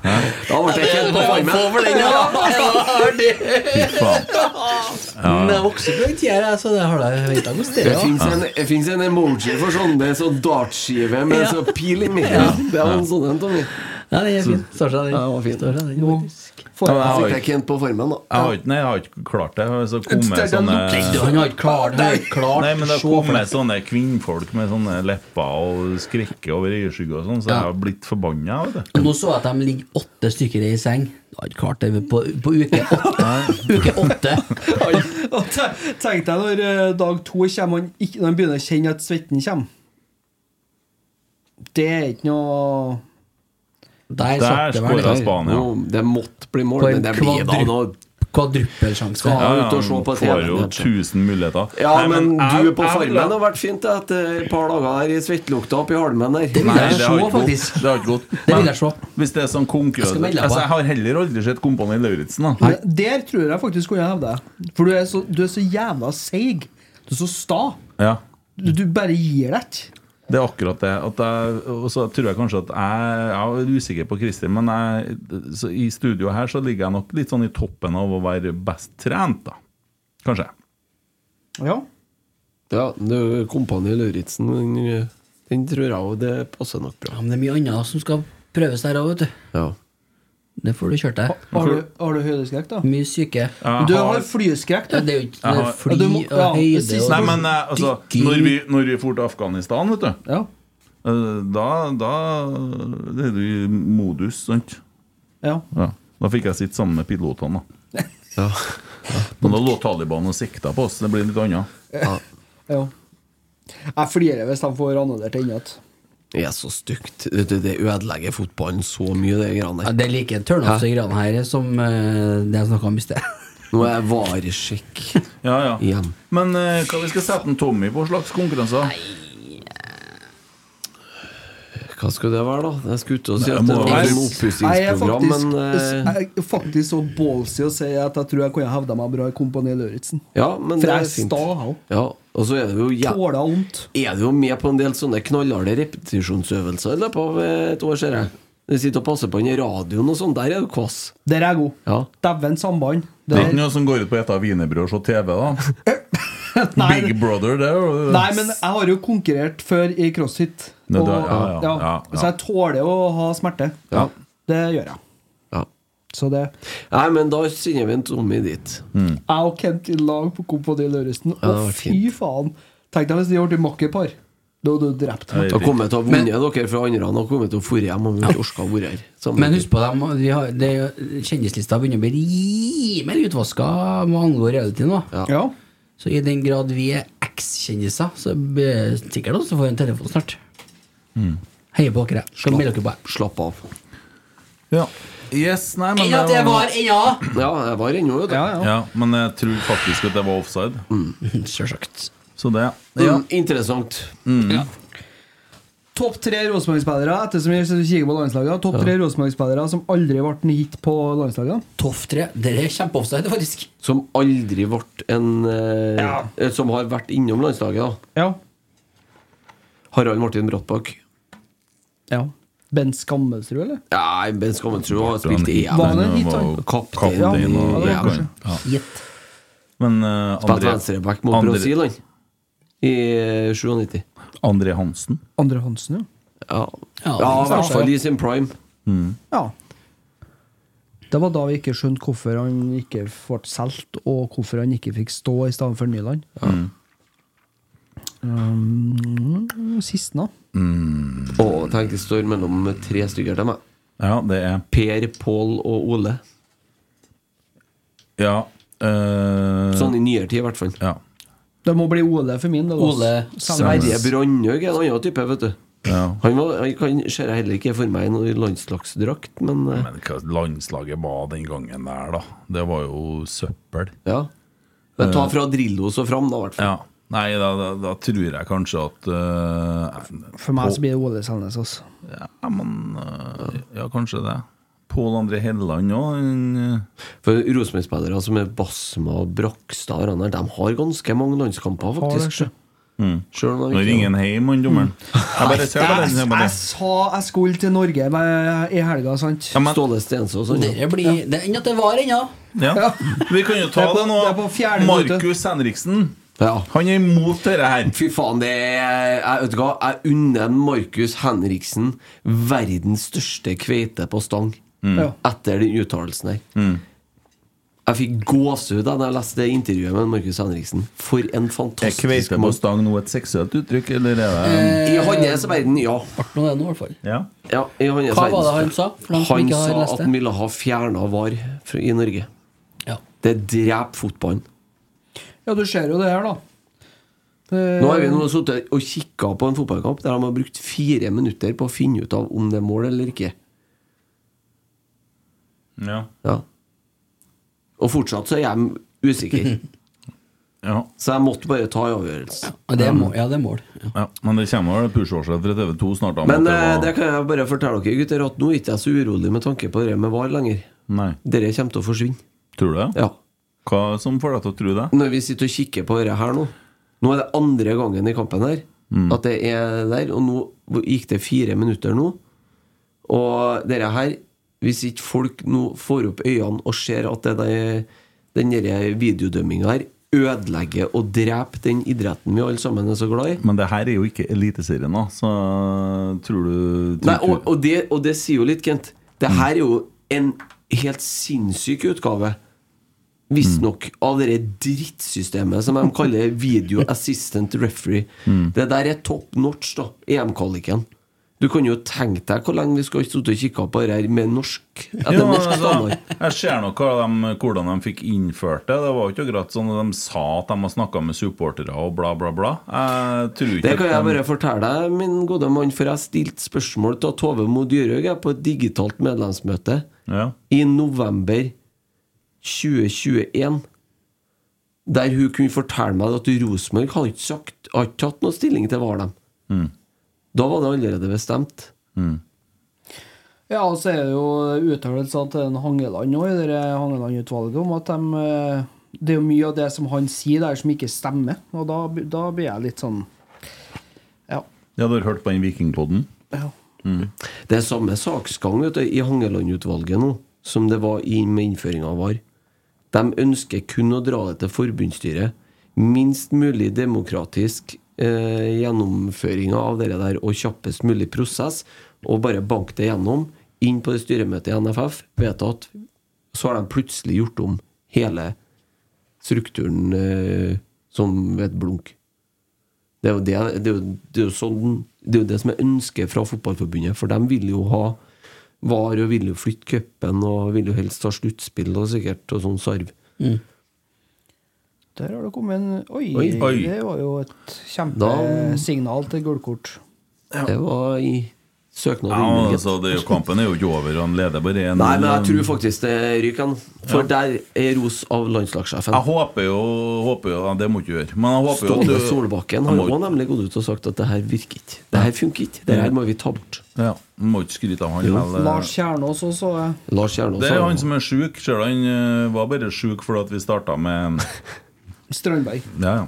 S5: Da ble jeg kjent på
S3: Få
S5: Farmen.
S3: over den, ja.
S2: Fy faen.
S3: Men jeg vokste opp på den tida, jeg, så det har jeg venta hos
S5: Det
S3: dere òg.
S5: fins en, det finnes en emoji for sånn. Det er sånn dartskive med sånn pil i midten. Det er en sånn en, Tommy.
S3: Ja, den er fin. Står seg, den.
S5: Ja, den var fin.
S3: Står seg, den, faktisk.
S2: Ja, men jeg har
S5: Fikk jeg
S2: ikke-
S5: Kent på Farmen, da.
S2: jeg har ikke- Nei, jeg har ikke klart det. Så kommer sånne
S3: Du, Han har ikke klart det. Klart.
S2: Nei, men det sånn.
S3: Se
S2: har
S3: for deg.
S2: kommet sånne kvinnfolk med sånne lepper og skrekker over øyeskygge og sånn, så jeg har blitt forbanna. vet du.
S3: Nå så jeg at de ligger åtte stykker i seng. Du har ikke klart det på, på uke åtte. uke åtte.
S1: Og te- Tenk deg når eh, dag to kommer, han ikke, når han begynner å kjenne at svetten kommer. Det er ikke noe
S3: Der
S2: Der
S3: satte vel
S2: skåra Spania.
S5: Nå, det måtte bli mål,
S3: På en
S5: men det blir da
S3: kvadru-
S5: nå-
S3: Kvadruppelsjanse.
S5: Ja,
S2: Ja, ja,
S5: ut og se
S2: han
S5: på
S2: får
S5: TV,
S2: jo
S5: kanskje.
S2: 1000 muligheter.
S5: Ja,
S2: Nei,
S5: men
S2: jeg-
S5: du på
S2: jeg ville
S5: Farmen har
S2: ha-
S5: vært fint det, etter et par dager her i svettelukta oppi halmen der.
S3: Det vil
S2: Nei,
S3: jeg
S2: det
S3: se,
S2: har ikke gått.
S3: faktisk.
S2: Det har ikke gått.
S3: Det vil
S2: Men
S3: jeg se.
S2: Hvis det er
S3: Jeg
S2: sånn
S3: skal
S2: konkurranse
S3: melde på.
S2: altså, Jeg har heller aldri sett Kompani Lauritzen. da.
S1: Men Der tror jeg faktisk kunne jeg hevde deg. For du er så, du er så jævla seig. Du er så sta.
S2: Ja.
S1: Du, du bare gir deg ikke.
S2: Det er akkurat det. At jeg, og så tror jeg kanskje at jeg, jeg er usikker på Kristin, men jeg, så i studio her så ligger jeg nok litt sånn i toppen av å være best trent, da. Kanskje.
S1: Ja.
S5: Ja, det- Kompani Lauritzen, den, den tror jeg òg det passer nok bra.
S3: Ja, men det er mye annet som skal prøves der òg, vet du.
S5: Ja.
S3: Det får du kjørt deg.
S1: Har du, har du høydeskrekk, da?
S5: Mm.
S3: Mye syke.
S2: Jeg
S1: Du
S2: har-
S1: har flyskrekk,
S3: Ja,
S1: du.
S3: det er jo ikke det er
S2: har-
S3: fly
S1: Ja, du må- ja,
S3: og høyde
S1: precis.
S3: og
S2: Nei, men eh, altså,
S3: dykking.
S2: når vi, når vi for til Afghanistan, vet du,
S1: Ja.
S2: eh, da, da det er du i modus, sant?
S1: ja.
S2: Ja. Da fikk jeg sitte sammen med pilotene, da. Men da lå Taliban og sikta på oss. Det blir litt annet.
S1: ja. Jeg flirer hvis de får annullert ennå.
S5: Det er så stygt. Vet du, Det ødelegger fotballen så mye, det greiene
S3: Ja,
S5: der.
S3: det er like turn-off
S5: Hæ?
S3: i grann her som eh, det jeg snakka om i sted.
S5: Nå er jeg varesjekk
S2: Ja, ja.
S5: igjen.
S2: Men eh, hva vi skal sette en Tommy på slags konkurranser?
S5: Hva skulle det være, da? Jeg skulle ut og si
S2: Nei,
S5: at
S2: må
S5: det
S2: jo
S5: var
S2: være-
S5: en
S1: Jeg er
S5: oppussingsprogram,
S1: faktisk,
S5: men eh,
S1: jeg er faktisk så ballsy å si at jeg tror jeg kunne hevda meg bra i Kompani Lauritzen.
S5: Ja, men
S1: For
S5: det er
S1: jeg er
S5: fint.
S1: sta, jeg òg.
S5: Ja, og så er det jo ja,
S1: Tåler vondt.
S5: Er du jo med på en del sånne knallharde repetisjonsøvelser i løpet av eh, et år, ser jeg? Du sitter og passer på den i radioen og sånn. Der er du kvass.
S1: Der er jeg god.
S5: Ja.
S1: Dæven samband.
S2: Det er
S1: Der-
S2: ikke noe som går ut på å spise wienerbrød og se TV, da.
S1: Nei,
S2: Big Brother, det er jo
S1: Nei, men jeg har jo konkurrert før i crossfit.
S2: Nei,
S1: Og,
S2: du har- ja, ja, ja, ja.
S1: Så jeg tåler å ha smerte.
S5: Ja.
S1: Det gjør jeg.
S5: Ja.
S1: Så det
S5: Nei, men da sender vi en Tommy dit.
S1: Jeg og Kent i lag på Kompani Lauritzen.
S5: Ja, det
S1: Å,
S5: var
S1: fy faen! Tenk deg hvis de ble makkerpar. Da hadde du drept meg.
S5: Da kommer jeg til å ha vunnet dere fra andre og kommet til å fore hjem om vi ikke orka å være her. sammen.
S3: Men husk på dem, vi har, det, er jo- kjendislista begynner å bli rimelig utvaska hva angår reality nå.
S5: Ja.
S1: Ja.
S3: Så i den grad vi er X-kjendiser, så blir det sikkert også får en telefon snart.
S2: Mm.
S3: Heier på dere. Skal melde dere på.
S5: Slapp av.
S2: ja. Yes, nei, men
S3: Enn at
S2: det
S3: jeg var ennå!
S5: Ja, jeg var ennå, vet du.
S1: Ja, ja.
S2: Ja, men jeg tror faktisk at det var offside.
S3: Sjølsagt.
S2: Så det
S5: Ja.
S2: ja.
S5: Mm, interessant.
S1: Topp tre Rosenborg-spillere ettersom vi kikker på landslaget. Topp tre Rosenborg-spillere som aldri ble en hit på landslaget.
S3: Toff tre. Det er kjempeoffside, faktisk.
S5: Som aldri ble en eh, eh, Som har vært innom landslaget, da.
S1: Ja.
S5: Harald Martin Brattbakk.
S1: ja. Bent Skammelsrud, eller?
S5: Nei, Ben Skammensrud har spilt i
S1: Var
S5: EM.
S2: eh,
S1: han en hit, han?
S2: Kaptein
S5: Kaptein
S2: og
S5: i
S1: Ja, det var
S5: EM.
S1: kanskje.
S2: Ja.
S3: Gitt.
S2: Men eh,
S5: Spilte venstreback mot Brasil, han. I eh, 97.
S2: André Hansen.
S1: Andre Hansen, ja.
S5: Ja, ja,
S1: Ja, han
S5: i hvert
S1: startet,
S5: fall
S1: ja.
S5: i sin prime.
S1: Ja. Det var da vi ikke skjønte hvorfor han ikke ble solgt, og hvorfor han ikke fikk stå i stedet for Nyland.
S2: Mm.
S1: Um, Sisten, da.
S5: Og tenk, det står mellom tre stykker til meg.
S2: Ja, det er
S5: Per, Pål og Ole.
S2: Ja. eh,
S5: Sånn i nyere tid, i hvert fall.
S2: Ja.
S1: Det må bli Ole for min del. også.
S3: Ole
S1: Selv om-
S5: Sverre Brandhaug er en annen type, vet du.
S2: Ja.
S5: Han, var, han kan, ser jeg heller ikke for meg i noen landslagsdrakt, men eh,
S2: Men hva landslaget var den gangen der, da? Det var jo søppel.
S5: ja.
S2: Eh.
S5: Men ta fra Drillos og fram, da, i hvert fall.
S2: Ja. Nei, da, da, da tror jeg kanskje at eh,
S1: For meg så blir det Ole Selnes. Også.
S2: Ja, men eh, Ja, kanskje det. Pål André Helleland òg, han eh,
S5: For Rosenborg-spillere som er Basma og Brakstad og Ranner, de har ganske mange landskamper, faktisk. Selv om de
S2: Mm. Nå
S5: ikke-
S2: ringer han hjem, han dommeren.
S5: Mm.
S2: Jeg bare ser på den. Jeg
S1: Jeg
S2: bare.
S1: sa jeg skulle til Norge med- i helga, sant?
S2: Ja, men,
S5: Ståle Stensås og sånn.
S3: Dere blir Det er ennå til var ennå.
S2: ja. Vi kan jo ta
S1: Det er på-
S2: det nå.
S1: det er på fjerde minuttet.
S2: Markus Henriksen.
S5: Ja.
S2: Han er imot dette her.
S5: Fy faen, det er Jeg vet du hva, jeg unner Markus Henriksen verdens største kveite på stang.
S2: Mm.
S1: Ja.
S5: etter den uttalelsen her. Jeg fikk gåsehud da jeg leste det intervjuet med Markus Henriksen. For en
S2: Er
S5: fantastisk
S2: kveite på
S5: mann.
S2: stang nå et seksuelt uttrykk, eller er det
S1: Eh.
S5: I hans verden, ja.
S3: Ble nå det nå, i hvert fall.
S2: Ja.
S5: ja i hans
S3: Hva var
S5: verden.
S3: det han sa, for dem som
S5: Han
S3: ikke har
S5: sa
S3: lest
S5: at
S3: det?
S5: han ville ha fjerna VAR fra- i Norge.
S3: Ja.
S5: Det dreper fotballen.
S1: ja, du ser jo det her, da. Det-
S5: Nå har vi nå sittet og kikka på en fotballkamp der de har brukt fire minutter på å finne ut av om det er mål eller ikke.
S2: Ja.
S5: Ja. Og fortsatt så er jeg usikker.
S2: ja.
S5: Så jeg måtte bare ta en avgjørelse.
S3: Ja, det er mål. Ja, det er mål. Ja.
S2: ja. Men det kommer vel push-årsett fra TV2 snart. da, om
S5: Men
S2: at
S5: eh,
S2: var-
S5: det kan jeg bare fortelle dere, gutter, at nå er ikke jeg så urolig med tanke på det med VAR lenger.
S2: Nei.
S5: Dere kommer til å forsvinne.
S2: Tror du det?
S5: Ja.
S2: Hva som får deg til å tro det?
S5: Når vi sitter og kikker på det her nå Nå er det andre gangen i kampen her
S2: Mm.
S5: at det er der, og nå gikk det fire minutter nå. Og dere her Hvis ikke folk nå får opp øynene og ser at det der, den der videodømminga her ødelegger og dreper den idretten vi alle sammen er så glad i
S2: Men det her er jo ikke Eliteserien, da, så tror du tror
S5: Nei, og,
S2: du-
S5: og, det, og det sier jo litt, Kent. Det
S2: Mm.
S5: her er jo en helt sinnssyk utgave, visstnok,
S2: Mm.
S5: av det drittsystemet som de kaller video assistant referee.
S2: Mm.
S5: Det der er top notch, da. EM-kvaliken. Du kan jo tenke deg hvor lenge vi skal sitte og kikke på det her med norsk etter
S2: Ja,
S5: norsk
S2: altså,
S5: standard.
S2: jeg ser nok hva de, hvordan de fikk innført det. Det var jo ikke akkurat sånn at de sa at de har snakka med supportere og bla, bla, bla. Jeg tror ikke
S5: Det kan
S2: at
S5: jeg
S2: de-
S5: bare fortelle deg, min gode mann, for jeg stilte spørsmål til Tove Mo Dyrhaug jeg, på et digitalt medlemsmøte.
S2: ja.
S5: i november 2021, der hun kunne fortelle meg at Rosenborg har ikke sagt har ikke tatt noen stilling til Valheim. Da var det allerede bestemt.
S1: Ja, og så er det jo uttalelser til en Hangeland òg, i det der Hangeland-utvalget, om at de, eh, det er jo mye av det som han sier der, som ikke stemmer. Og da, da blir jeg litt sånn Ja.
S2: ja, du har hørt på den vikingpodden?
S1: ja.
S5: Det er samme saksgang vet du, i Hangeland-utvalget nå som det var i med innføringa av VAR. De ønsker kun å dra det til forbundsstyret. Minst mulig demokratisk eh, gjennomføringa av det der, og kjappest mulig prosess. Og bare banke det gjennom. Inn på det styremøtet i NFF, vedtatt. Så har de plutselig gjort om hele strukturen eh, som et blunk. Det er jo det, det, er jo, det, er jo sånn, det, er jo det som er ønsket fra Fotballforbundet, for de vil jo ha VAR og vil jo flytte cupen og vil jo helst ha sluttspill og sikkert og sånn sarv.
S1: Der har det kommet en Oi,
S5: Oi,
S2: oi.
S1: det var jo et
S5: Da-
S1: kjempesignal til gullkort.
S5: Det var i søknaden.
S2: Ja,
S5: innvilget.
S2: altså, det, er jo- kampen er jo ikke over, og han leder bare én.
S5: Nei, men jeg tror faktisk det ryker, han. for der er ros av landslagssjefen.
S2: Jeg håper jo, håper jo ja, Det må du ikke gjøre. Men jeg håper jo at
S5: Ståle
S2: du-
S5: Solbakken
S2: Jeg
S5: har
S2: må-
S5: også nemlig gått ut og sagt at det her virker ikke. Det her funker ikke. Det her må vi ta bort.
S2: Ja, du må ikke skryte av han. vel. eh,
S1: Lars Kjernås også. eh,
S5: Lars Kjernås
S2: Det er
S5: har-
S2: han som er sjuk. Ser du, han eh, var bare sjuk fordi at vi starta med
S1: Strandberg.
S2: Ja, ja.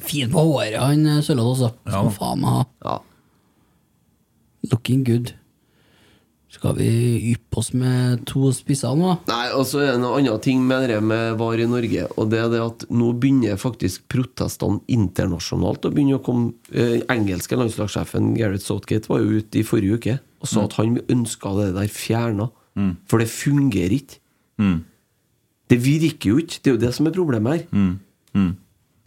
S3: Fin på håret, han eh, Sørloth også. Som faen meg.
S5: ja.
S3: Looking good. Skal vi yppe oss med to spisser nå?
S5: Nei, og så er det noe annet ting med det med VAR i Norge. Og det er det at nå begynner faktisk protestene internasjonalt å begynne å komme. Eh, engelske landslagssjefen Gareth Southgate var jo ute i forrige uke og sa at han ønska det der fjerna.
S2: Mm.
S5: For det fungerer ikke.
S2: Mm.
S5: Det virker jo ikke. Det er jo det som er problemet her.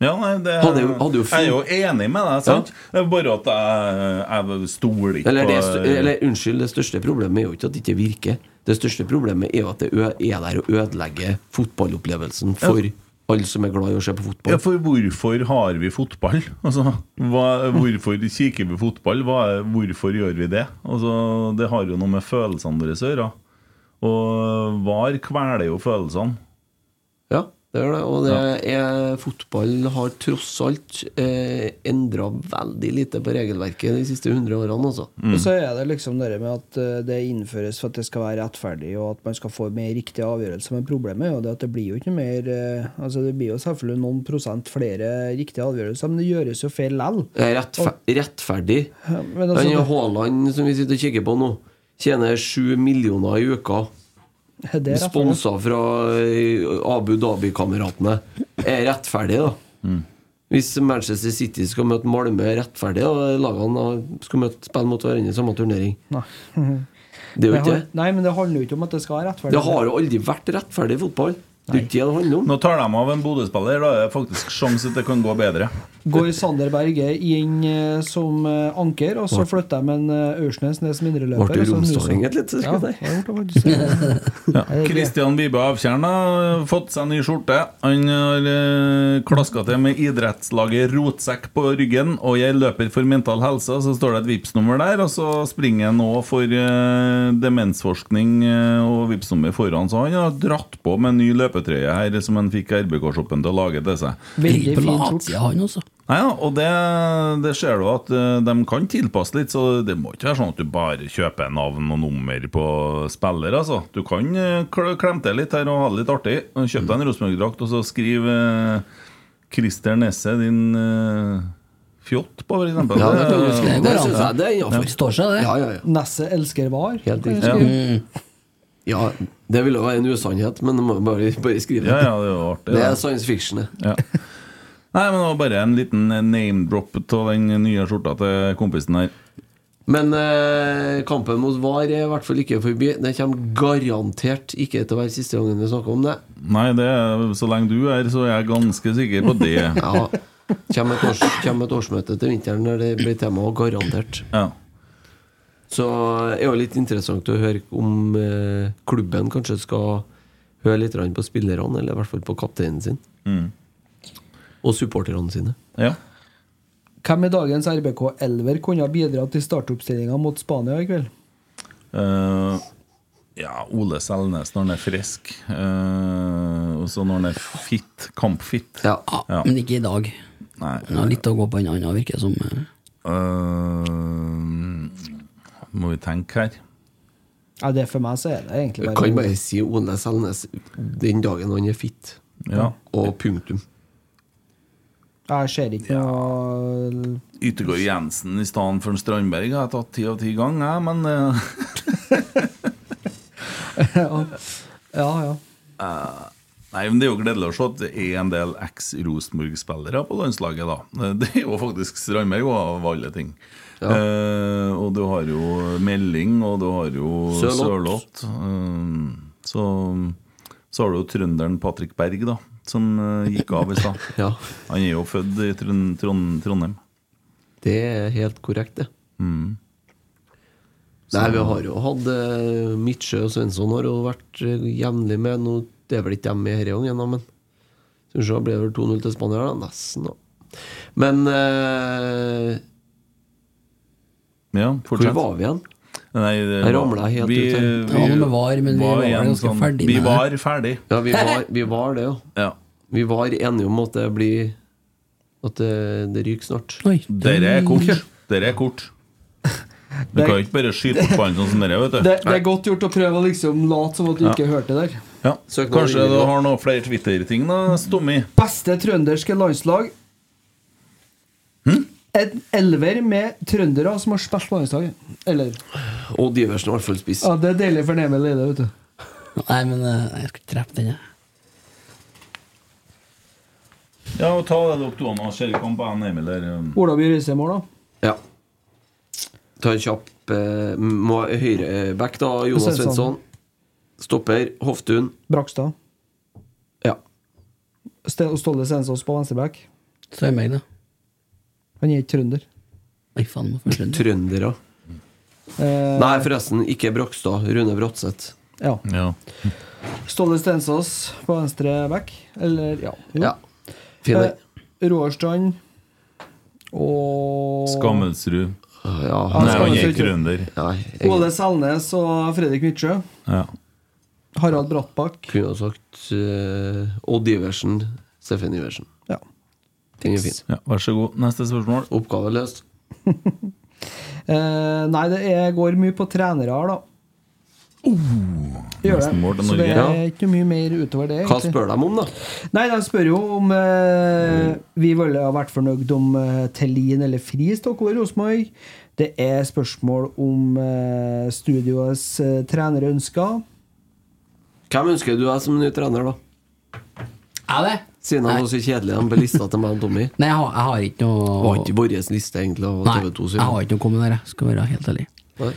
S2: Ja, nei, det,
S5: Hadde jo- hadde jo
S2: jeg er jo
S5: fint.
S2: enig med deg, sant? Det er bare at jeg, jeg stoler ikke
S5: Eller, det,
S2: på eh,
S5: st- eller unnskyld, det største problemet er jo ikke at det ikke virker. Det største problemet er jo at det ø- er der og ødelegger fotballopplevelsen for
S2: Ja.
S5: alle som er glad i å se på fotball.
S2: Ja, for hvorfor har vi fotball? Altså, hva, hvorfor kikker vi fotball? Hva, er- hvorfor gjør vi det? Altså, det har jo noe med følelsene deres å gjøre. Og VAR kveler jo følelsene.
S5: Ja, det gjør det. Og det er, fotball har tross alt eh, endra veldig lite på regelverket de siste 100 årene, altså.
S8: Og så er det liksom det med at eh, det innføres for at det skal være rettferdig, og at man skal få mer riktig avgjørelse. Men problemet er jo det at det blir jo ikke noe mer eh, Altså Det blir jo selvfølgelig noen prosent flere riktige avgjørelser, men det gjøres jo feil lell.
S5: Det er rettfer rettferdig.
S8: men altså-
S5: Den Haaland som vi sitter og kikker på nå, tjener 7 millioner i uka.
S8: Det er rettferdig.
S5: Sponsa fra eh, Abu Dhabi-kameratene. Er rettferdig, da.
S8: Mm.
S5: Hvis Manchester City skal møte Malmö, er rettferdig, da. Lagene skal møte, spille mot hverandre i samme turnering. Det er jo ikke det.
S8: har- Nei, men det handler jo ikke om at det skal være rettferdig.
S5: Det har jo aldri vært rettferdig fotball. Det er ikke det det handler om.
S2: Nå tar de av en Bodø-spiller, da er det faktisk sjanse at det kan gå bedre.
S8: Går Sander Berge inn eh, som eh, anker, og så flytter de en eh, Aursnes ned som indreløper.
S2: Ble det
S8: og så Nusa.
S5: sånn
S2: romsdalinget litt, skulle
S8: Ja,
S2: jeg si?
S8: det ble det faktisk.
S2: Ja. Kristian Vibe Avtjern har fått seg ny skjorte. Han har eh, klaska til med idrettslaget Rotsekk på ryggen, og jeg løper for mental helse. og Så står det et Vipps-nummer der, og så springer han nå for eh, demensforskning eh, og Vipps-nummer foran. Så han har dratt på med en ny løpetrøye her, som han fikk RBK-shoppen til å lage til seg.
S3: Veldig fin gjort. Han også.
S2: Nei, ja, og det, det ser du at eh, de kan tilpasse litt, så det må ikke være sånn at du bare kjøper navn og nummer på spiller. Altså. Du kan eh, kl- klemme til litt her og ha det litt artig. Kjøp deg en Rosenborg-drakt, og så skriv eh, Christer Nesse, din eh, fjott, på, for eksempel.
S5: Ja, det kan du skrive. Det synes jeg det er innenfor.
S2: Ja.
S3: Står seg, det.
S5: Ja, ja, ja.
S8: Nesse elsker var. Helt
S5: riktig. Ja, det ville jo være en usannhet, men det må jo bare, bare skrive
S2: Ja, ja, det er jo artig,
S5: Det
S2: det.
S5: er science fiction, det.
S2: Ja. Nei, men det var bare en liten eh, name-drop av den nye skjorta til kompisen her.
S5: Men eh, kampen mot VAR er i hvert fall ikke forbi. Den kommer garantert ikke til å være siste gangen vi snakker om det.
S2: Nei, det, er- så lenge du er, så er jeg ganske sikker på det.
S5: Ja. Kommer et, års, kommer et årsmøte til vinteren der det blir tema, garantert. Så det er jo litt interessant å høre om eh, klubben kanskje skal høre litt grann på spillerne, eller i hvert fall på kapteinen sin.
S2: Mm.
S5: Og supporterne sine.
S8: Hvem i dagens RBK-elver kunne ha bidratt til startoppstillinga mot Spania i kveld?
S2: Eh, ja, Ole Selnes når han er frisk. eh, og så når han er fit, kampfit.
S5: Ja.
S3: Men ikke i dag.
S2: Nei.
S3: Han har litt å gå på en annen, virker det som. eh.
S2: Eh, må vi tenke her.
S8: Ja, det For meg så er det egentlig
S5: Jeg kan bare si Ole Selnes den dagen han er fit.
S2: Ja.
S5: Og punktum.
S8: Jeg ser ikke noe
S2: Yttergård Jensen i stedet for en Strandberg har jeg tatt ti av ti ganger, jeg, men eh,
S8: Ja, ja.
S2: eh, Nei, men Det er jo gledelig å se at det er en del eks-Rosenborg-spillere på landslaget. da Det er jo faktisk Strandberg og av alle ting. Eh, og du har jo Melding, og du har jo
S5: Sørloth.
S2: Sørloth. Eh, så, så har du jo trønderen Patrick Berg, da, som eh, gikk av i stad. Han er jo født i Trond Trond Trondheim.
S5: Det er helt korrekt, det.
S2: Mm.
S5: Nei,
S2: Så-
S5: vi har jo hatt eh, Midtsjø og Svensson har jo vært eh, jevnlig med. Nå det er vel ikke dem i denne gangen, da, men Skal vi se, ble det vel 2-0 til Spania, da? Nesten, da. Men eh,
S2: Ja, fortsett.
S5: Hvor var vi igjen?
S2: Nei, det
S5: Jeg
S2: var-
S5: ramlet helt
S2: vi-
S5: ut her.
S2: vi Det var noe med var, men vi var var vel igjen ganske sånn- ferdig vi med var det. ferdig.
S5: Ja, vi var, vi var det, ja. Vi var enige om at det blir At det, det ryker snart.
S2: Dere er kort. Dere er kort. Du
S5: Det-
S2: kan jo ikke bare skyte på ballen sånn som dere, vet du.
S8: Det, det er godt gjort å prøve å liksom late som at du
S2: Ja.
S8: ikke hørte der.
S2: Ja. Kanskje du har noen flere Twitter-ting, da, Stommi?
S5: Hm?
S8: Beste trønderske landslag
S1: En elver med trøndere som har spilt på landslaget. Eller
S5: Odd Iversen har i hvert fall spist.
S1: Ja, det er deilig for Emil Eide, vet du.
S3: Nei, men eh, jeg skulle drept den, jeg.
S2: Ja, og ta det opp, du, Anna. Ser ikke om på han Emil der. um.
S1: Ola By Røise i mål, da.
S5: Ja. Ta en kjapp eh, må- høyreback, da. Jonas
S1: Svensson.
S5: Svensson. Stopper. Hoftun.
S1: Brakstad.
S5: Ja.
S1: Ste- Ståle Stensås på venstreback.
S3: Så er det meg, da.
S1: Han er ikke trønder.
S3: Nei, faen, må få skjønne.
S5: Trøndere.
S1: Eh,
S5: Nei, forresten, ikke Brakstad. Rune Bratseth.
S1: Ja. Ståle Stensås på venstreback. Eller, ja. jo.
S5: Ja. Fin den.
S1: Eh, Roar Strand og
S2: Skammelsrud.
S5: Ah, Ja,
S2: Nei, han er
S1: Skammelsrud.
S2: ikke trønder.
S5: Nei,
S1: Ole Selnes og Fredrik Midtsjø.
S2: Ja.
S1: Harald Brattbakk.
S5: kunne ha sagt eh, Odd Iversen. Steffen Iversen.
S1: Ja.
S5: Den er fin.
S2: ja. Vær så god. Neste spørsmål.
S5: Oppgave løst.
S1: Eh, nei, det er, går mye på trenere her, da. Gjør det.
S2: Uh, Nesten mål til
S1: Så det
S2: Norge.
S1: er
S5: Ja.
S1: ikke mye mer utover det.
S5: Hva
S1: egentlig.
S5: spør de om, da?
S1: Nei, de spør jo om
S3: Mm.
S1: eh, vi ville ha vært fornøyd om eh, Tellin eller Friis tok over Rosenborg. Det er spørsmål om eh, studioets eh, trenere ønsker.
S5: Hvem ønsker du deg som ny trener, da?
S3: Er det?
S5: Siden han var så kjedelig han ble lista til meg og Tommy.
S3: Nei, jeg har, jeg har ikke noe
S5: Var ikke vår liste, egentlig, av
S3: Nei,
S5: TV2
S3: jeg har
S5: sin.
S3: ikke noe kommentar, jeg skal være helt ærlig.
S5: Nei.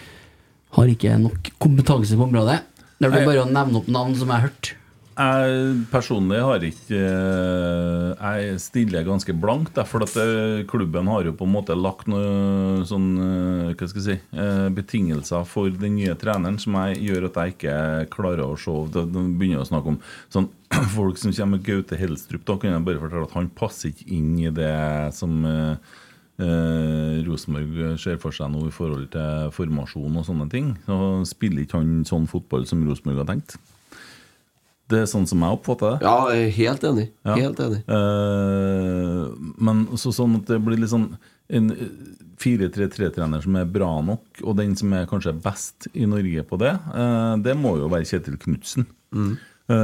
S3: Har ikke nok kompetanse på området. Det
S2: Nei.
S3: blir bare å nevne opp navn som jeg har hørt.
S2: Jeg personlig har ikke eh, Jeg stiller ganske blankt, da, for at eh, klubben har jo på en måte lagt noe sånn eh, Hva skal jeg si eh, betingelser for den nye treneren som jeg gjør at jeg ikke klarer å se Da da begynner jeg å snakke om sånn folk som kommer med Gaute Helstrup. Da kan jeg bare fortelle at han passer ikke inn i det som eh, Eh, Rosenborg ser for seg nå i forhold til formasjon og sånne ting. Så spiller ikke han sånn fotball som Rosenborg har tenkt. Det er sånn som jeg oppfatter det.
S5: Ja, jeg er helt enig.
S2: Ja.
S5: Helt enig.
S2: Eh, men også sånn at det blir litt sånn en 4-3-3-trener som er bra nok, og den som er kanskje best i Norge på det, eh, det må jo være Kjetil Knutsen.
S5: Mm.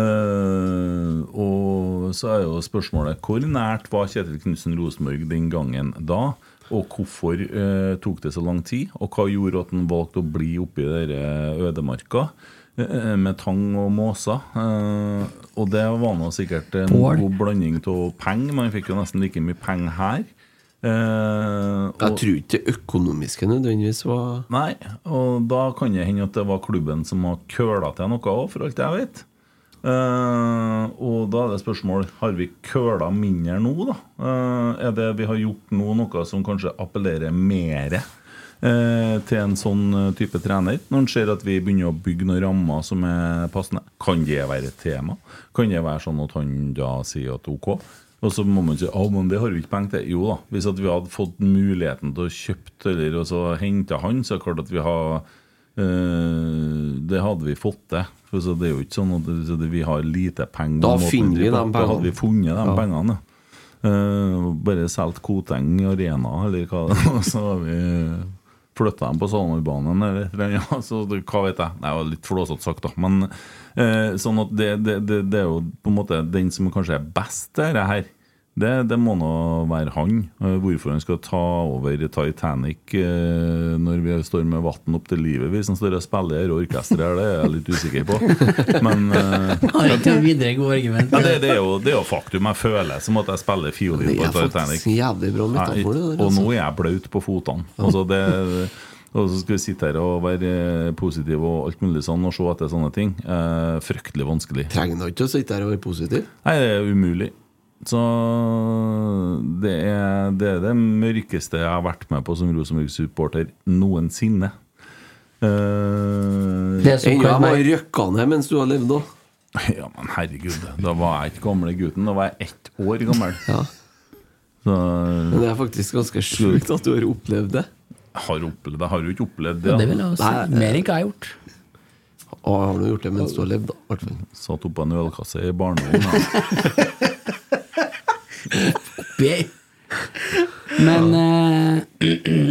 S2: Eh, og så er jo spørsmålet hvor nært var Kjetil Knutsen Rosenborg den gangen da? Og hvorfor eh, tok det så lang tid? Og hva gjorde at han valgte å bli oppi dere ødemarka? eh, Med tang og måser. Eh, Og det var nå sikkert en
S3: Bål.
S2: god blanding av penger. Man fikk jo nesten like mye penger her. Eh, og-
S5: Jeg tror ikke det økonomiske nødvendigvis var
S2: Nei, og da kan det hende at det var klubben som har køla til noe òg, for alt jeg vet. Eh, og da er det spørsmål Har vi køla mindre nå, da? Eh, er det vi har gjort nå noe som kanskje appellerer mer eh, til en sånn eh, type trener? Når en ser at vi begynner å bygge noen rammer som er passende. Kan det være et tema? Kan det være sånn at han da sier at ok? Og så må man si «Å, men det har vi ikke penger til. Jo da, hvis at vi hadde fått muligheten til å kjøpe eller og så hente han, så er det klart at vi har eh, Det hadde vi fått til. For så det er jo ikke sånn at så det, vi har lite penger.
S5: Da
S2: og måten
S5: finner vi
S2: driver på.
S5: de
S2: Da hadde
S5: pengene.
S2: vi funnet de
S5: Ja.
S2: pengene. ja. Eh, bare solgt Koteng Arena, eller hva det var, så har vi flytta dem på Salmarbanen, eller et eller annet. Ja, så det, hva vet jeg. Nei, det var litt flåsete sagt, da. Men eh, sånn at det, det, det, det er jo på en måte den som kanskje er best til det her. Det, det må nå være han. Eh, Hvorfor han skal ta over Titanic eh, når vi står med vann opp til livet, hvis han står og spiller i dette orkesteret her, det er jeg litt usikker på. Men eh,
S3: Har ikke noe videre god argument.
S2: ja, det, det, er jo, det er jo faktum. Jeg føler som at jeg spiller fiolin
S5: Det
S2: på
S5: er
S2: Titanic.
S5: faktisk en jævlig bra
S2: Nei,
S5: metafor. det der,
S2: og nå
S5: altså.
S2: er jeg blaut på fotene. Altså det, og så skal vi sitte her og være eh, positive og alt mulig sånn og se etter sånne ting. Eh, fryktelig vanskelig.
S5: Trenger da ikke å sitte her og være positiv.
S2: Nei, det er umulig. Så det er, det er det mørkeste jeg har vært med på som Rosenborg-supporter noensinne. Eh,
S3: Det som
S5: Ennå
S3: kan
S5: jeg må
S3: være
S5: røkke ned mens du har levd òg.
S2: ja, men herregud, da var jeg ikke gamle gutten. Da var jeg ett år gammel.
S5: Ja.
S2: Så
S5: Men det er faktisk ganske sjukt at du har opplevd det.
S2: har opplevd det. Har jo ikke opplevd
S3: ja,
S2: det.
S3: Det vil jeg også
S5: Nei,
S3: si.
S5: det-
S3: Mer enn hva jeg har gjort.
S5: Og har du gjort det mens du har levd, da? i hvert fall.
S2: Satt oppå en ølkasse i barndommen. ja.
S3: Be. Men eh,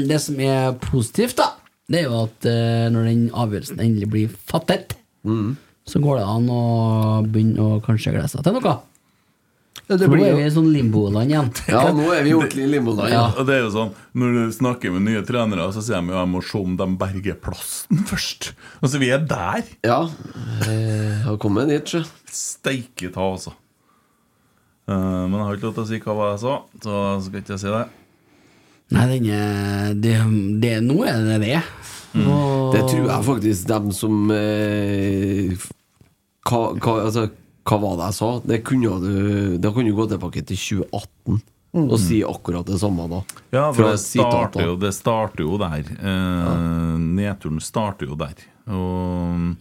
S3: det som er positivt, da, det er jo at eh, når den avgjørelsen endelig blir fattet, så går det an å begynne å kanskje glede seg til noe. For nå er vi i sånn limboland igjen. Ja.
S2: Og det er jo sånn, Når du snakker med nye trenere, så sier de jo jeg må se om de berger plassen først. Altså, vi er der.
S5: Ja. eh, Har kommet dit, sjø.
S2: Steike ta, altså. Eh, men jeg har ikke lov til å si hva var jeg sa, så skal ikke jeg si det.
S3: Nei, denne det, det, Nå er det det. Og-
S5: Det tror jeg faktisk dem som eh, hva, hva, altså, hva var det jeg sa? Det kunne du, da kan du gå tilbake til 2018 og
S2: Mm.
S5: si akkurat det samme da.
S2: Ja,
S5: Fra
S2: for det
S5: sitatene.
S2: starter, jo, det starter jo der. Eh, Nedturen starter jo der. Og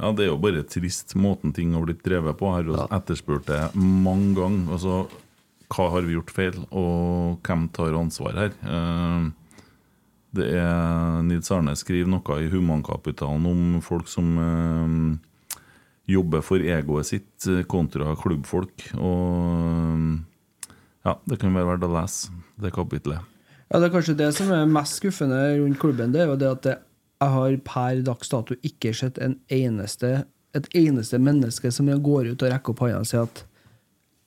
S2: Ja, det er jo bare trist måten ting har blitt drevet på. Jeg har jo etterspurt det mange ganger. Altså, hva har vi gjort feil, og hvem tar ansvar her? Eh, det er Nils Arne skriver noe i Humankapitalen om folk som eh, jobber for egoet sitt eh, kontra klubbfolk. Og eh, ja, det kan være verdt å lese det kapitlet.
S8: Ja, Det er kanskje det som er mest skuffende rundt klubben. Det er jo det at det- jeg har per dags dato ikke sett en eneste, et eneste menneske som går ut og rekker opp hånda og sier at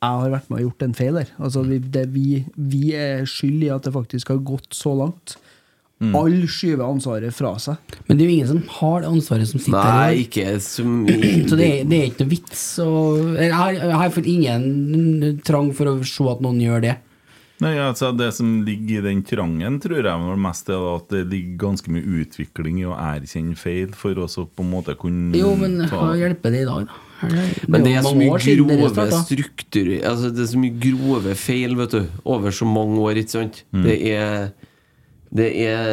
S8: jeg har vært med og gjort en feil her. Altså, vi, det, vi, vi er skyld i at det faktisk har gått så langt.
S2: Mm.
S8: Alle skyver ansvaret fra seg.
S3: Men det er jo ingen som har det ansvaret som sitter her.
S5: Nei, ikke som
S3: Så det, er- det er ikke noe vits å Jeg har- jeg har fått ingen trang for å se at noen gjør det.
S2: Nei, altså Det som ligger i den trangen, tror jeg vel mest er at det ligger ganske mye utvikling i å erkjenne feil, for også på en måte kunne
S3: Jo, men hva
S2: ta
S3: hjelper det i dag, da? Det
S5: Men det
S3: jo
S5: er så
S3: mange
S5: mye
S3: år siden dere
S5: grove
S3: startet.
S5: strukturer altså Det er så mye grove feil vet du, over så mange år. Ikke sant?
S4: Mm.
S5: Det er Det er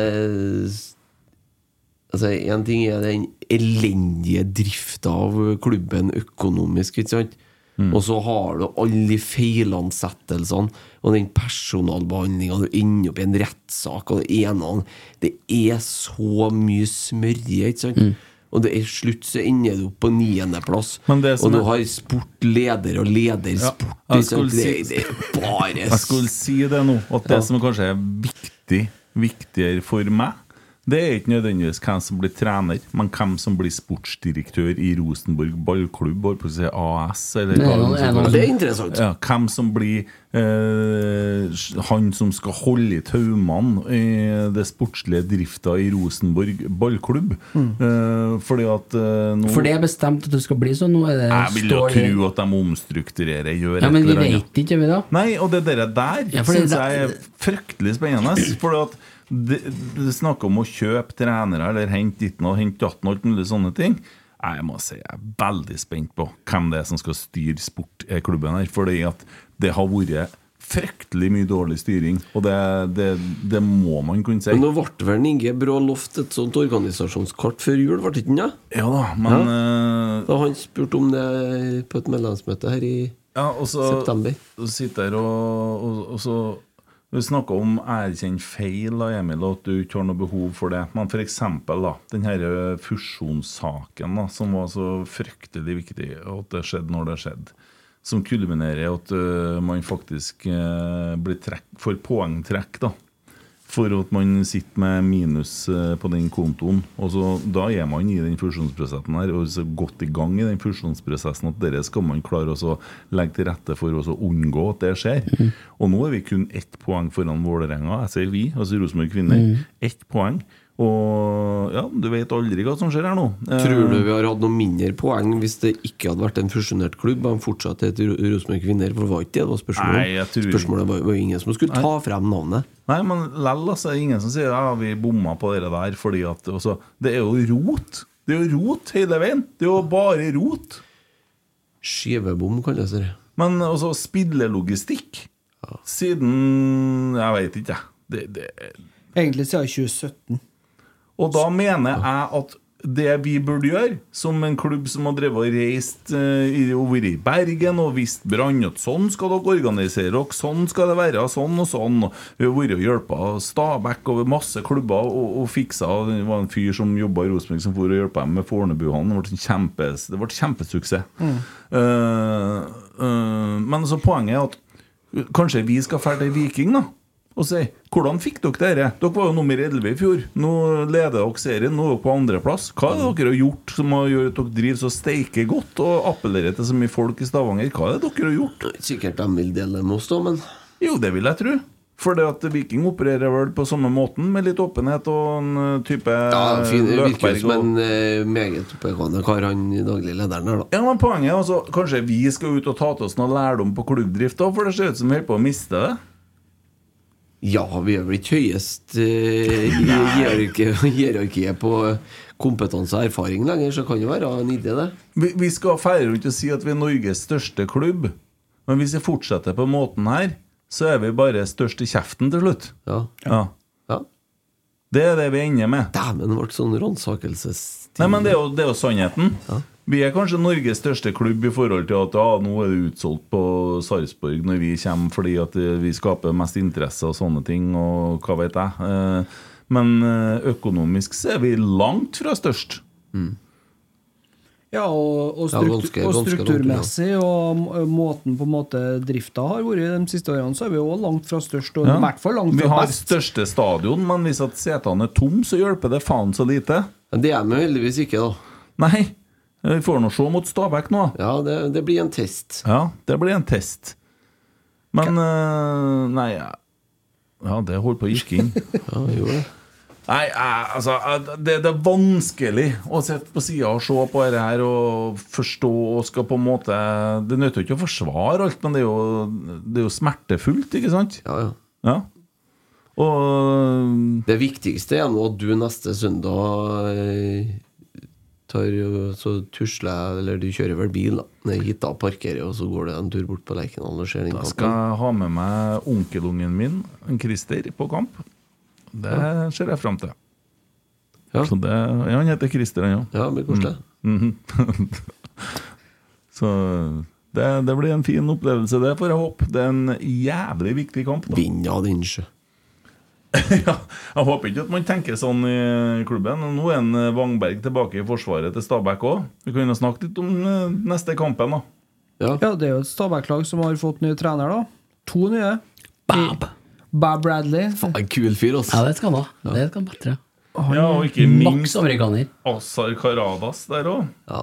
S5: Altså, Én ting er den elendige drifta av klubben økonomisk, ikke sant?
S4: Mm.
S5: Og så har du alle de feilansettelsene og den personalbehandlinga. Du ender opp i en rettssak og det ene og Det er så mye smørje, ikke
S2: Mm.
S5: sant? Og det er slutt så ender du opp på niendeplass.
S2: Men det som
S5: Og du
S2: er-
S5: har sportleder og ledersport.
S2: Ja, jeg
S5: ikke sant?
S2: skulle si-
S5: det, det er bare
S2: Jeg skulle si det nå, at det
S5: Ja.
S2: som kanskje er viktig, viktigere for meg, det er ikke nødvendigvis hvem som blir trener, men hvem som blir sportsdirektør i Rosenborg ballklubb, holdt på å si AS, eller
S5: Det er
S2: hva
S5: noe-
S2: det skal
S5: er noe-
S2: kalles.
S5: Det er interessant.
S2: Ja, hvem som blir eh, han som skal holde i taumene i det sportslige drifta i Rosenborg ballklubb. Eh, fordi at eh, nå
S3: For det er bestemt at det skal bli sånn. Nå er det
S2: Jeg vil jo
S3: står det-
S2: tro at de omstrukturerer, gjør
S3: Ja, men
S2: et
S3: vi
S2: eller annet.
S3: vet ikke, vi da.
S2: Nei, og det dere der
S3: Ja, for det-
S2: syns jeg er fryktelig spennende. For at det, det snakker om å kjøpe trenere eller hente ditten og hente datten og alt mulig sånne ting. Jeg må si jeg er veldig spent på hvem det er som skal styre sportklubben her. Fordi at det har vært fryktelig mye dårlig styring, og det, det, det må man kunne si.
S5: Men nå ble det vel Inge Brå lovt et sånt organisasjonskart før jul, ble det ikke det?
S2: Ja da, men eh,
S5: Da han spurte om det på et medlemsmøte her i
S2: Ja, og eh, så
S5: september.
S2: Så sitter jeg og, og, og så Vi snakka om erkjenne feil, da, Emil, og at du ikke har noe behov for det. Men f.eks. denne eh, fusjonssaken da, som var så fryktelig viktig, og at det skjedde når det skjedde. Som kulminerer i at øh, man faktisk øh, blir trekk, får poengtrekk. da for at man sitter med minus eh, på den kontoen. Og så, Da er man i den fusjonsprosessen her, og så godt i gang i den fusjonsprosessen at dette skal man klare også å legge til rette for og så unngå at det skjer. Og nå er vi kun ett poeng foran Vålerenga. Jeg sier vi, altså Rosenborg kvinner.
S5: Mm.
S2: Ett poeng. Og ja, du vet aldri hva som skjer her nå. Eh,
S5: Tror du vi har hatt noe mindre poeng hvis det ikke hadde vært en fusjonert klubb? Han fortsatt het Ro- Rosenborg Kvinner, for det var ikke det det var spørsmålet om.
S2: Nei, jeg tror-
S5: Spørsmålet var var ingen som skulle ta frem navnet.
S2: Nei, men lell, altså. det er Ingen som sier ja, vi bomma på det der fordi at altså, Det er jo rot. Det er jo rot hele veien. Det er jo bare rot.
S5: Skivebom kalles det.
S2: Men også spillelogistikk. Siden Jeg veit ikke, jeg. Det, det,
S8: Egentlig siden 2017.
S2: og da mener jeg at det vi burde gjøre, som en klubb som har drevet og reist eh, i- over i Bergen og visst brann at sånn skal dere organisere dere, sånn skal det være, sånn og sånn og Vi har vært og hjulpet Stabæk over masse klubber og, og fiksa og Det var en fyr som jobba i Rosenborg som for og hjelpa dem med Fornebuene. Det ble en kjempes, det ble kjempesuksess.
S5: Mm.
S2: Eh, eh, men så poenget er at kanskje vi skal dra til Viking, da? og si 'Hvordan fikk dere dette? Dere var jo nummer 11 i fjor. Nå leder dere serien, nå er dere på andreplass. Hva er det dere har gjort som har gjort at dere driver så steike godt og appellerer til så mye folk i Stavanger? Hva er det dere har gjort?
S5: Sikkert de vil dele med oss, da, men
S2: Jo, det vil jeg tro. For det at Viking opererer vel på samme måten, med litt åpenhet og en eh, type
S5: ja, fin, det virker jo
S2: Løkberg
S5: som
S2: og-
S5: en eh, meget oppegående kar, han daglig lederen her, da.
S2: Ja, men Poenget er altså Kanskje vi skal ut og ta til oss noe lærdom på klubbdrift, da, for det ser ut som vi holder på å miste det.
S5: Ja, vi er vel ikke høyest eh, i hierarki- hierarkiet på kompetanse og erfaring lenger, så kan det være en idé, det.
S2: Vi, vi skal feire rundt og si at vi er Norges største klubb, men hvis vi fortsetter på måten her, så er vi bare størst i kjeften til slutt.
S5: Ja.
S2: Det er det vi ender med.
S5: Dæven, det ble sånn ransakelses...
S2: Nei, men det er jo, det er jo sannheten. Vi er kanskje Norges største klubb i forhold til at ja, nå er det utsolgt på Sarpsborg når vi kommer fordi at eh, vi skaper mest interesse og sånne ting, og hva vet jeg. Eh, Men eh, økonomisk så er vi langt fra størst.
S8: Ja, og, og,
S2: Ja,
S8: struktu
S2: ganske-
S8: og
S2: ganske langt unna.
S8: strukturmessig og m- måten på en måte drifta har vært de siste årene, så er vi jo langt fra størst, og i
S2: Ja.
S8: hvert fall langt
S2: Vi
S8: fra
S2: har
S8: best.
S2: største stadion, men hvis at setene er tom, så hjelper det faen så lite.
S5: Det er vi heldigvis ikke, da.
S2: Nei. eh, Vi får nå se mot Stabæk nå.
S5: Ja, det, det blir en test.
S2: Ja, det blir en test. Men eh, Nei, ja, Ja, det holdt på å gikk inn.
S5: ja, gjorde det.
S2: Nei, jeg- altså jeg- det, det er vanskelig å sitte på sida og se på dette her og forstå og skal på en måte Det nytter jo ikke å forsvare alt, men det er jo, det er jo smertefullt, ikke sant? eh,
S5: Ja, ja.
S2: Og
S5: Det viktigste er nå at du neste søndag eh, tar, og- så tusler jeg, eller du kjører vel bil da, ned hit da, parkerer, og så går du en tur bort på Lerkendal og ser den
S2: Da skal jeg ha med meg onkelungen min, en Christer, på kamp. Det
S5: Ja.
S2: ser jeg fram til. Så det, ja, han heter Christer, han òg.
S5: Ja, det blir koselig.
S2: Mm. Mhm. Så eh, det, det blir en fin opplevelse, det får jeg håpe. Det er en jævlig viktig kamp. da.
S5: Vinn av din sjø.
S2: Jeg håper ikke at man tenker sånn i klubben. Nå er en eh, Wangberg tilbake i forsvaret til Stabæk òg. Vi kan jo snakke litt om eh, neste kampen, da.
S5: Ja.
S8: det er jo et Stabæk-lag som har fått ny trener, da. To nye. Bab. Bab Bradley.
S5: En kul fyr, altså.
S3: Ja, det skal han ha. Det skal han bedre.
S2: Ja, og ikke minst
S3: Maks amerikaner.
S2: Azar Karadas der òg.
S5: Ja.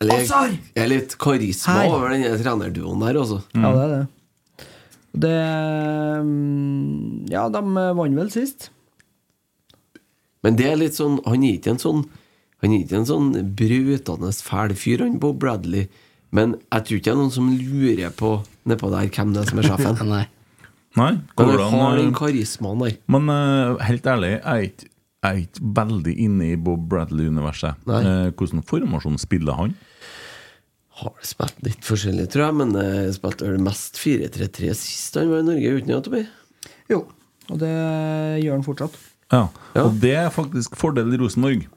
S5: Eller,
S3: Hazard!
S5: er litt karisma
S8: Her.
S5: over den trenerduoen der, altså.
S8: Ja, det er det. Det mm, Ja, de vant vel sist.
S5: Men det er litt sånn Han er ikke en sånn Han er ikke en sånn brutende fæl fyr, han Bob Bradley. Men jeg tror ikke det er noen som lurer på nedpå der hvem det er som er sjefen.
S3: Nei.
S2: Nei,
S5: Men
S2: hvordan,
S5: han har
S2: eh,
S5: den karismaen der.
S2: Men eh, helt ærlig, jeg er ikke- jeg er ikke veldig inne i Bob Bradley-universet. Eh, hvordan formasjon spiller han?
S5: Har spilt litt forskjellig, tror jeg, men eh, spilte vel mest 4-3-3 sist han var i Norge, uten at det blir
S8: Jo, og det gjør han fortsatt.
S2: Ja. Og det er faktisk fordel i Rosenborg.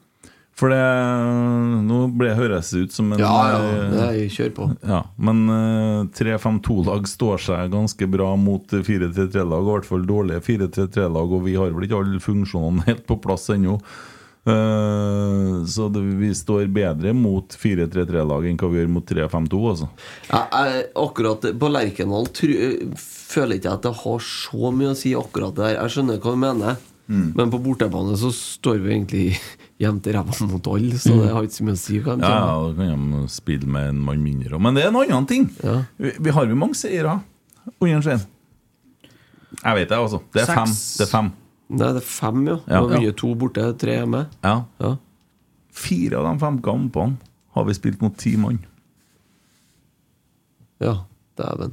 S2: For det eh, Nå ble, høres det ut som en eh,
S5: Ja, ja, nei, kjør på.
S2: Ja, men eh, 3-5-2-lag står seg ganske bra mot 4-3-3-lag, og i hvert fall dårlige 4-3-3-lag, og vi har vel ikke alle funksjonene helt på plass ennå. Eh, så det, vi står bedre mot 4-3-3-lag enn hva vi gjør mot 3-5-2, altså.
S5: Jeg, jeg, akkurat på Lerkendal tru- føler ikke jeg at det har så mye å si akkurat der. Jeg skjønner hva du mener,
S2: Mm.
S5: men på bortebane så står vi egentlig jevnt i ræva mot alle, så det har ikke så mye å si. Hva de
S2: Ja,
S5: tjener.
S2: ja, da kan de spille med en mann mindre. Men det er en annen ting. Vi, vi har jo mange seire under Svein. Jeg vet det, altså. Det er fem.
S5: Seks.
S2: Det er fem.
S5: Nei, det er fem, ja.
S2: Ja.
S5: Vi har vunnet to borte, tre hjemme.
S2: Ja.
S5: Ja.
S2: Fire av de fem kampene har vi spilt mot ti mann.
S5: Ja, dæven.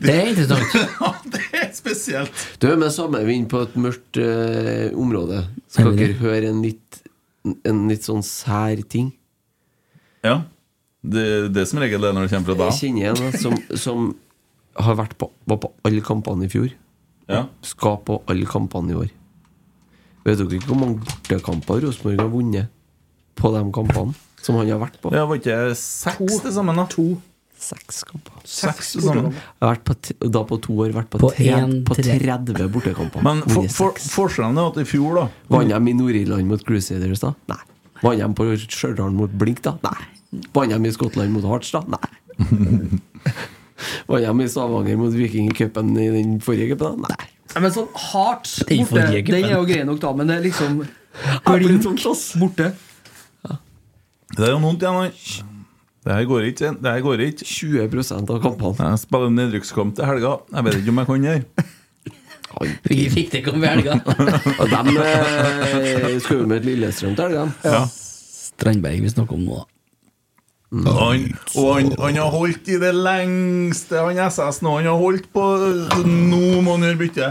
S3: Det er interessant.
S2: Spesielt.
S5: Du, med samme vind på et mørkt eh, område, skal
S3: Nemlig.
S5: dere høre en litt, en litt sånn sær ting?
S2: Ja. Det, det er som regel det når det kommer fra
S5: Jeg
S2: deg.
S5: kjenner en da, som, som har vært på, var på alle kampene i fjor.
S2: Ja.
S5: Skal på alle kampene i år. Vet dere ikke hvor mange bortekamper Rosenborg har vunnet på de kampene som han har vært på?
S2: Det var ikke seks til sammen, da?
S8: To.
S5: Seks kamper.
S2: Seks til sammen.
S5: Jeg har vært på, t- da på to år vært på,
S2: På
S5: tre,
S2: en
S5: på
S2: tre.
S5: 30 bortekamper.
S2: Men for,
S5: Vunnet seks.
S2: for, forskjellen er at i fjor, da
S5: Vant de i Nord-Irland mot Crusaders, da? Nei. Vant de på Stjørdal mot Blink, da? Nei. Vant de i Skottland mot Hearts, da? Nei. Var hjemme i Stavanger mot Viking i cupen i den forrige cupen? da? Nei.
S9: Nei, men sånn hardt
S5: Den
S9: borte,
S5: forrige
S9: den er jo
S5: cupen.
S9: grei nok, da, men det er liksom
S5: blir
S9: blink borte.
S2: Det er jo vondt igjen, han. Det her går ikke. Det her går ikke.
S5: 20 av kampene.
S2: Jeg spiller nedrykkskamp til helga. Jeg vet ikke om jeg kan gjøre.
S3: Vi fikk det ikke om helga.
S5: Og de eh, skal jo med et Lillestrøm til helga.
S2: Ja.
S3: Strandberg vi snakker om nå, da.
S2: Han, og han, han har holdt i det lengste, han SS nå. Han har holdt på så Nå må han gjøre bytte.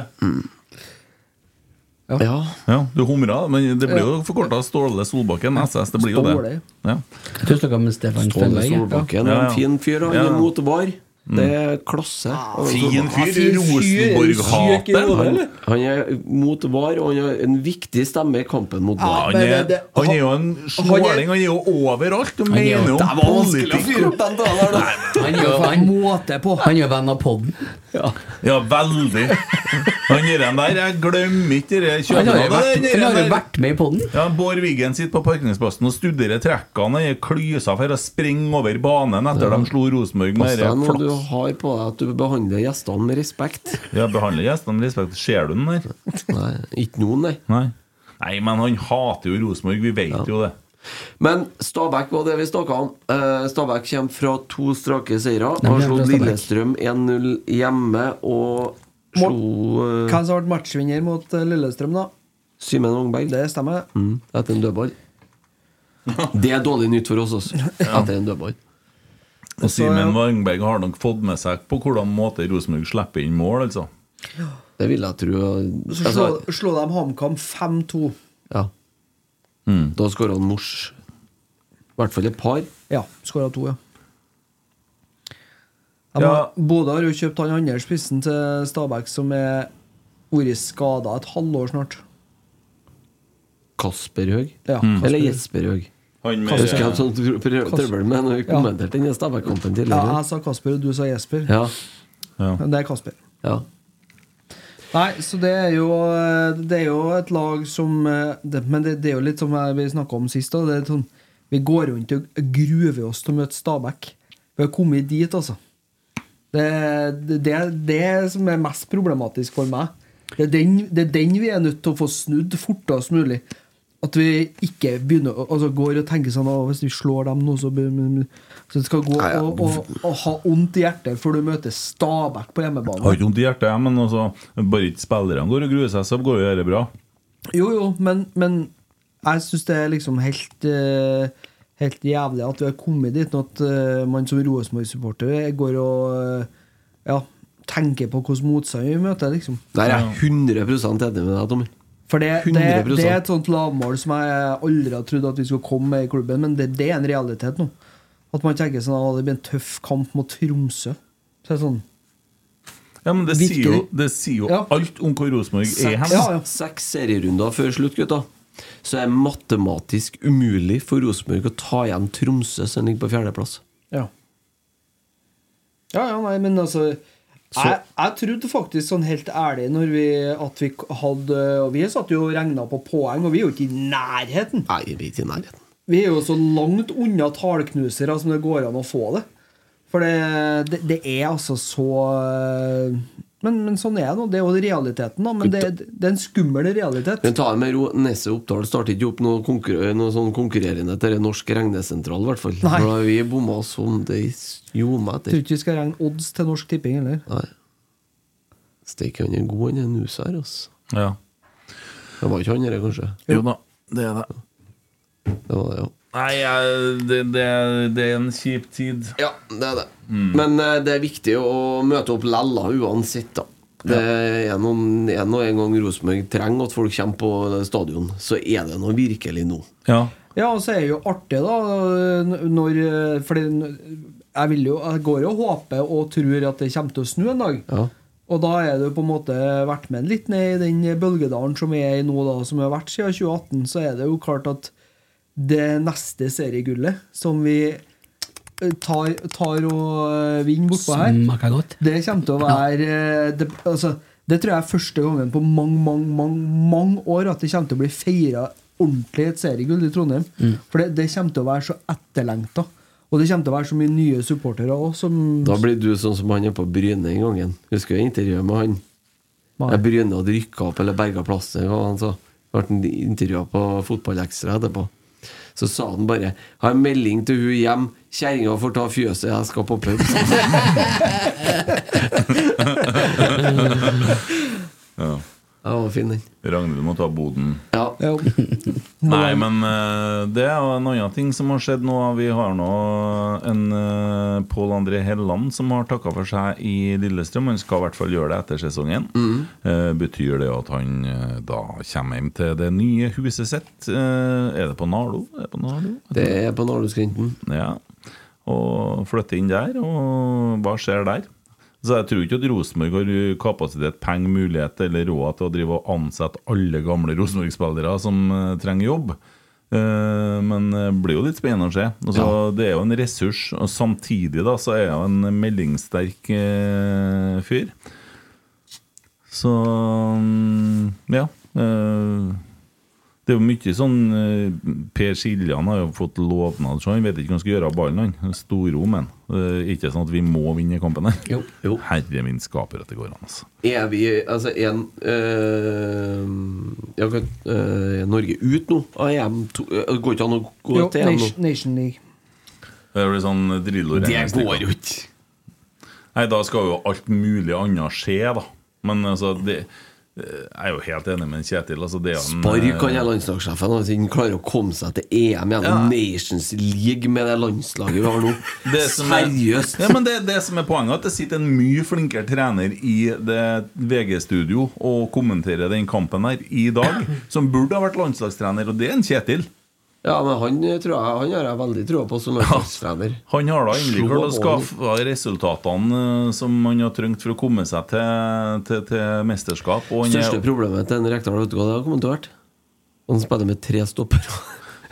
S5: Ja.
S2: Ja, du humra, men det blir jo forkorta Ståle Solbakken, SS. Det blir jo det.
S3: Ståle.
S2: Ja.
S3: Jeg tror jeg snakket med Stefan
S5: Ståle
S3: Strandberg.
S5: Solbakken er en fin fyr. Han
S3: Ja.
S5: er mot VAR. Det er klasse.
S2: Fin fyr. Rosenborg-hater.
S5: Han er mot VAR, og han er en viktig stemme i kampen mot VAR.
S2: Han er, han er jo en snåling. Han er jo overalt. Du
S5: Han er jo-
S2: mener jo
S5: Det var vanskelig å
S2: politikk.
S5: fyre opp den dalen her, da.
S3: Han gjør han, han gjør venn av podden.
S2: Ja, veldig. Han der den der, jeg glemmer ikke det
S3: Han har jo
S2: kjøpet.
S3: vært- han har jo vært med i podden.
S2: Ja, Bård Wiggen sitter på parkeringsplassen og studerer trekkene. Han er klysa for å springe over banen etter
S5: Ja.
S2: de slo Rosenborg
S5: Pass
S2: med
S5: deg
S2: det
S5: når du
S2: flaks.
S5: har på deg at du behandler gjestene med respekt.
S2: Ja, behandler gjestene med respekt. Ser du den der?
S5: Nei, ikke noen, nei.
S2: Nei. men han hater jo Rosenborg. Vi vet jo det.
S5: Men Stabæk var det vi snakka om. Eh, Stabæk kommer fra to strake seire.
S3: Nei,
S5: Har
S3: men
S5: slått
S3: Stabæk.
S5: Lillestrøm 1-0 hjemme og slo eh,
S1: Hvem som ble matchvinner mot eh, Lillestrøm, da?
S5: Simen Wangberg.
S1: Det stemmer.
S5: Mm, etter en dødball. Det er dårlig nytt for oss, altså. Etter en dødball.
S2: Og
S1: eh,
S2: Simen Wangberg har nok fått med seg på hvordan måte Rosenborg slipper inn mål, altså.
S5: Det vil jeg tro. Altså,
S1: Så slå,
S3: Altså-
S1: slå dem HamKam 5-2.
S5: Ja. Da skåra han Mors. I hvert fall et par.
S1: Ja, skåra to, ja. De
S5: Ja.
S1: har- Bodø har jo kjøpt han andre spissen til Stabæk, som er vært skada et halvår snart.
S5: Kasper Høeg.
S1: Ja, Kasper.
S5: Eller Jesper Høeg.
S2: Han med-
S5: Husker Mm. jeg sånn tr- tr-
S1: Kasper.
S5: trøbbel med når vi
S1: Ja.
S5: kommenterte den Stabæk-kampen
S1: Ja, altså.
S5: tidligere.
S1: jeg sa Kasper, og du sa Jesper.
S5: Ja.
S1: Men Det er Kasper.
S5: ja.
S1: Nei, så det er jo eh, Det er jo et lag som eh, det, Men det, det er jo litt som jeg- vi snakka om sist. Da, det er sånn, vi går rundt og gruver oss til å møte Stabæk. Vi har kommet dit, altså. Det det- det er det som er mest problematisk for meg. Det er den, det er den vi er nødt til å få snudd fortest mulig. At vi ikke begynner å- altså går og tenker sånn «Å, Hvis vi slår dem nå, så, blir- men- men-» så det skal gå
S2: Nei, ja.
S1: og, og, og ha vondt i hjertet før du møter Stabæk på hjemmebane.
S2: Har ikke vondt i hjertet, jeg, men altså, bare ikke spillerne går og gruer seg, så går jo dette bra.
S1: Jo, jo, men, men jeg syns det er liksom helt eh, Helt jævlig at vi har kommet dit nå at eh, man som Rosenborg-supporter går og eh, ja, tenker på hvordan motstand vi møter, liksom.
S5: Der er jeg 100 enig med deg, Tommy.
S1: For det, det,
S5: 100%.
S1: det er et sånt lavmål som jeg aldri har trodd at vi skulle komme med i klubben, men det, det er en realitet nå. At man tenker sånn at det blir en tøff kamp mot Tromsø. Så det er sånn
S2: Ja, men det
S1: Virkelig.
S2: sier jo, det sier jo alt om hvor Rosenborg er
S5: Seks,
S2: hen.
S5: seks serierunder før slutt, gutta. Så er det matematisk umulig for Rosenborg å ta igjen Tromsø, som ligger på fjerdeplass.
S1: Ja. Ja, ja, nei, men altså jeg, jeg trodde faktisk sånn helt ærlig når vi, at vi hadde Og vi satt jo og regna på poeng, og vi er jo ikke i nærheten.
S5: Nei, vi er ikke i nærheten.
S1: Vi er jo så langt unna tallknusere som det går an å få det. For det, det, det er altså så eh, men, men sånn er det nå. Det er jo realiteten, da. Men det, det er en skummel realitet.
S5: Men ta det med ro. Nesse Oppdal starter ikke opp noe, konkurr noe sånn konkurrerende til den norske regnesentral, i hvert fall.
S1: Nei.
S5: For da har vi bomma som det gjorde
S1: Jeg tror
S5: etter.
S1: ikke vi skal regne odds til Norsk Tipping heller.
S5: Nei. Steike, han er god, han er nus her, altså.
S2: Ja.
S5: Det var ikke han der, kanskje?
S2: Jo da, det er det.
S5: Det var det, ja.
S2: Nei, jeg- det, det, det er en kjip tid. Mm.
S5: Ja, det er det. Men eh, det er viktig å møte opp lella uansett, da. Det er noen, en og en gang Rosenborg trenger at folk kommer på stadion, så er det noe virkelig nå.
S1: Ja, og så er det jo artig, da, når For jeg vil jo Jeg går jo og håper og tror at det kommer til å snu en dag. Og da er du på en måte vært med litt ned i den bølgedalen som vi er i nå, da, som har vært siden 2018, så er det jo klart at det neste seriegullet som vi eh, tar, tar og eh, vinner bortpå her
S3: Smaker godt.
S1: Det kommer til å være eh, det, altså, det tror jeg er første gangen på mange, mange, mange, mange år at det kommer til å bli feira ordentlig et seriegull i Trondheim.
S3: Mm.
S1: For det, det kommer til å være så etterlengta. Og det kommer til å være så mye nye supportere òg som
S5: Da blir du sånn som han er på Bryne en gangen. Husker jeg intervjuet med han? Jeg Bryne hadde rykka opp eller berga plasser, og han sa ble intervjua på Fotballekstra etterpå. Så sa han bare 'Har en melding til hun hjem. Kjerringa får ta fjøset, jeg skal på pub'.
S2: Ja.
S5: Ja, fin den.
S2: Ragnhild må ta boden.
S5: Ja.
S2: Nei, men eh, det er jo en annen ting som har skjedd nå. Vi har nå en eh, Pål André Helland som har takka for seg i Lillestrøm. Han skal i hvert fall gjøre det etter sesongen.
S5: Mhm.
S2: Eh, betyr det at han eh, da kommer hjem til det nye huset sitt? Eh, er det på Nardo? Er det på Nardo?
S5: Det er på Nåleskrinten.
S2: Ja. Og flytte inn der, og hva skjer der? Så jeg tror ikke at Rosenborg har eh, kapasitet, penger, mulighet eller råd til å drive og ansette alle gamle Rosenborg-spillere som eh, trenger jobb. Eh, Men det blir jo litt spennende å se. Altså, Det er jo en ressurs. Og samtidig da, så er jeg jo en meldingssterk eh, fyr. Så mm, ja. eh, det er jo mye sånn eh, Per Siljan har jo fått lovnad, så han vet ikke hva han skal gjøre av ballen. han Storromen. Eh, Ikke sånn at vi må vinne kampen her. Herre min skaper at det går an, altså.
S5: Er vi Altså, er en, øh, ja, kan- øh, er Norge ut nå av EM? To, øh, det går ikke an å gå
S1: Jo,
S5: til EM nå?
S1: Nation, Nation League.
S2: Det blir sånn drillo
S5: Det
S2: regnestykker.
S5: går jo ikke.
S2: Nei, da skal jo alt mulig annet skje, da. Men altså, det eh, Jeg er jo helt enig med Kjetil. Altså, det er jo en,
S5: Spark han
S2: eh,
S5: her landslagssjefen hvis han klarer å komme seg til EM gjennom
S2: Ja.
S5: Nations League med det landslaget vi har nå.
S2: Det som er-
S5: Seriøst!
S2: Ja, men det, det som er poenget, er at det sitter en mye flinkere trener i det VG-studio og kommenterer den kampen her i dag, som burde ha vært landslagstrener, og det er en Kjetil.
S5: Ja, men han, eh, tror jeg, han har jeg veldig trua på som landslagstrener.
S2: Han har da endelig
S5: Slå
S2: klart å
S5: over.
S2: skaffe resultatene eh, som han har trengt for å komme seg til, til, til mesterskap. Og han
S5: Største
S2: er,
S5: problemet til en Rekdal, vet du hva det har kommet til å være? Han spiller med tre stoppere.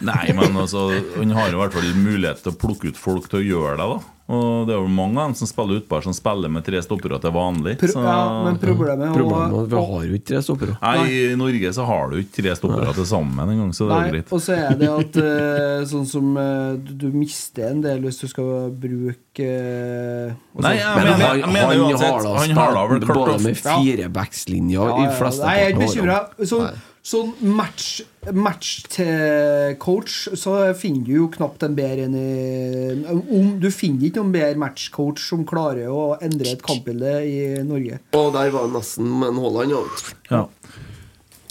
S2: nei, men altså, han har i hvert fall mulighet til å plukke ut folk til å gjøre det. da Og det er jo mange av dem som spiller utbar, som spiller med tre stoppere til vanlig.
S1: Pro ja, men problemet er
S5: Problemet er
S1: å-
S5: at vi har jo ikke tre stoppere.
S2: Nei, I Norge så har du ikke tre stoppere til sammen engang, så det er jo
S1: Nei,
S2: greit.
S1: og så er det at eh, sånn som eh, du, du mister en del hvis du skal bruke eh, altså-
S2: Nei, jeg Men mener- han- jeg mener han uansett, har da han har da vel spilt klart både å- med
S1: Ja.
S5: firebackslinja
S1: Ja,
S5: i
S1: ja, ja.
S5: fleste
S1: Nei, jeg er ikke
S5: parten av
S1: bekymra. Sånn, sånn match, match til coach, så finner du jo knapt en bedre enn i om, Du finner ikke noen bedre matchcoach som klarer å endre et kampbilde i Norge.
S5: Og der var nesten men Haaland òg.
S2: Ja.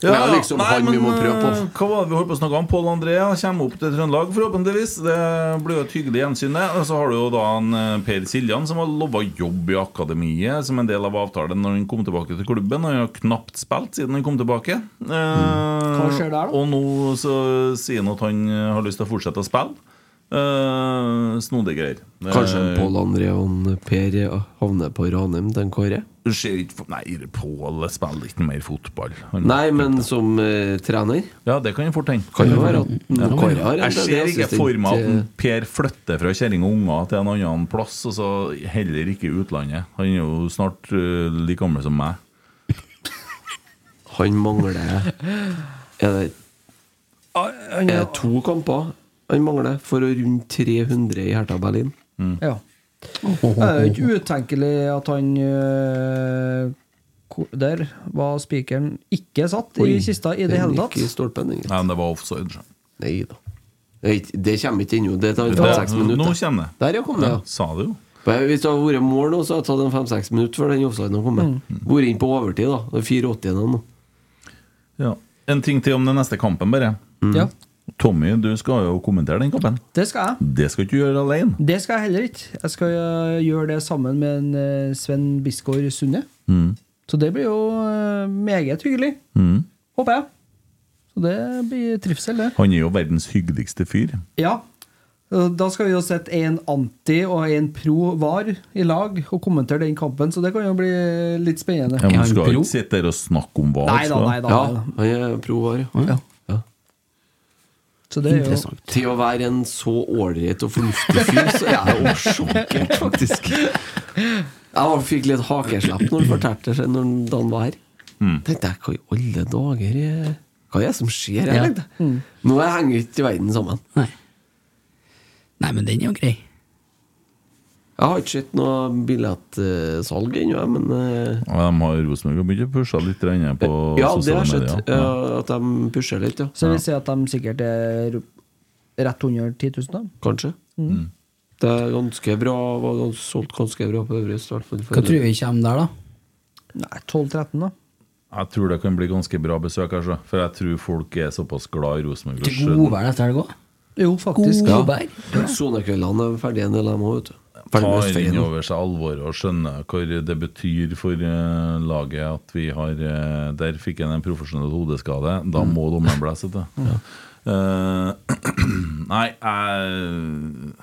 S5: Det er liksom han vi må prøve på.
S2: eh, Hva var det vi holdt på å snakke om? Pål André kommer opp til Trøndelag, forhåpentligvis. Det blir jo et hyggelig gjensyn. det. Og så har du jo da en eh, Per Siljan, som har lova jobb i akademiet som en del av avtalen når han kom tilbake til klubben. Han har knapt spilt siden han kom tilbake. Eh,
S1: skjer der, da?
S2: Og nå så sier han at han eh, har lyst til å fortsette å spille. Eh, Snodige greier.
S5: Kanskje en
S2: Eh,
S5: Pål André og en Per eh, havner på Ranheim til en Kåre?
S2: det skjer ikke for- Nei, Pål spiller ikke mer fotball. Han-
S5: Nei, men som eh, trener?
S2: Ja, det kan jeg fort tenke.
S5: Kan jo være at
S2: Ja.
S5: Kåre har en
S2: Jeg ser ikke
S5: assistent
S2: for meg at
S5: til-
S2: en Mm. Per flytter fra kjerring og unger til en annen plass, og så heller ikke i utlandet. Han er jo snart øh, like gammel som meg.
S5: Han mangler Er det er det to kamper han mangler for å runde 300 i Hertha Berlin?
S1: Ja. Det er jo ikke utenkelig at han øh, ko- Der var spikeren ikke satt i
S5: Oi,
S1: kista i det
S5: den
S1: hele
S5: gikk
S1: tatt.
S5: i stolpen, den, gitt.
S2: Nei, men det var offside.
S5: Nei da. Det er ikke- det kommer ikke ennå. Det tar
S2: Det-
S5: fem-seks
S2: nå-
S5: minutter.
S2: nå kommer det.
S5: Der, ja, kom det.
S2: Ja,
S5: Ja.
S2: sa du jo.
S5: Men Hvis det hadde vært mål nå, så hadde det tatt en fem-seks minutter før den offsiden hadde kommet. Vært inn på overtid, da. Det er 84 nå.
S2: Ja. En ting til om den neste kampen, bare.
S5: Mm.
S1: Ja.
S2: Tommy, du skal jo kommentere den kampen.
S1: Det skal jeg.
S2: Det skal ikke du gjøre alene.
S1: Det skal jeg heller ikke. Jeg skal øh, gjøre det sammen med en øh, Sven Bisgaard Sunde.
S2: Mm.
S1: Så det blir jo øh, meget hyggelig,
S2: Mm.
S1: håper jeg. Så det blir trivsel, det.
S2: Han er jo verdens hyggeligste fyr.
S1: Ja. Og Da skal vi jo sette en anti og en pro var i lag og kommentere den kampen, så det kan jo bli eh, litt spennende.
S2: Ja, men skal ikke sitte der og snakke om hva
S1: Nei da,
S2: skal.
S1: nei da,
S5: Ja, han er pro var, ja. ja.
S1: Så det er jo
S5: Til å være en så ålreit og fornuftig fyr, så er jeg jo sjokkert, faktisk. Jeg var- fikk litt hakeslepp når han fortalte seg når Dan var her. Tenkte jeg, hva i alle dager er Hva er det som skjer her?
S3: Ja.
S5: tenkte jeg. Nå henger ikke verden sammen.
S3: Nei. Nei, men den er jo grei.
S5: Jeg har ikke sett noe billettsalg ennå, jeg, men eh,
S2: Og de har Rosenborg har begynt å pushe litt grann på
S5: Ja, det har
S2: sosiale
S5: jeg
S2: medier.
S5: sett. eh, At de pusher litt, ja.
S8: Så det vil si at de sikkert er rett under 10 000, da?
S5: Kanskje.
S8: Mm.
S5: Det er ganske bra, var gans- solgt ganske bra på Øvre Øst. i hvert fall for-
S3: Hva tror vi kommer der, da?
S8: Nei, 12-13, da.
S2: Jeg tror det kan bli ganske bra besøk, altså. For jeg tror folk er såpass glad i Rosenborg.
S3: Til godvær etter helga?
S8: Jo,
S3: faktisk. Godvær.
S5: Ja. Sonekveldene er ferdige en del av dem òg, vet du. Ferdig med
S2: Tar
S5: Østferien.
S2: inn over seg alvoret og skjønner hvor det betyr for eh, laget at vi har eh, Der fikk han en profesjonell hodeskade. Da må dommeren blæse, vet du.
S5: Ja.
S2: Eh, nei, Eh,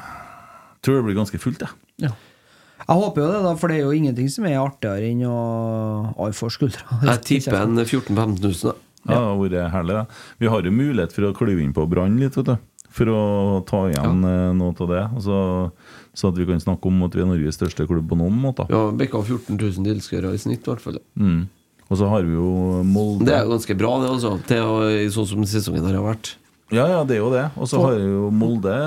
S2: jeg tror det blir ganske fullt, jeg.
S8: Jeg håper jo det, da, for det er jo ingenting som er artigere enn å Oi, for skuldra.
S5: Jeg tipper en 14 000-15 000, da.
S2: Ja, det har vært herlig. da. Vi har jo mulighet for å klyve inn på Brann litt, vet du. For å ta igjen eh, noe av det. Og så, så at vi kan snakke om at vi er Norges største klubb på noen måter.
S5: Ja, Bikka 14 000 tilskuere i snitt, i hvert fall.
S2: Mm. Og så har vi jo Molde.
S5: Det er jo ganske bra, det, altså. Til å, sånn som sesongen her har vært.
S2: Ja, ja, det er jo det. Og så
S5: For-
S2: har vi jo Molde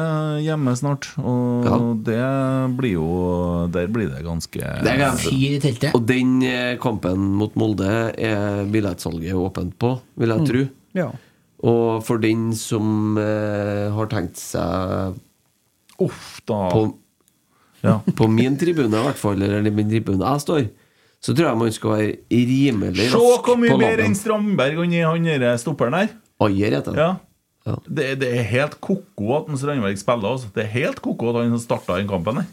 S2: hjemme snart. Og det blir jo Der blir det ganske
S3: i teltet.
S5: Og den eh, kampen mot Molde er billettsalget åpent på, vil
S3: Mm.
S5: jeg tro.
S8: Ja.
S5: Og for den som eh, har tenkt seg
S2: Uff, da.
S5: På,
S2: Ja.
S5: på min tribune, i hvert fall, eller den tribunen jeg står, så tror jeg man skal være rimelig
S2: Se hvor mye bedre enn Strandberg og han derre stopperen der.
S5: Ayer heter
S2: han. Ja. Det, det er helt ko-ko at en Strandberg spiller. Altså. Det er helt ko-ko at han starta den kampen der.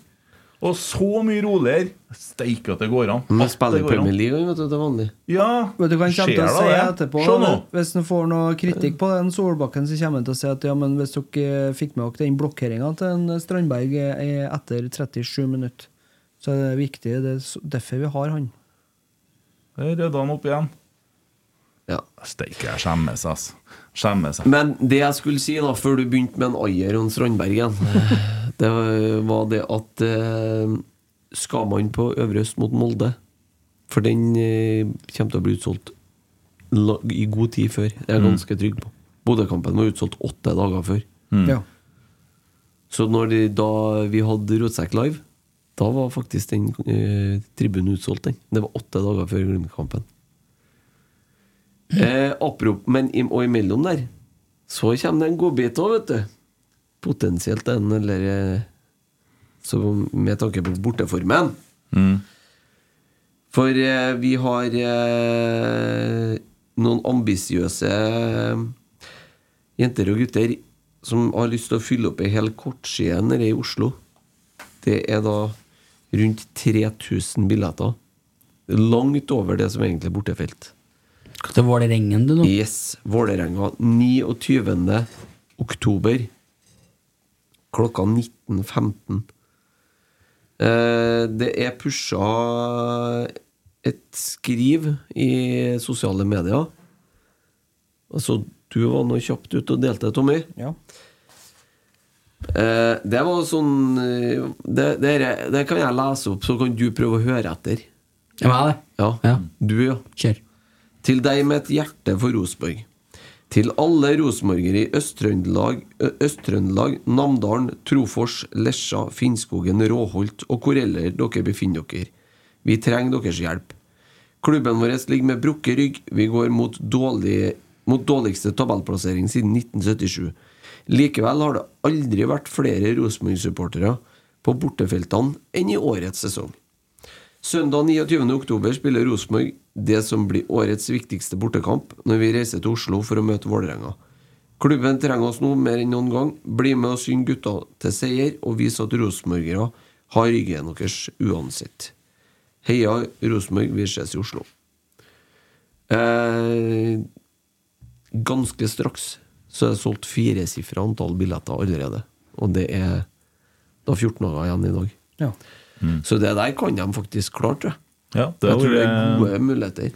S2: Og så mye roligere! Steike at det går an.
S5: Men
S2: At
S5: jeg spiller
S2: det
S5: i
S2: går an.
S5: Premier League, vet du, til vanlig.
S2: Ja,
S8: Vet du hva han
S2: skjer
S8: kommer til å si
S2: da det?
S8: etterpå?
S2: Se nå.
S8: Hvis han får noe kritikk på den Solbakken, så kommer han til å si at ja, men hvis dere eh, fikk med dere den blokkeringa til en Strandberg eh, etter 37 minutter, så er det viktig. Det er så- derfor vi har han.
S2: Der rydda han opp igjen.
S5: Ja.
S2: Steike, jeg skjemmes, altså. Skjemmes. jeg.
S5: Men det jeg skulle si, da, før du begynte med en Ayer og en Strandberg igjen, det var det at eh, skal man på Øvre Øst mot Molde For den eh, kommer til å bli utsolgt la- i god tid før. Det er jeg
S2: Mm.
S5: ganske trygg på. Bodø-kampen var utsolgt åtte dager før.
S2: Mm. Ja.
S5: Så når de, da vi hadde Rotsekk live, da var faktisk den eh, tribunen utsolgt, den. Det var åtte dager før Glimt-kampen. Eh, apropos- men im og imellom der, så kommer det en godbit òg, vet du. Potensielt en, eller eh, så Med tanke på borteformen.
S2: Mm.
S5: For eh, vi har eh, noen ambisiøse eh, jenter og gutter som har lyst til å fylle opp ei hel kortside nede i Oslo. Det er da rundt 3000 billetter. Langt over det som egentlig er bortefelt.
S3: Til Vålerengen, du, nå?
S5: Yes. Vålerenga 29. oktober klokka 19.15. Eh, Det er pusha et skriv i sosiale medier. Altså, du var nå kjapt ute og delte, Tommy.
S8: Ja.
S5: Eh, det var sånn eh, det, det, er- det kan jeg lese opp, så kan du prøve å høre etter.
S3: Ja, meg, det.
S5: Ja. Du, ja. Til deg med et hjerte for Rosenborg. Til alle rosenborgere i Øst-Trøndelag, Ø- Øst-Trøndelag, Namdalen, Trofors, Lesja, Finnskogen, Råholt og hvor eller dere befinner dere. Vi trenger deres hjelp. Klubben vår ligger med brukket rygg. Vi går mot, dårlig, mot dårligste tabellplassering siden 1977. Likevel har det aldri vært flere Rosenborg-supportere på bortefeltene enn i årets sesong. Søndag 29. oktober spiller Rosenborg det som blir årets viktigste bortekamp når vi reiser til Oslo for å møte Vålerenga. Klubben trenger oss nå mer enn noen gang. Bli med og syng gutta til seier og vis at rosenborgere har ryggen deres uansett. Heia Rosenborg, vi ses i Oslo. Eh, ganske straks så er det solgt firesifra antall billetter allerede. Og det er da 14 dager igjen i dag.
S8: Ja.
S2: Mm.
S5: Så det der kan de faktisk klart, tror jeg.
S2: Ja, det
S5: jeg tror det er
S2: var-
S5: gode muligheter.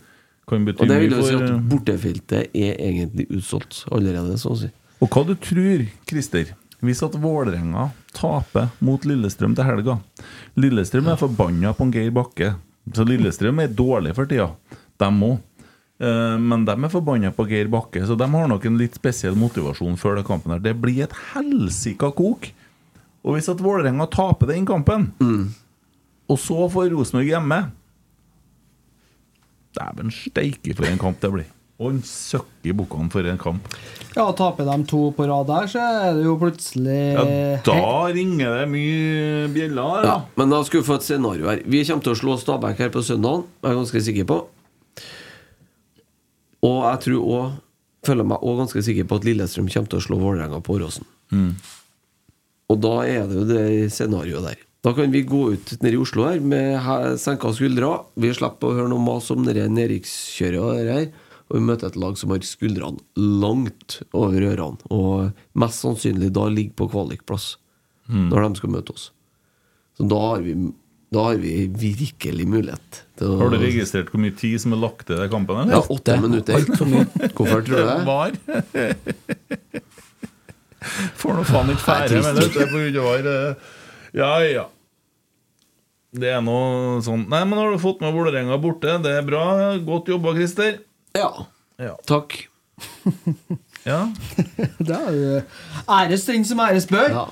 S2: Kan bety
S5: Og det vil
S2: mye
S5: jo si
S2: for- eh,
S5: at bortefeltet er egentlig utsolgt allerede, så å si.
S2: Og hva du tror, Christer Hvis at Vålerenga taper mot Lillestrøm til helga Lillestrøm er forbanna på en Geir Bakke Så Lillestrøm er dårlig for tida Dem òg. Eh, Men de er forbanna på Geir Bakke, så de har nok en litt spesiell motivasjon før den kampen. her Det blir et helsika kok! Og hvis at Vålerenga taper den kampen, Og så får Rosenborg hjemme. Dæven steike for en kamp det blir. Og han søkker i bukkene for en kamp.
S1: Ja, taper de to på rad der, så er det jo plutselig
S2: Ja, da ringer det mye bjeller.
S5: Ja, men da skal vi få et scenario her. Vi kommer til å slå Stabæk her på søndag, er jeg ganske sikker på. Og jeg tror også, føler meg òg ganske sikker på at Lillestrøm kommer til å slå Vålerenga på Åråsen.
S2: Mm.
S5: Og da er det jo det scenarioet der. Da kan vi gå ut nede i Oslo her med he- senka skuldre. Vi slipper å høre noe mas om det nedrykkskjøret og det her. Og vi møter et lag som har skuldrene langt over ørene, og mest sannsynlig da ligger på kvalikplass
S10: Mm.
S5: når de skal møte oss. Så da har vi, da har vi virkelig mulighet til å
S2: Har du registrert hvor mye tid som er lagt til den kampen? eller?
S5: Ja, åtte minutter.
S2: Alt for mye.
S5: Hvorfor tror du det?
S2: Var. Får nå faen ikke
S5: Det er
S2: fære
S5: trist.
S2: med det. det er på grunn av var, eh, Ja, ja. Det er noe sånn Nei, men har du fått med Vålerenga borte? Det er bra. Godt jobba, Christer.
S5: Ja. Takk.
S2: ja.
S1: Da er det æres den som æres bør.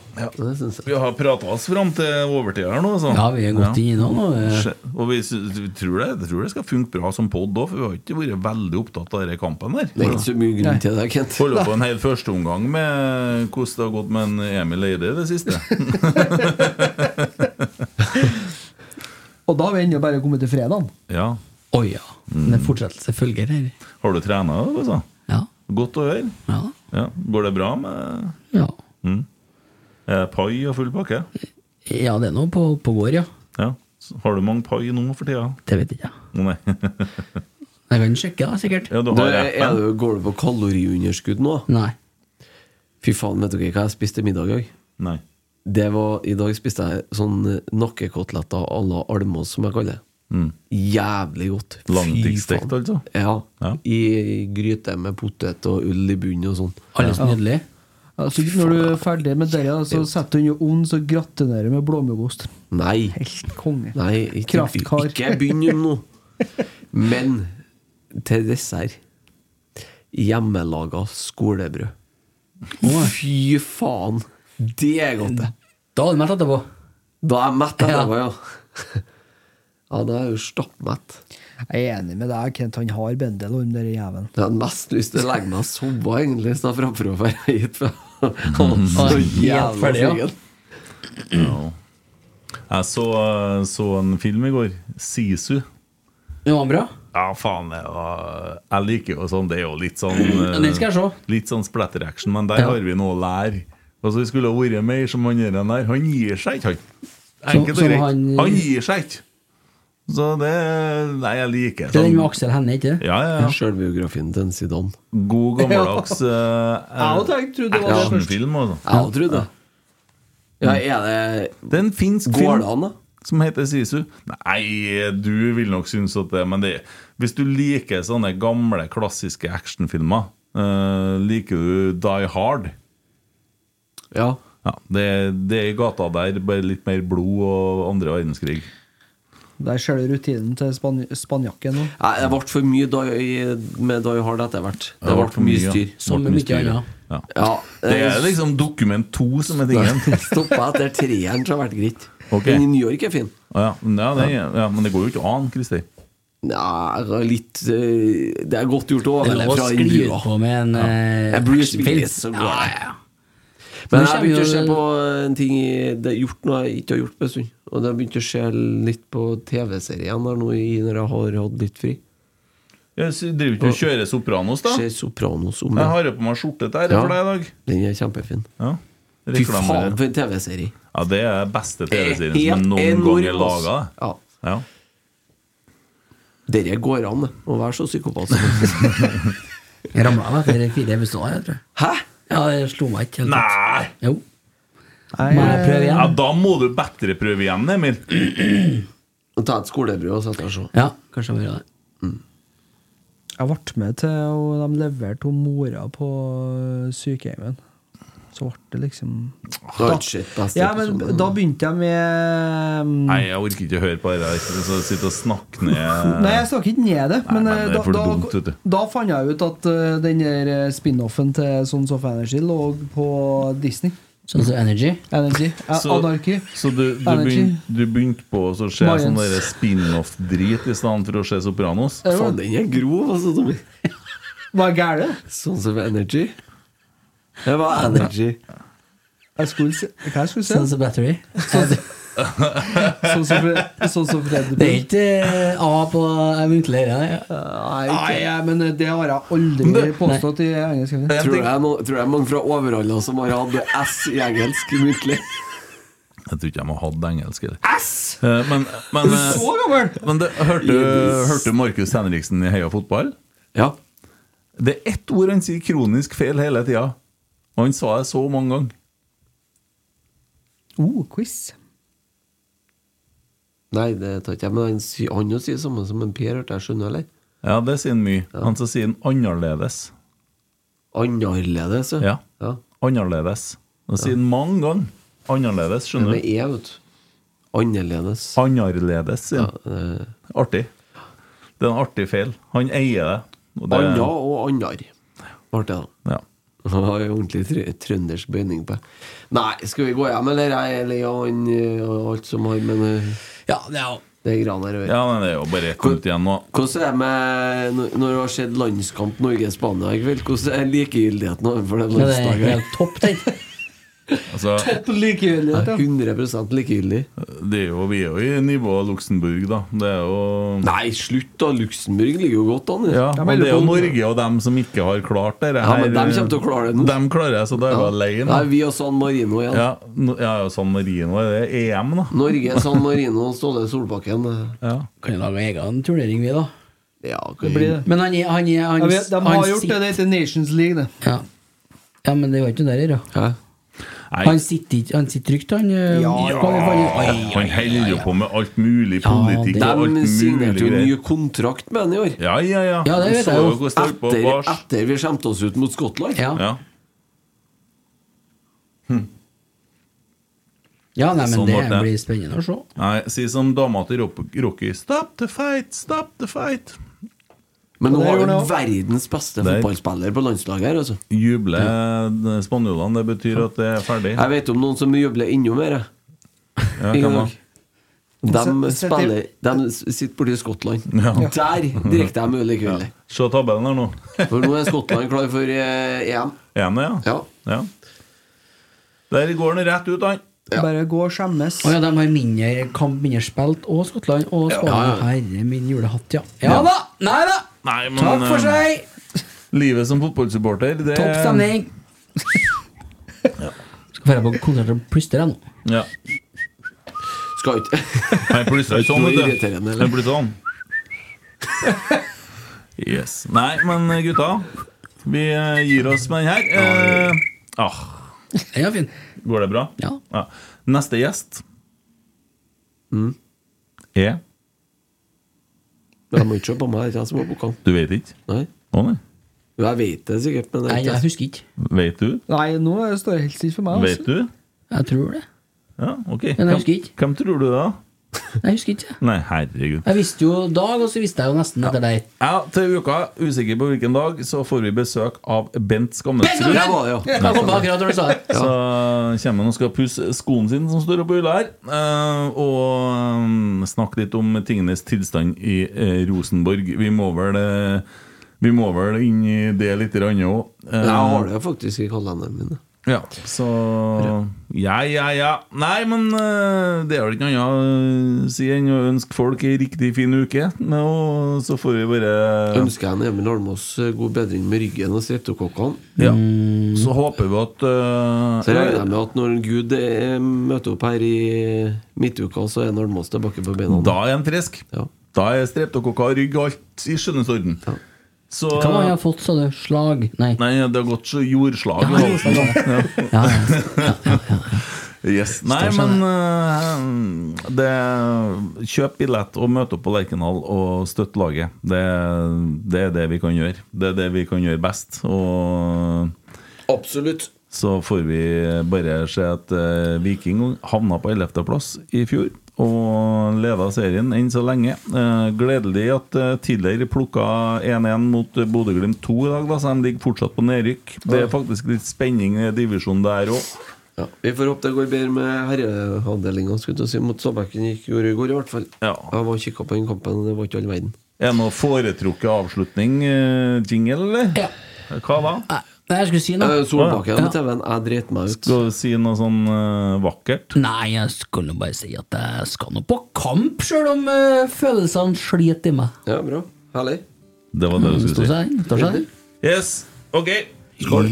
S2: Vi har prata oss fram til overtida her nå. Så.
S3: Ja, vi er godt i nå, nå.
S2: Skje- Og vi, sy- vi tror, det, vi tror det skal funke bra som pod òg, for vi har ikke vært veldig opptatt av denne kampen. der
S5: Det er ikke så mye grunn til det, Kent.
S2: Holder på en hel førsteomgang med hvordan det har gått med en Emil Eide i det siste.
S1: Og da har vi ennå bare kommet til fredagen.
S2: Ja.
S3: Å ja. Det er fortsettelse følger her.
S2: Har du trena, altså?
S3: Ja.
S2: Godt å høre.
S3: Ja.
S2: Går det bra med
S3: Ja.
S2: Mm. Er det pai og full pakke?
S3: ja, det er noe på, på gård, ja.
S2: Ja. Så Har du mange pai nå for tida?
S3: Det vet jeg ikke.
S2: Å, Nei.
S3: Jeg kan sjekke, da, sikkert.
S2: Ja,
S5: Du, er, er du, går du på kaloriunderskudd nå?
S3: Nei.
S5: Fy faen, vet dere hva jeg spiste middag i dag?
S2: Nei.
S5: Det var, I dag spiste jeg sånn nakkekoteletter à la Almås, som jeg kaller det.
S2: Mm.
S5: Jævlig godt. Fy
S2: Langtidsstekt,
S5: faen.
S2: altså?
S5: Ja. I gryte med potet og ull i bunnen og sånn.
S1: Alles
S5: Ja.
S1: nydelig. Altså, når du er ferdig med det, så setter du under ovnen og gratinerer med blåmuggost.
S5: Nei.
S1: Helt konge.
S5: Nei ikke,
S1: Kraftkar.
S5: ikke begynn om nå. Men til dessert Hjemmelaga skolebrød. Fy faen! Det er godt, det.
S3: Da er du mett etterpå.
S5: Da er jeg mett etterpå,
S3: Ja.
S5: ja. Ja, da er jeg jo stappmett.
S1: Jeg er enig med deg, Kent. Han har bendelorm, den jævelen.
S5: Jeg hadde mest lyst til å legge meg og sove, egentlig, så framfor å dra hit. for jeg var Så
S3: Mm. Helt
S5: jævla
S3: ferdig, ja.
S5: singel.
S2: Ja. Jeg så, eh, så en film i går. Sisu.
S3: Det var bra.
S2: Ja, faen. det var- Jeg liker jo sånn. Det er jo litt sånn
S3: Ja, den skal jeg se.
S2: Litt sånn splatter-action, men der har vi noe å lære. Altså, Vi skulle ha vært mer som han der. der. Han gir seg ikke, han.
S3: Som-
S2: Enkelt og
S3: som
S2: greit.
S3: han- eh,
S2: Han gir seg ikke. Så det Nei, jeg
S3: Det
S2: liker
S3: er den
S2: sånn
S3: med Aksel Hennie, ikke det?
S2: Ja, ja, ja.
S5: Sjølbiografien til en Zidane.
S2: God gammeldags eh,
S5: Jeg hadde tenkt- trodde det var det først.
S2: actionfilm. altså.
S5: Jeg hadde trodd det. Ja, er det
S2: Det er en finsk
S5: Går
S2: film
S5: det an, da?
S2: som heter Sisu. Nei, du vil nok synes at det Men det, hvis du liker sånne gamle, klassiske actionfilmer, eh, liker du Die Hard?
S5: Ja.
S2: det, det er i gata der, bare litt mer blod og andre verdenskrig.
S1: Der ser du rutinen til span spanjakken nå.
S5: Nei, det ble for mye da, i- med Die Hard etter hvert. Det ble for mye styr.
S2: Som mye styr. ja. Ja. Det er liksom Dokument 2 som er tingen.
S5: Stoppa etter treeren, så har det vært greit.
S2: Ok.
S5: Men i New York er fin.
S2: Ja, men- ja, det, er- ja, men det går jo ikke an, Christer.
S5: Nei, altså, litt eh, Det er godt gjort å
S3: Det er
S5: overleve
S3: lov å
S5: fra
S3: skli
S5: den
S3: ut
S5: bua.
S3: på med en eh,
S5: Det er Bruce
S3: actionfilm.
S5: Willis som går
S3: Ja,
S5: der.
S3: ja.
S5: Men
S3: Nå
S5: jeg
S3: kommer
S5: begynte å
S3: jo-
S5: se på en ting i- Det er gjort noe jeg ikke har gjort på en stund. Og det har begynt å se litt på TV-serien her nå i- når jeg har hatt litt fri.
S2: Ja, så driver ikke du og kjører Sopranos, da?
S5: Ser Sopranos om
S2: Jeg har jo på meg skjorte der
S5: Ja.
S2: for deg i dag.
S5: Den er kjempefin.
S2: Ja.
S5: Fy
S2: Reklame.
S5: faen, for en TV-serie!
S2: Ja, det er beste TV-serien
S5: Det er
S2: som noen
S5: enorm,
S2: gang er
S5: ass.
S2: laga.
S5: Ja.
S2: Ja.
S5: Dere går an, det. Å være så psykopat som
S3: Jeg ramla av etter fire episoder, jeg tror.
S5: Hæ?
S3: Ja, det slo meg ikke helt.
S2: Nei!
S3: Jo. Må
S1: eh,
S3: jeg prøve
S2: Ja,
S3: igjen?
S2: da må du bedre prøve igjen, Emil.
S5: Og Ta et skolebrød og sette deg og se.
S3: Ja, kanskje jeg må gjøre det. Mm.
S1: Jeg ble med til og de leverte hun mora på eh, sykehjemmet. Så ble det liksom
S5: Det var ikke shit, best
S1: Ja, men
S5: episoden.
S1: da begynte jeg med um,
S2: Nei, jeg orker ikke å høre på det der. Så Sitte og snakke ned
S1: Nei, jeg snakket ikke ned det, men,
S2: Nei, men
S1: eh,
S2: det er for
S1: da,
S2: dumt, vet
S1: da,
S2: du.
S1: da fant jeg ut at eh, den der eh, spin-offen til Sons of Energy lå på Disney.
S3: Sånn som Energy?
S1: Energy. A-
S2: Så-
S1: Anarki.
S2: Så du, du,
S1: Energy.
S2: begyn, du begynte på å se sånn
S1: Mayans.
S2: der spin-off-drit i stedet for å se Sopranos?
S1: Ja, Faen,
S5: den er grov, altså, Tommy.
S1: Hva er gærent?
S5: Sånn som Energy. Det var Energy.
S1: Jeg skulle se Hva jeg skulle se?
S3: Sånn som Battery?
S1: Sånn som Fre- sånn som Fred
S3: Det er ikke eh, A på eh, muntlig øre? det.
S1: Nei, jeg- men eh, det har jeg aldri
S3: Men det-
S1: påstått i engelsk.
S5: Tror jeg, må, tror jeg mange fra Overhalla som har hatt S i engelsk muntlig.
S2: Jeg tror ikke de har hatt engelsk. eller.
S1: Ass!
S2: Eh, Men, men, eh,
S1: Så gammel!
S2: men det, hørte, hørte Markus Henriksen i Heia Fotball?
S5: Ja.
S2: Det er ett ord han sier kronisk feil hele tida. Og han sa det så mange ganger.
S1: Oh, quiz.
S5: Nei, det tar ikke jeg, men han, sier- han jo sier det samme som en Per, hørte jeg skjønner, eller?
S2: Ja, det sier han mye. Han så sier han annerledes.
S5: Annerledes,
S2: Ja. Annerledes. Han sier han mange ganger. Annerledes,
S5: Det
S2: skjønner
S5: med
S2: du.
S5: E, vet du. Annerledes.
S2: Annerledes, sier han. Artig. Det er en artig feil. Han eier det. og det-
S5: Anna og annar. Ble det,
S2: da.
S5: Han har jo ordentlig trø- trøndersk bøyning på det. Nei, skal vi gå hjem, eller? Jeg er lei av han eh, og alt som har med det-
S3: Ja, det er jo
S5: det greiene der å gjøre.
S2: Ja, men det er jo bare ett minutt igjen nå.
S5: Hvordan er det med når- når det har skjedd landskamp Norge-Spania i kveld? Hvordan er likegyldigheten overfor det
S3: Ja, det er
S5: landslaget?
S3: helt topp, den.
S2: Altså,
S1: Likegyldighet, ja.
S5: 100 likegyldig.
S2: det er jo, vi er jo i nivået Luxembourg, da. Det er jo
S5: Nei, slutt, da! Luxembourg ligger jo godt an.
S2: ja, men det er jo Norge og dem som ikke har klart det eh,
S5: Ja, men dem kommer til å klare det nå.
S2: Dem klarer det, så da er jeg bare lei nå.
S5: Nei, vi og San Marino igjen.
S2: Ja, nå- ja, ja, San Marino er det EM, da.
S5: Norge, San Marino, Ståle Solbakken. eh.
S2: Ja.
S3: Kan jo lage egen turnering, vi, da.
S5: Ja,
S1: Det blir det.
S3: Men han er han, er- han,
S1: Jeg vet, de har
S3: han
S1: gjort det,
S3: sitter-
S1: det heter Nations League, det.
S3: Ja. ja, men det var ikke det der, ja.
S5: Hæ?
S2: Nei,
S3: Han sitter ikke Han sitter trygt, han. Ja,
S2: han holder jo på med alt mulig politikk
S3: det-
S2: og alt
S5: De
S2: mulig
S5: signerte jo ny
S2: greier.
S5: kontrakt med han i år.
S2: Ja, ja, ja.
S3: Ja, det
S2: Du
S3: vet
S2: så
S3: jeg jo.
S2: jo hvordan det holdt på
S5: Etter,
S2: å bars.
S5: etter vi skjemte oss ut mot Skottland.
S3: Ja.
S2: Ja. Hm.
S3: ja, nei, men
S2: Sånn ble
S3: det
S2: det.
S3: blir spennende å se.
S2: Nei, si som dama til Rock- Rocky Stop the fight, stop the fight.
S5: Men nå
S1: Det
S5: har
S1: gjorde
S5: du
S1: han.
S5: verdens beste
S2: Der.
S5: fotballspiller på landslaget her, altså.
S2: Juble spanjolene, det betyr at det er ferdig.
S5: Jeg vet om noen som jubler enda mer, jeg.
S2: Ja,
S5: I
S2: hvem da?
S5: dag. De
S1: Sett- sett i-
S5: spiller De sitter borti Skottland.
S2: Ja.
S5: Der direkte er mulig kveld.
S2: Se tabellen her nå.
S5: For nå er Skottland klar for eh, EM.
S2: En, ja.
S5: Ja.
S2: ja. Der går den rett ut, han.
S1: Bare gå og skjemmes.
S3: Å ja, de har mindre kamp, mindre spilt, og Skottland og Spania. Herre min julehatt, ja. Ja da! Nei da!
S2: Nei, men,
S3: Takk for
S2: eh,
S3: seg!
S2: Livet som fotballsupporter, det
S3: Topp stemning! Skal dra på konsert og plystre, jeg nå.
S2: Ja.
S5: Skal ikke
S2: Nei, plutselig
S5: Det er
S2: sånn,
S5: ikke noe
S2: vet du.
S5: irriterende, eller?
S2: Det blir sånn. Yes. Nei, men gutta, vi eh, gir oss med den her. Eh, ah,
S3: Den var fin.
S2: går det bra?
S3: Ja.
S2: Neste gjest er
S5: Jeg må ikke se på meg, det er ikke jeg som har booka den.
S2: Du vet ikke?
S5: Nei.
S2: Å nei.
S5: Jo, jeg vet det sikkert, men det
S3: Nei,
S5: er ikke
S3: jeg
S5: jeg.
S3: husker ikke.
S2: Vet du?
S1: Eh, Nei, nå står det helt stille for meg.
S2: Vet
S1: Altså.
S2: du?
S3: Jeg tror det.
S2: Ja, ok.
S3: Men jeg
S2: Hvem,
S3: husker ikke.
S2: hvem tror du det er?
S3: Nei, jeg husker ikke.
S2: Nei, herregud.
S3: Jeg visste jo dag, og så visste jeg jo nesten etter deg.
S2: Ja, til uka, usikker på hvilken dag, så får vi besøk av Bent Skamnesrud.
S5: Der var det, ja.
S3: Jeg kom på akkurat når du sa det.
S2: Så kommer han og skal pusse skoen sin som står oppe i hylla her, eh, og eh, snakke litt om tingenes tilstand i eh, Rosenborg. Vi må vel eh, Vi må vel inn i det litt òg.
S5: Jeg har det faktisk i kalenderen min.
S2: Ja, så Ja, ja, ja. Nei, men eh, det er vel ikke noe annet å si enn å ønske folk ei riktig fin uke. Og så får vi bare
S5: Ønsker jeg en Emil Almås eh, god bedring med ryggen og streptokokkene.
S2: ja. Så håper vi at eh,
S5: Så regner jeg med at når Gud eh, møter opp her i midtuka, så er en Almås tilbake på beina.
S2: Da er han frisk.
S5: Ja.
S2: Da er streptokokka, rygg og alt i skjønnhetsorden.
S5: Ja.
S2: Så
S3: Hva var det jeg har fått, sa du? Slag? Nei.
S2: Nei, det har gått så jordslag.
S3: Ja, jordslag, Ja, ja.
S2: yes. Nei, men eh, det, Kjøp billett og møt opp på Lerkendal og støtt laget. Det, det er det vi kan gjøre. Det er det vi kan gjøre best. Og
S5: Absolutt.
S2: så får vi bare se at eh, Viking havna på 11.-plass i fjor. Og leda serien enn så lenge. Eh, gledelig at eh, Tiller plukka 1-1 mot eh, Bodø-Glimt 2 i dag, da, så de ligger fortsatt på nedrykk. Det er faktisk litt spenning i divisjonen der òg.
S5: Ja, vi får håpe det går bedre med herreavdelinga si, mot Stabæken gikk gjorde i går, i hvert fall. Jeg var og kikka på den kampen, og det var ikke all verden.
S2: Er det noe foretrukket avslutning, eh, jingle, eller? Hva da?
S3: Nei, jeg skulle si noe.
S2: Eh, Solbakken
S3: Ja.
S2: på
S5: TV-en, jeg dreit meg ut.
S2: Skal du si noe sånn eh, vakkert?
S3: Nei, jeg skulle bare si at jeg skal nå på kamp, sjøl om eh, følelsene sliter i meg.
S5: Ja, bra. Herlig.
S2: Det var det du
S3: Står
S2: skulle
S3: seg
S2: si.
S3: inn, tar seg inn.
S2: Yes, ok. Skål.